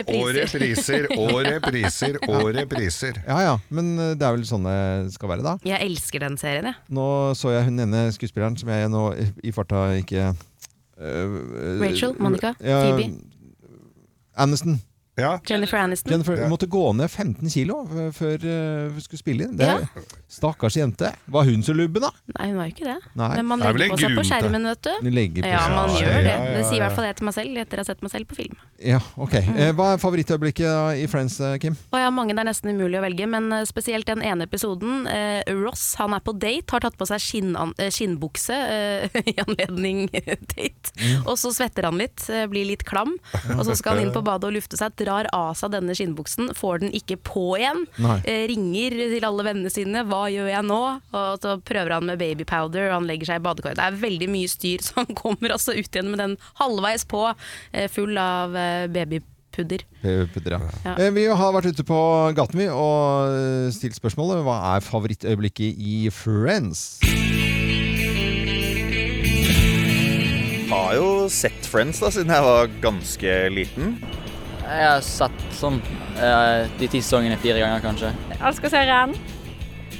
Speaker 2: og repriser og repriser og repriser.
Speaker 1: Ja, ja, men eh, det er vel sånn det skal være, da.
Speaker 3: Jeg elsker den serien, jeg.
Speaker 1: Nå så jeg hun ene skuespilleren som jeg nå i- i farta ikke øh, øh,
Speaker 3: Rachel, Monica, Phoebe.
Speaker 1: Aniston.
Speaker 2: Ja.
Speaker 3: Jennifer Aniston.
Speaker 1: Jennifer måtte gå ned 15 kilo eh, før eh, vi skulle spille inn. Det,
Speaker 3: Ja.
Speaker 1: Stakkars jente. Var hun så lubben, da?
Speaker 3: Nei, hun var jo ikke det.
Speaker 1: Nei.
Speaker 3: Men man
Speaker 1: Det er vel
Speaker 3: legger på
Speaker 1: en
Speaker 3: seg på
Speaker 1: grunn til-
Speaker 3: skjermen, vet du.
Speaker 1: Du legger på
Speaker 3: ja,
Speaker 1: seg-
Speaker 3: man
Speaker 1: Ja,
Speaker 3: gjør det.
Speaker 1: ja, ja,
Speaker 3: Det sier i
Speaker 1: ja.
Speaker 3: hvert fall jeg til meg selv etter å ha sett meg selv på film.
Speaker 1: Ja, ok. Eh, Hva er favorittøyeblikket da i Friends, eh, Kim?
Speaker 3: Og ja, mange det er nesten umulig å velge, men eh, spesielt den ene episoden. Eh, Ross han er på date, har tatt på seg skinnan, eh, skinnbukse eh, i anledning date. Og så svetter han litt, eh, blir litt klam. Og så skal han inn på badet og lufte seg, drar av seg denne skinnbuksen, får den ikke på igjen.
Speaker 4: Nei.
Speaker 3: Eh, ringer til alle vennene sine, hva gjør jeg nå? Og så prøver han med baby powder, og han legger seg i badekar. Det er veldig mye styr, så han kommer altså ut igjen med den halvveis på, eh, full av eh, babypudder.
Speaker 1: Pudra.
Speaker 3: Ja.
Speaker 1: Eh, Vi har vært ute på gaten vi og eh, stilt spørsmålet hva er favorittøyeblikket i Friends?
Speaker 16: Har jo sett Friends da, siden jeg var ganske liten.
Speaker 17: Jeg har sett sånn eh, de ti sesongene fire ganger, kanskje.
Speaker 18: Jeg skal se Ren.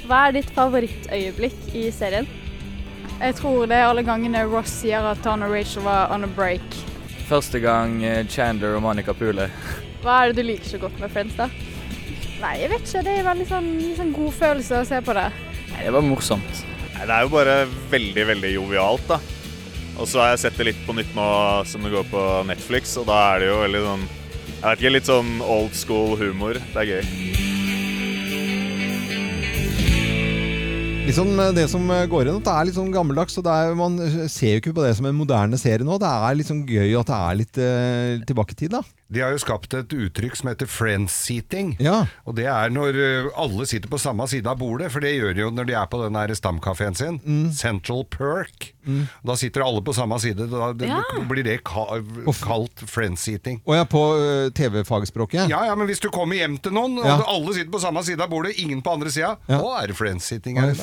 Speaker 18: Hva er ditt favorittøyeblikk i serien? Jeg tror det er alle gangene Ross sier at han og Rachel var on a break.
Speaker 17: Første gang eh, Chandler og Monica puler.
Speaker 18: Hva er det du liker så godt med Friends, da? Nei, jeg vet ikke. Det er veldig sånn, litt sånn god følelse å se på det.
Speaker 17: Nei, Det var morsomt.
Speaker 16: Nei, Det er jo bare veldig, veldig jovialt, da. Og så har jeg sett det litt på nytt nå som det går på Netflix, og da er det jo veldig sånn Jeg vet ikke, litt sånn old school humor. Det er gøy.
Speaker 1: Litt sånn eh, det som eh, går igjen, at det er litt sånn gammeldags. Og det er, man eh, ser jo ikke på det som en moderne serie nå. Det er litt sånn gøy at det er litt eh, tilbake i tid, da.
Speaker 2: De har jo skapt et uttrykk som heter friends-seating. Og det er når ø, alle sitter på samme side av bordet, for det gjør de jo når de er på den her stamkafeen sin.
Speaker 1: Mm.
Speaker 2: Central Perk. Da sitter alle på samme side. Da det,
Speaker 1: Ja.
Speaker 2: blir det ka kalt friends-seating.
Speaker 1: Og jeg er på eh, TV-fagspråket.
Speaker 2: Ja, ja, men hvis du kommer hjem til noen, og
Speaker 1: Ja.
Speaker 2: alle sitter på samme side av bordet, ingen på andre sida,
Speaker 1: Ja.
Speaker 2: da er det friends-sitting.
Speaker 1: Ja,
Speaker 2: her i dag.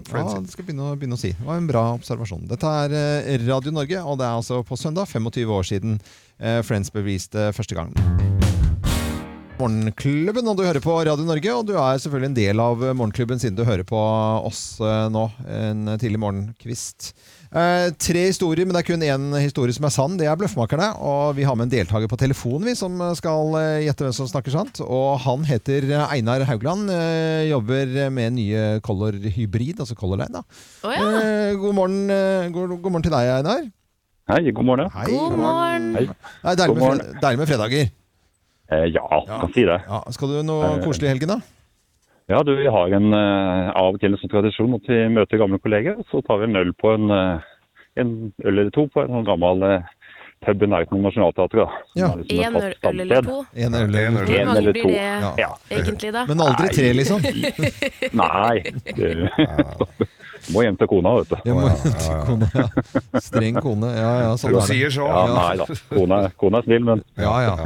Speaker 2: Ja,
Speaker 1: Ja,
Speaker 2: friends-sitting.
Speaker 1: det skal jeg begynne å, begynne å si. Det var en bra observasjon. Dette er eh, Radio Norge, og det er altså på søndag 25 år siden eh, Friends beviste første gang. Morgenklubben, og du hører på Radio Norge, og du er selvfølgelig en del av eh, Morgenklubben siden du hører på oss eh, nå, en tidlig morgenkvist. Eh, tre historier, men det er kun én historie som er sann. Det er Bløffmakerne. Og vi har med en deltaker på telefon vi som skal eh, gjette hvem som snakker sant. Og han heter Einar Haugland. eh, jobber med nye Color Hybrid, altså Color Line. Da.
Speaker 3: Å
Speaker 1: Eh, god, morgen, eh, god, god morgen til deg, Einar.
Speaker 19: Hei, god morgen.
Speaker 1: Hei.
Speaker 3: God morgen.
Speaker 19: Hei.
Speaker 1: Det er deilig
Speaker 19: God
Speaker 1: med,
Speaker 19: morgen.
Speaker 1: fred deilig med fredager.
Speaker 19: Eh, ja, kan si det.
Speaker 1: Ja, skal du noe
Speaker 19: Eh,
Speaker 1: koselig i helgen, da?
Speaker 19: Ja, du, vi har en, eh, av og til en sånn tradisjon at vi møter gamle kolleger, og så tar vi en øl på en, eh, en øl eller to på en sånn gammel eh, pub i nærheten av Nationaltheatret. da. Som er liksom et
Speaker 3: En
Speaker 19: fast
Speaker 3: øl eller
Speaker 19: stamsted.
Speaker 3: to?
Speaker 1: En øl
Speaker 19: En
Speaker 1: eller
Speaker 19: øl
Speaker 1: to.
Speaker 3: Hvor mange
Speaker 19: eller
Speaker 3: blir
Speaker 19: to.
Speaker 3: det
Speaker 19: Ja.
Speaker 3: egentlig, da?
Speaker 1: Men aldri tre, liksom?
Speaker 19: Nei. det- Må hjem til kona, vet du.
Speaker 1: kona, ja. Streng kone. Ja, ja, sånn er det.
Speaker 19: Ja, nei da. Kona, kona er snill, men
Speaker 1: Ja, ja.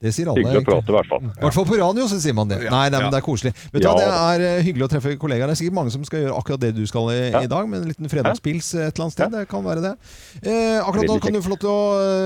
Speaker 1: Det sier alle.
Speaker 19: Hyggelig å
Speaker 1: egentlig.
Speaker 19: prate, i hvert fall.
Speaker 1: I hvert fall på radio så sier man det.
Speaker 19: Ja.
Speaker 1: Nei, nei,
Speaker 19: Ja.
Speaker 1: men det er koselig. Vet du
Speaker 19: Ja.
Speaker 1: hva, Det er eh, hyggelig å treffe kollegaer. Det er sikkert mange som skal gjøre akkurat det du skal i, i dag, med en liten fredagspils eh, et eller annet sted. Det kan være det. Eh, akkurat nå
Speaker 19: Veldig
Speaker 1: kan du få lov til å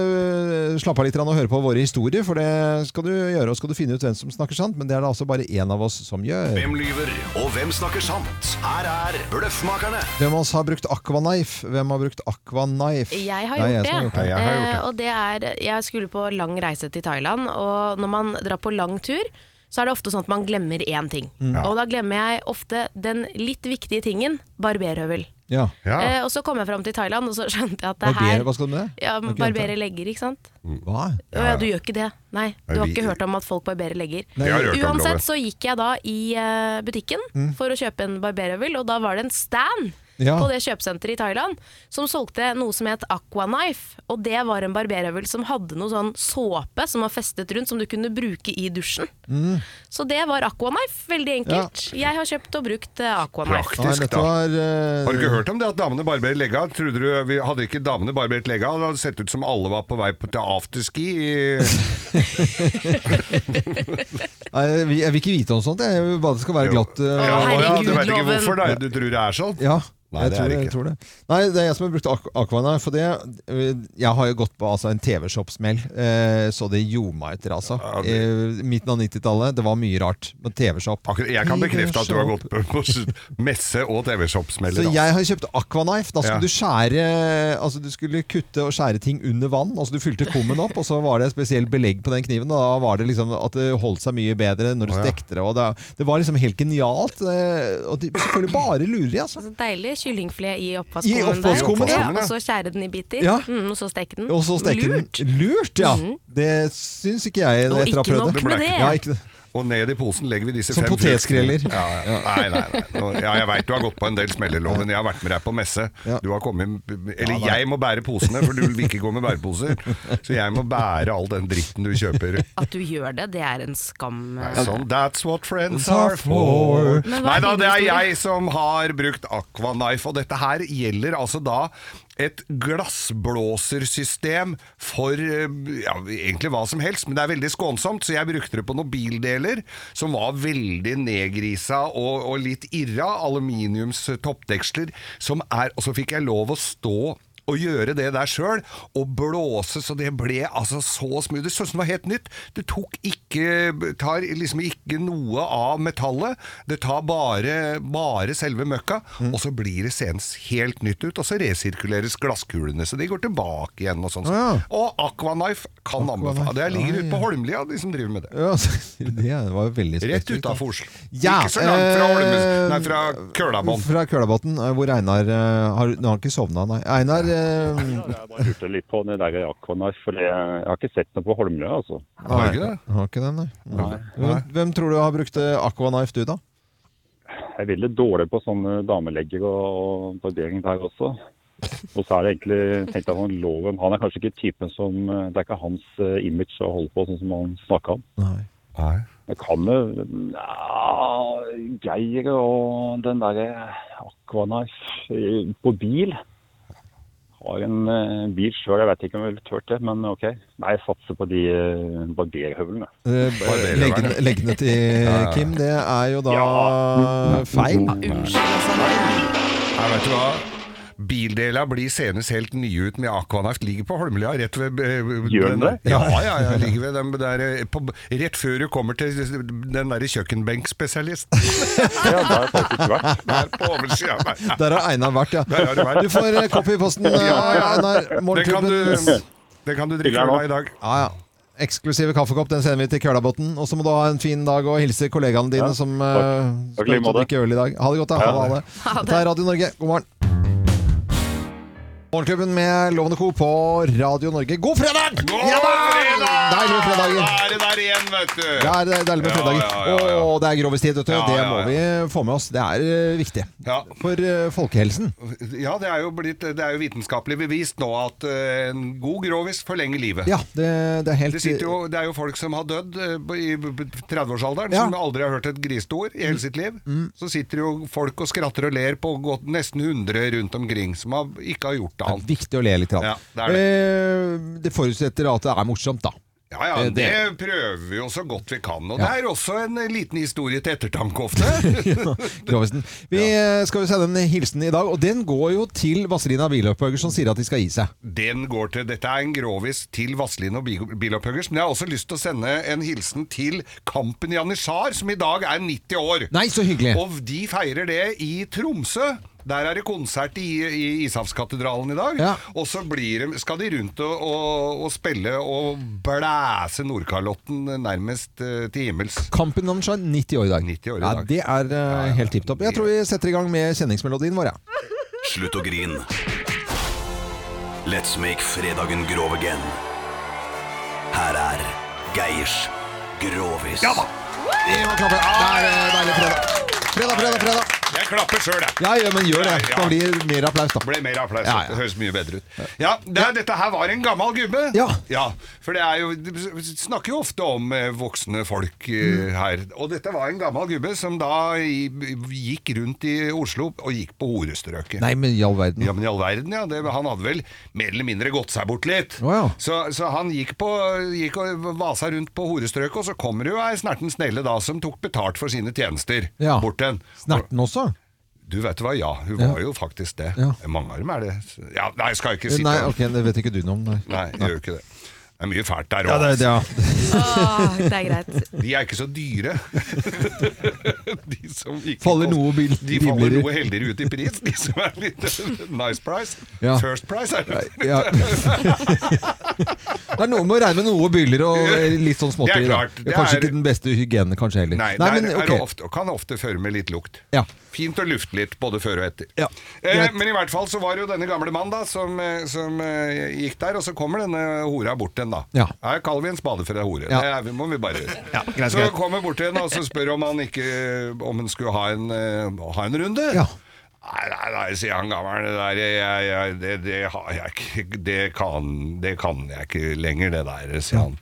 Speaker 1: eh, slappe av litt grann og høre på våre historier, for det skal du gjøre, og skal du finne ut hvem som snakker sant, men det er det altså bare én av oss som gjør.
Speaker 8: Hvem lyver, og hvem snakker sant? Her er Bløffmakerne.
Speaker 1: Hvem av oss har brukt aquaknife? Hvem har brukt aquaknife?
Speaker 3: Jeg har
Speaker 1: Det er
Speaker 3: gjort
Speaker 1: jeg
Speaker 3: det.
Speaker 1: som har gjort det.
Speaker 3: Eh, og det er, jeg skulle på lang reise til Thailand, og når man drar på lang tur, så er det ofte sånn at man glemmer én ting.
Speaker 4: Mm. Ja.
Speaker 3: Og da glemmer jeg ofte den litt viktige tingen barberhøvel.
Speaker 1: Ja.
Speaker 3: Eh, og så kom jeg fram til Thailand, og så skjønte jeg at det
Speaker 1: Barberer,
Speaker 3: her
Speaker 1: hva skal du med det?
Speaker 3: Ja,
Speaker 1: Har ikke
Speaker 3: Barbere
Speaker 1: glemt
Speaker 3: legger, ikke sant?
Speaker 1: det. Hva?
Speaker 3: Å ja, du gjør ikke det. Nei, du har
Speaker 1: vi-
Speaker 3: ikke hørt om at folk barberer legger.
Speaker 1: Nei, jeg har hørt om
Speaker 3: Uansett
Speaker 1: det.
Speaker 3: så gikk jeg da i eh, butikken
Speaker 1: Mm.
Speaker 3: for å kjøpe en barberhøvel, og da var det en stand
Speaker 1: Ja.
Speaker 3: på det kjøpesenteret i Thailand som solgte noe som het Aquaknife. Og det var en barberhøvel som hadde noe sånn såpe som var festet rundt, som du kunne bruke i dusjen.
Speaker 1: Mm.
Speaker 3: Så det var Aquaknife, veldig enkelt. Jeg har kjøpt og brukt eh, Aquaknife.
Speaker 2: Praktisk, da.
Speaker 1: eh,
Speaker 2: Har du ikke hørt om det at damene barberer legga? Trodde du vi hadde ikke damene barbert legga? Det hadde sett ut som alle var på vei på- til afterski. i-
Speaker 1: Nei, jeg vil- jeg vil ikke vite om sånt. Jeg vil bare at det skal være glatt. eh,
Speaker 2: Ja,
Speaker 1: og-
Speaker 2: ja, du vet ikke hvorfor, da. Du tror det er sånn?
Speaker 1: Ja.
Speaker 2: Nei,
Speaker 1: jeg
Speaker 2: det
Speaker 1: tror,
Speaker 2: er det
Speaker 1: jeg
Speaker 2: ikke.
Speaker 1: tror det. Nei, det er jeg som har brukt Aqu- Aquana. For det, eh, jeg har jo gått på altså, en TV-shop-smell, eh, så det gjorde meg etter, altså. Eh, midten av 90-tallet, det var mye rart. Men TV-shop
Speaker 2: Akkurat, jeg kan bekrefte at du har gått på- på messe og TV-shop-smeller.
Speaker 1: Så
Speaker 2: altså.
Speaker 1: jeg har kjøpt Aquaknife. Da
Speaker 2: Ja.
Speaker 1: skulle du skjære Altså du skulle kutte og skjære ting under vann. Altså Du fylte kummen opp, og så var det spesielt belegg på den kniven. Og da var det liksom at det holdt seg mye bedre når du
Speaker 2: Å, ja.
Speaker 1: stekte det. Og det, det var liksom helt genialt. eh, Og de, selvfølgelig bare lurer, altså.
Speaker 20: Så deilig kyllingfilet i
Speaker 1: I
Speaker 20: oppvaskkummen der.
Speaker 1: oppvaskkummen,
Speaker 20: ja,
Speaker 1: ja.
Speaker 20: og så skjære den i biter,
Speaker 1: Ja.
Speaker 20: mm, og så steke den.
Speaker 1: Og så steke den.
Speaker 20: Lurt.
Speaker 1: Lurt, ja.
Speaker 20: Mhm.
Speaker 1: Det syns ikke jeg
Speaker 20: Og
Speaker 1: etter å ha
Speaker 20: ikke
Speaker 1: prøvd
Speaker 20: nok
Speaker 1: det.
Speaker 20: med det.
Speaker 1: Ja, ikke det.
Speaker 2: Og ned i posen legger vi disse
Speaker 1: Som
Speaker 2: fem
Speaker 1: potetskreller.
Speaker 2: fruktene. Ja, ja. Nei, nei, nei. Nå- Ja, jeg veit du har gått på en del smelleloven. Jeg har vært med deg på messe. Du har kommet Eller
Speaker 1: Ja, nei.
Speaker 2: jeg må bære posene, for du vil ikke gå med bæreposer. Så jeg må bære all den dritten du kjøper.
Speaker 20: At du gjør det, det er en skam.
Speaker 2: Nei, Sånn, that's what friends are for.
Speaker 20: Men hva er
Speaker 2: Nei da,
Speaker 20: din
Speaker 2: det er
Speaker 20: historie?
Speaker 2: jeg som har brukt Aquaknife, og dette her gjelder altså da et glassblåsersystem for eh, ja, egentlig hva som helst, men det er veldig skånsomt, så jeg brukte det på noen bildeler som var veldig nedgrisa og, og litt irra, aluminiumstoppdeksler, som er Og så fikk jeg lov å stå å gjøre det der sjøl, og blåse så det ble altså så smooth. Det så ut som det var helt nytt. Det tok ikke tar liksom ikke noe av metallet. Det tar bare, bare selve møkka,
Speaker 1: Mm.
Speaker 2: og så blir det seens helt nytt ut. Og så resirkuleres glasskulene, så de går tilbake igjen og sånn.
Speaker 1: Å, ja.
Speaker 2: Og Aquaknife kan anbefale. Det ligger ute på Holmlia, de som driver med det.
Speaker 1: Ja, altså, det var jo veldig
Speaker 2: Rett
Speaker 1: spesifikt, da.
Speaker 2: utafor Oslo.
Speaker 1: Ja,
Speaker 2: ikke så langt fra Holmes,
Speaker 1: eh,
Speaker 2: nei, fra Kølabånd.
Speaker 1: Fra Kølabotn, eh, hvor Einar eh, har, Nå har han ikke sovna, nei. Einar eh,
Speaker 19: Jeg lurte litt på det der Aquanife, for jeg, jeg har ikke sett noe på Holmlia, altså.
Speaker 1: Nei, Har ikke den, nei. Hvem, hvem tror du har brukt eh, Aquanife, du, da?
Speaker 19: Jeg er veldig dårlig på sånne damelegger og, og barbering der også. Og så er det egentlig tenkt at han loven Han er kanskje ikke typen som Det er ikke hans eh, image å holde på sånn som han snakka om.
Speaker 1: Nei.
Speaker 19: Jeg kan jo ja, Geir og den derre Aquanife eh, på bil. Har en eh, bil sjøl, jeg vet ikke om jeg ville turt det, men OK. Nei, jeg satser på de eh, barberhøvlene.
Speaker 1: Eh, b- Leggene leggene til
Speaker 19: Ja, ja.
Speaker 1: Kim, det er jo da feil.
Speaker 2: Nei, vet du hva? Bildela blir senest helt nye ut med Aquanaft. Ligger på Holmlia, rett ved eh,
Speaker 19: Gjør den det?
Speaker 2: Ja, ja, ja, ligger ved den der eh, på, Rett før du kommer til den derre kjøkkenbenkspesialisten.
Speaker 19: ja, der har faktisk vært.
Speaker 2: Der på oversida. Nei.
Speaker 1: Der har Einar vært, ja.
Speaker 2: Der har du vært.
Speaker 1: Du får eh, kopp i posten, eh,
Speaker 2: Ja, ja.
Speaker 1: Einar.
Speaker 2: Det kan
Speaker 1: Morgenklubben.
Speaker 2: du- det kan du drikke for deg i dag.
Speaker 1: Ja, ja. Eksklusive kaffekopp, den sender vi til Kølabotn. Og så må du ha en fin dag og hilse kollegaene dine
Speaker 19: Ja,
Speaker 1: som
Speaker 19: takk.
Speaker 1: eh,
Speaker 19: Takk i like
Speaker 1: skal ut og
Speaker 19: måte.
Speaker 1: drikke øl i dag. Ha det godt, da.
Speaker 19: Ja.
Speaker 1: Ha det.
Speaker 19: Ha det.
Speaker 1: Dette er Radio Norge. God morgen. Morgenklubben med Lovende Co. på Radio Norge. God fredag! Ja da! Deilig med fredager.
Speaker 2: Da er det der igjen, vet du.
Speaker 1: Det er det er deilig med fredager.
Speaker 2: Ja, ja, ja, ja.
Speaker 1: Og det er grovistid, vet du.
Speaker 2: Ja,
Speaker 1: Det
Speaker 2: ja,
Speaker 1: må
Speaker 2: ja.
Speaker 1: vi få med oss. Det er eh, viktig.
Speaker 2: Ja.
Speaker 1: For eh, folkehelsen.
Speaker 2: Ja, det er jo, blitt, det er jo vitenskapelig bevist nå at eh, en god grovis forlenger livet.
Speaker 1: Ja, det, det er helt
Speaker 2: Det, sitter jo, det er jo folk som har dødd eh, i b- b- 30-årsalderen,
Speaker 1: Ja.
Speaker 2: som aldri har hørt et griseord i hele sitt liv. Så sitter jo folk og skratter og ler på godt, nesten 100 rundt omkring, som har, ikke har gjort det annet.
Speaker 1: viktig å le litt. grann.
Speaker 2: Ja, det er det.
Speaker 1: Eh, det forutsetter at det er morsomt, da.
Speaker 2: Ja, ja,
Speaker 1: Eh,
Speaker 2: det, prøver vi jo så godt vi kan. Og
Speaker 1: Ja.
Speaker 2: det er også en eh, liten historie til ettertanke ofte.
Speaker 1: Grovisen. Vi eh, skal jo sende en hilsen i dag, og den går jo til Vazelina Bilopphøger, som sier at de skal gi seg.
Speaker 2: Den går til, Dette er en grovis til Vazelin og Bi- Bilopphøggers, men jeg har også lyst til å sende en hilsen til Kampen Janitsjar, som i dag er 90 år.
Speaker 1: Nei, så hyggelig.
Speaker 2: Og de feirer det i Tromsø. Der er det konsert i, i Ishavskatedralen i dag. Og så blir de, skal de rundt og, og, og spille og blæse Nordkalotten nærmest eh, til himmels.
Speaker 1: Kampen om Shine, 90 år i dag.
Speaker 2: år i
Speaker 1: ja,
Speaker 2: dag.
Speaker 1: det er eh, helt tipp topp. Jeg tror vi setter i gang med kjenningsmelodien vår, ja.
Speaker 8: Slutt å grin. Let's make fredagen grov again. Her er Geirs Grovis. Ja da!
Speaker 1: Vi må klappe. Det er eh, deilig fredag. Fredag, fredag, fredag.
Speaker 2: Jeg klapper sjøl, jeg.
Speaker 1: Ja, ja, men gjør det. Det kan bli mer applaus, da.
Speaker 2: Ble mer applaus.
Speaker 1: Ja, ja.
Speaker 2: Det høres mye bedre ut. Ja, det, er- Dette her var en gammel gubbe.
Speaker 1: Ja.
Speaker 2: for det er jo Vi snakker jo ofte om eh, voksne folk
Speaker 1: Mm.
Speaker 2: eh, her. Og dette var en gammel gubbe som da i, gikk rundt i Oslo og gikk på horestrøket.
Speaker 1: Nei, men i all verden.
Speaker 2: Ja, men i all verden, ja. Det, han hadde vel mer eller mindre gått seg bort litt.
Speaker 1: Å, ja.
Speaker 2: så, så han gikk, på, gikk og vasa rundt på horestrøket, og så kommer det jo ei snerten snelle da som tok betalt for sine tjenester
Speaker 1: Ja.
Speaker 2: bort til en.
Speaker 1: Snerten også?
Speaker 2: Du vet hva, ja. Hun var jo faktisk det. Mange av dem er det. Ja, nei, skal jeg ikke si
Speaker 1: Nei,
Speaker 2: det.
Speaker 1: ok, det vet ikke du noe om. Nei.
Speaker 2: Nei, jeg gjør ikke det. Det er mye fælt der
Speaker 1: Ja,
Speaker 2: òg.
Speaker 1: det- ja.
Speaker 20: Åh, det er greit.
Speaker 2: De er ikke så dyre. de som ikke
Speaker 1: Faller
Speaker 2: kost-
Speaker 1: noe bil-
Speaker 2: De faller
Speaker 1: rimeligere.
Speaker 2: noe heldigere ut i pris, de som er litt nice price.
Speaker 1: Ja.
Speaker 2: First price, er det.
Speaker 1: Ja. Det er noe med å regne med noe byller og litt sånn småtteri.
Speaker 2: Det er
Speaker 1: da.
Speaker 2: klart, det er-
Speaker 1: Kanskje ikke den beste hygienen, kanskje heller.
Speaker 2: Nei,
Speaker 1: Nei,
Speaker 2: der
Speaker 1: men,
Speaker 2: er det
Speaker 1: ok.
Speaker 2: ofte, og kan ofte føre med litt lukt.
Speaker 1: Ja.
Speaker 2: Fint å lufte litt, både før og etter. eh,
Speaker 1: greit.
Speaker 2: men i hvert fall så var det jo denne gamle mannen da, som, eh, som eh, gikk der, og så kommer denne hora bort til en da.
Speaker 1: Ja.
Speaker 2: Her kaller vi en spade for en hore.
Speaker 1: Ja.
Speaker 2: Det er, vi- må vi bare gjøre.
Speaker 1: greit,
Speaker 2: så
Speaker 1: greit.
Speaker 2: kommer bort til henne og så spør om han ikke om han skulle ha en, eh, ha en runde. Nei, nei, nei, sier han gammel. Det, der, jeg, jeg, det, det har jeg ikke det kan, det kan jeg ikke lenger, det der, sier han.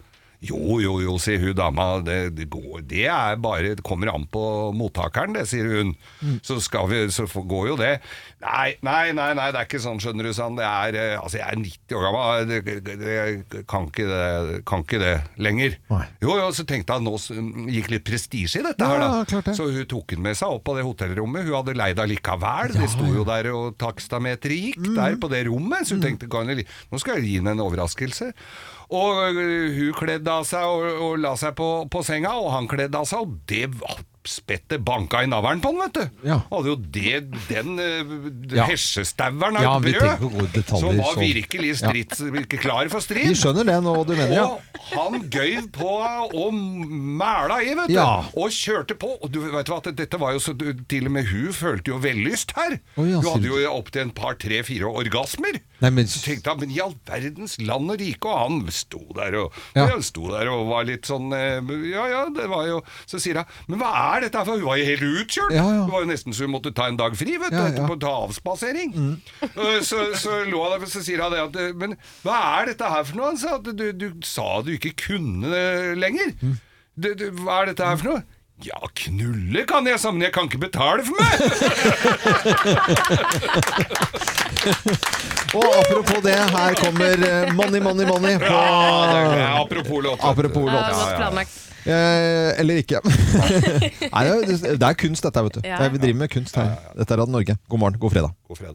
Speaker 2: Jo, jo, jo, sier hun dama. Det, det, går, det er bare Det kommer an på mottakeren, det, sier hun. Så, skal vi, så får- går jo det. Nei, nei, nei, nei, det er ikke sånn, skjønner du, sa han. Det er eh, Altså, jeg er 90 år gammel. Det, det, det, kan, ikke det, kan ikke det lenger. Jo, jo, så tenkte han nå s- gikk litt prestisje i dette her, da.
Speaker 1: Ja, klart det.
Speaker 2: Så hun tok den med seg opp på det hotellrommet. Hun hadde leid allikevel. De sto jo der og takstameteret gikk
Speaker 1: Mhm.
Speaker 2: der på det rommet. Så hun tenkte kan jeg, li- nå skal jeg gi henne en overraskelse. Og øh, hun kledde av seg og, og la seg på, på senga, og han kledde av seg, og det var spettet banka i navlen på han, vet du. Hadde jo det, den øh,
Speaker 1: Ja.
Speaker 2: hesjestaueren
Speaker 1: Ja,
Speaker 2: av
Speaker 1: vi tenker på
Speaker 2: brød,
Speaker 1: gode detaljer,
Speaker 2: som var
Speaker 1: så-
Speaker 2: virkelig
Speaker 1: Ja.
Speaker 2: strids, ikke klar for strid.
Speaker 1: Vi skjønner det nå, du mener, ja.
Speaker 2: Og han gøyv på og mæla i, vet du.
Speaker 1: Ja.
Speaker 2: Og kjørte på. Og du vet hva, at dette var jo så du- Til og med hun følte jo vellyst her.
Speaker 1: Å, ja,
Speaker 2: hun
Speaker 1: sier
Speaker 2: hadde
Speaker 1: du.
Speaker 2: jo opptil en par, tre, fire orgasmer.
Speaker 1: Nei, men-
Speaker 2: Så tenkte han, men i all verdens land og rike, og han sto der og,
Speaker 1: Ja.
Speaker 2: han sto der og var litt sånn eh, Ja, ja, det var jo Så sier han, men hva er dette her for? Hun var jo helt utkjørt!
Speaker 1: Ja, ja.
Speaker 2: Det var jo nesten så hun måtte ta en dag fri, vet du,
Speaker 1: Ja, Mm. ja.
Speaker 2: etterpå ta avspasering. Eh, Så, så lå han der, så sier han det at eh, Men hva er dette her for noe? Han sa at du, du sa du ikke kunne det lenger.
Speaker 1: Mm.
Speaker 2: Du, du, hva er dette her for noe? Ja, knulle kan jeg, sa han, men jeg kan ikke betale for meg!
Speaker 1: Og apropos det, her kommer eh, Money, Money, Money på
Speaker 2: Ja, det er- det er apropos låt.
Speaker 1: Apropos låt. Eh, eller ikke. Nei, det er- det er kunst, dette, vet du.
Speaker 2: Ja.
Speaker 1: Vi driver med kunst her. Dette er Radio Norge. God morgen, god fredag.
Speaker 2: God fredag.